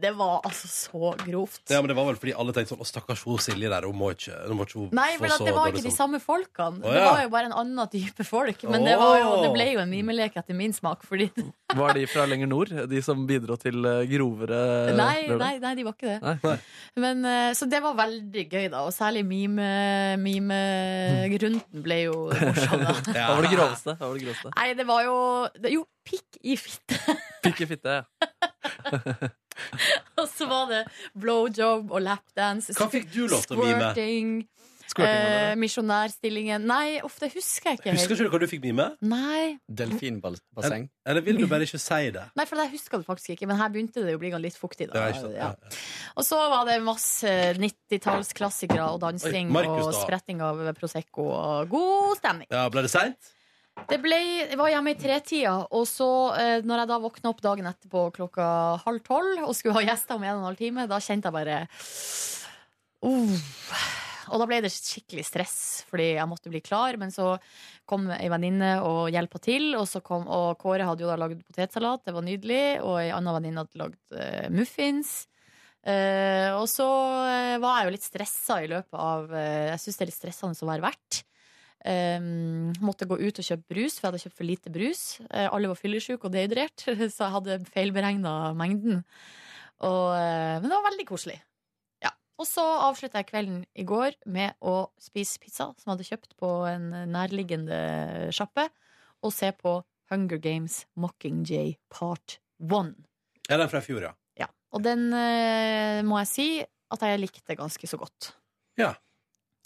C: Det var altså så grovt.
B: Ja, men det var vel fordi alle tenkte sånn Å, stakkars hun Silje der, hun må ikke, hun må ikke hun
C: Nei,
B: få
C: men at
B: så
C: det var
B: dårlig
C: ikke de
B: som-
C: samme folkene.
B: Å,
C: Det
B: ja.
C: var jo bare en annen type folk. Men det, var jo, det ble jo en mimelek etter min smak. Fordi,
E: Var de fra lenger nord, de som bidro til eh, grovere
C: nei,
E: lørdag?
C: nei, nei, de var ikke det.
E: Nei.
C: Men, eh, så det var veldig gøy, da. Og særlig mime- mime-runden ble
B: (laughs)
C: jo morsom, da.
E: Hva var det groveste? Hva var det (laughs) groveste?
C: Nei, det var jo det, Jo, pikk i fitte. (laughs)
E: Pikk i fitte. ja.
C: Og så var det blowjob og lapdance.
B: Hva fikk du lov til å mime?
C: Squirting.
E: Squirting,
C: Eh,
E: mener du?
C: misjonærstillingen. Nei, uff, det husker jeg ikke
B: Husker
C: helt.
B: ikke du hva du fikk mime?
C: Nei,
J: Delfinbasseng.
B: Eller vil du bare ikke si det?
C: Nei, for det husker jeg faktisk ikke, men her begynte det jo å bli litt fuktig.
B: Det
C: Da.
B: var ikke sant.
C: Ja.
B: Ja.
C: Og så var det masse 90-tallsklassikere og dansing
B: Oi, Markus,
C: og
B: da.
C: spretting av Prosecco og god stemning.
B: ja, Ble det seint?
C: Det ble, jeg var hjemme i tretida, og så eh, når jeg da våkna opp dagen etterpå klokka halv tolv og skulle ha gjester om en og en halv time, da kjente jeg bare uh. Og da ble det skikkelig stress, fordi jeg måtte bli klar. Men så kom ei venninne og hjelpa til, og, så kom, og Kåre hadde jo da lagd potetsalat, det var nydelig, og ei anna venninne hadde lagd eh, muffins. Eh, og så eh, var jeg jo litt stressa i løpet av eh, Jeg syns det er litt stressende å være vert. Um, måtte gå ut og kjøpe brus, for jeg hadde kjøpt for lite brus. Eh, alle var fyllesyke og dehydrert, (laughs) så jeg hadde feilberegna mengden. Og, eh, men det var veldig koselig. Ja. Og så avslutta jeg kvelden i går med å spise pizza, som jeg hadde kjøpt på en nærliggende sjappe, og se på Hunger Games Mockingjay Part 1.
B: Ja, den fra i fjor, ja.
C: Ja. Og den eh, må jeg si at jeg likte ganske så godt.
B: Ja.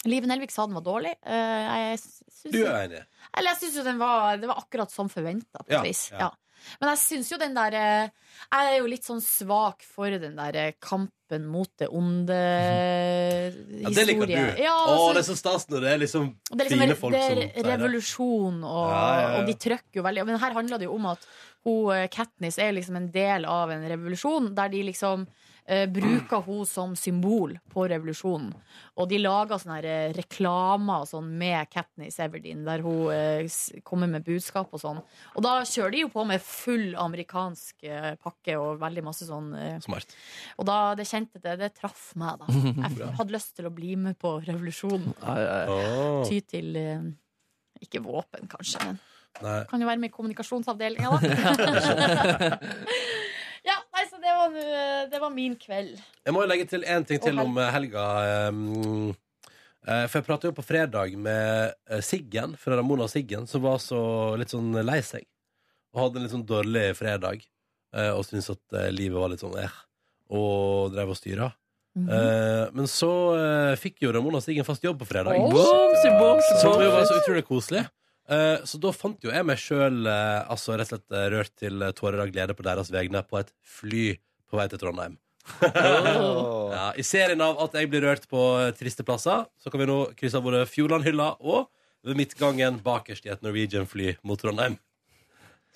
C: Live Nelvik sa den var dårlig. Eh, jeg s- syns
B: Du er enig?
C: Eller jeg syns jo den var Det var akkurat som forventa, på et
B: Ja,
C: vis.
B: ja.
C: Ja. Men jeg syns jo den der eh, Jeg er jo litt sånn svak for den der eh, kampen mot det onde
B: Mhm. Ja, det liker du.
C: historie. Ja,
B: Å,
C: altså,
B: det er så stas når det er liksom
C: og det er liksom
B: fine
C: re-
B: folk
C: det er
B: som sier det.
C: revolusjon, og,
B: Ja, ja, ja.
C: og de trøkker jo veldig Men her handler det jo om at hun, eh, Katniss er liksom en del av en revolusjon, der de liksom eh, bruker hun som symbol på revolusjonen. Og de lager sånne her, eh, reklamer og sånn med Katniss Everdeen, der hun eh, s- kommer med budskap og sånn. Og da kjører de jo på med full amerikansk eh, pakke og veldig masse sånn eh,
B: Smart.
C: Og da det kjente det, det traff meg,
B: (laughs)
C: da. Jeg hadde lyst til å bli med på revolusjonen
E: Ai, ai.
B: Å,
C: Eh, ty til eh, ikke våpen, kanskje, men
B: nei.
C: kan jo være med i kommunikasjonsavdelinga, da.
B: (laughs)
C: (laughs) ja, nei, så det var, nå, eh, det var min kveld.
B: Jeg må jo legge til én ting til
C: Og hel-
B: om eh, helga. ehm, eh, For jeg prata jo på fredag med eh, Siggen fra Ramona og Siggen, som var så litt sånn lei seg. Og hadde en litt sånn dårlig fredag eh, og syntes at eh, livet var litt sånn eh, og drev og styra. Eh, Men så eh, fikk jo Ramona og Siggen fast jobb på fredag.
C: Oi.
E: Bomsi, bomsi,
B: Som jo var
E: bomsi.
B: så utrolig koselig. Eh, Så da fant jo jeg meg sjøl altså rett og slett eh, rørt til eh, tårer av glede på deres vegne på et fly på vei til Trondheim. (laughs) ja, I serien av at jeg blir rørt på eh, triste plasser, så kan vi nå krysse av både Fjordlandhylla og ved midtgangen bakerst i et Norwegian-fly mot Trondheim.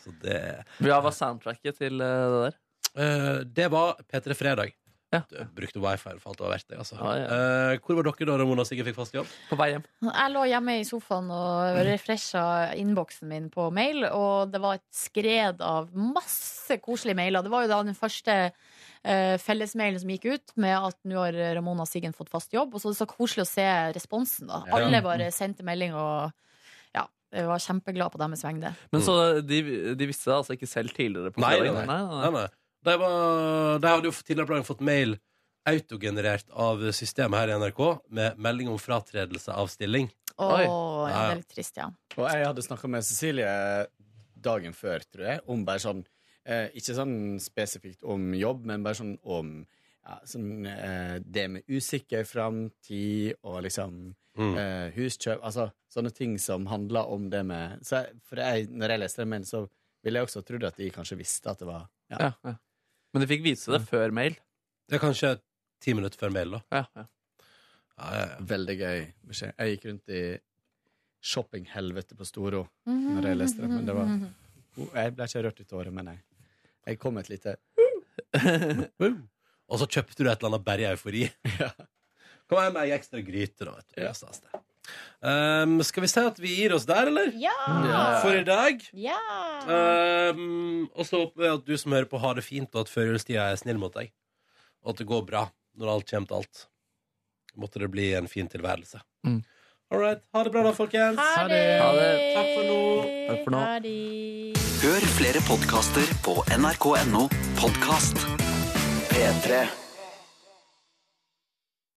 B: Så det
E: Hva var soundtracket til eh, det der?
B: Eh, Det var P3 Fredag.
E: Ja.
B: Du brukte wifi for alt det var verdt det. Altså.
E: Ja, ja.
B: Eh, hvor var dere da Ramona og Sigurd fikk fast jobb?
E: På vei hjem.
C: Jeg lå hjemme i sofaen og refresha innboksen min på mail, og det var et skred av masse koselige mailer. Det var jo da den første eh, fellesmailen som gikk ut med at nå har Ramona og Siggen fått fast jobb. Og så er det så koselig å se responsen. da
B: Ja.
C: Alle bare sendte melding og ja, jeg var kjempeglad på deres vegne.
E: Eh, Men så de, de visste det altså ikke selv tidligere? på
B: Nei, nei,
E: fredagen?
B: nei. nei, nei. De, var, de hadde jo tidligere på dagen fått mail autogenerert av systemet her i NRK med melding om fratredelse av stilling.
C: Å,
E: Oi.
C: ja, det er litt trist, ja.
J: Og jeg hadde snakka med Cecilie dagen før, tror jeg, om bare sånn eh, Ikke sånn spesifikt om jobb, men bare sånn om ja, sånn, eh, det med usikker framtid og liksom
B: Mm.
J: eh, huskjøp Altså sånne ting som handler om det med så jeg, For jeg, når jeg leste den mailen, så ville jeg også trodd at de kanskje visste at det var ja.
E: Ja, ja. Men de fikk vise det før mail.
B: Det er kanskje ti minutter før mail, da.
E: Ja, ja.
B: Ja, ja, ja.
J: Veldig gøy beskjed. Jeg gikk rundt i shoppinghelvete på Storo når jeg leste det, men det var Jeg ble ikke rørt ut av året, men jeg, jeg kom et lite
B: Og så kjøpte du et eller annet bare i eufori. Kom her med ei ekstra gryte, da. Vet du.
J: Ja.
B: Det stas det. Ehm, skal vi si at vi gir oss der, eller?
C: Ja!
B: For i dag.
C: ja.
B: Ehm, og så håper jeg at du som hører på, har det fint, og at førjulstida er snill mot deg. Og at det går bra når alt kommer til alt. Måtte det bli en fin tilværelse.
E: Mm.
B: All right. Ha det bra, da, folkens.
C: Ha det!
E: Ha det.
B: Takk for nå.
E: Takk for nå.
C: Ha det.
I: Hør flere podkaster på nrk.no podkast. P3.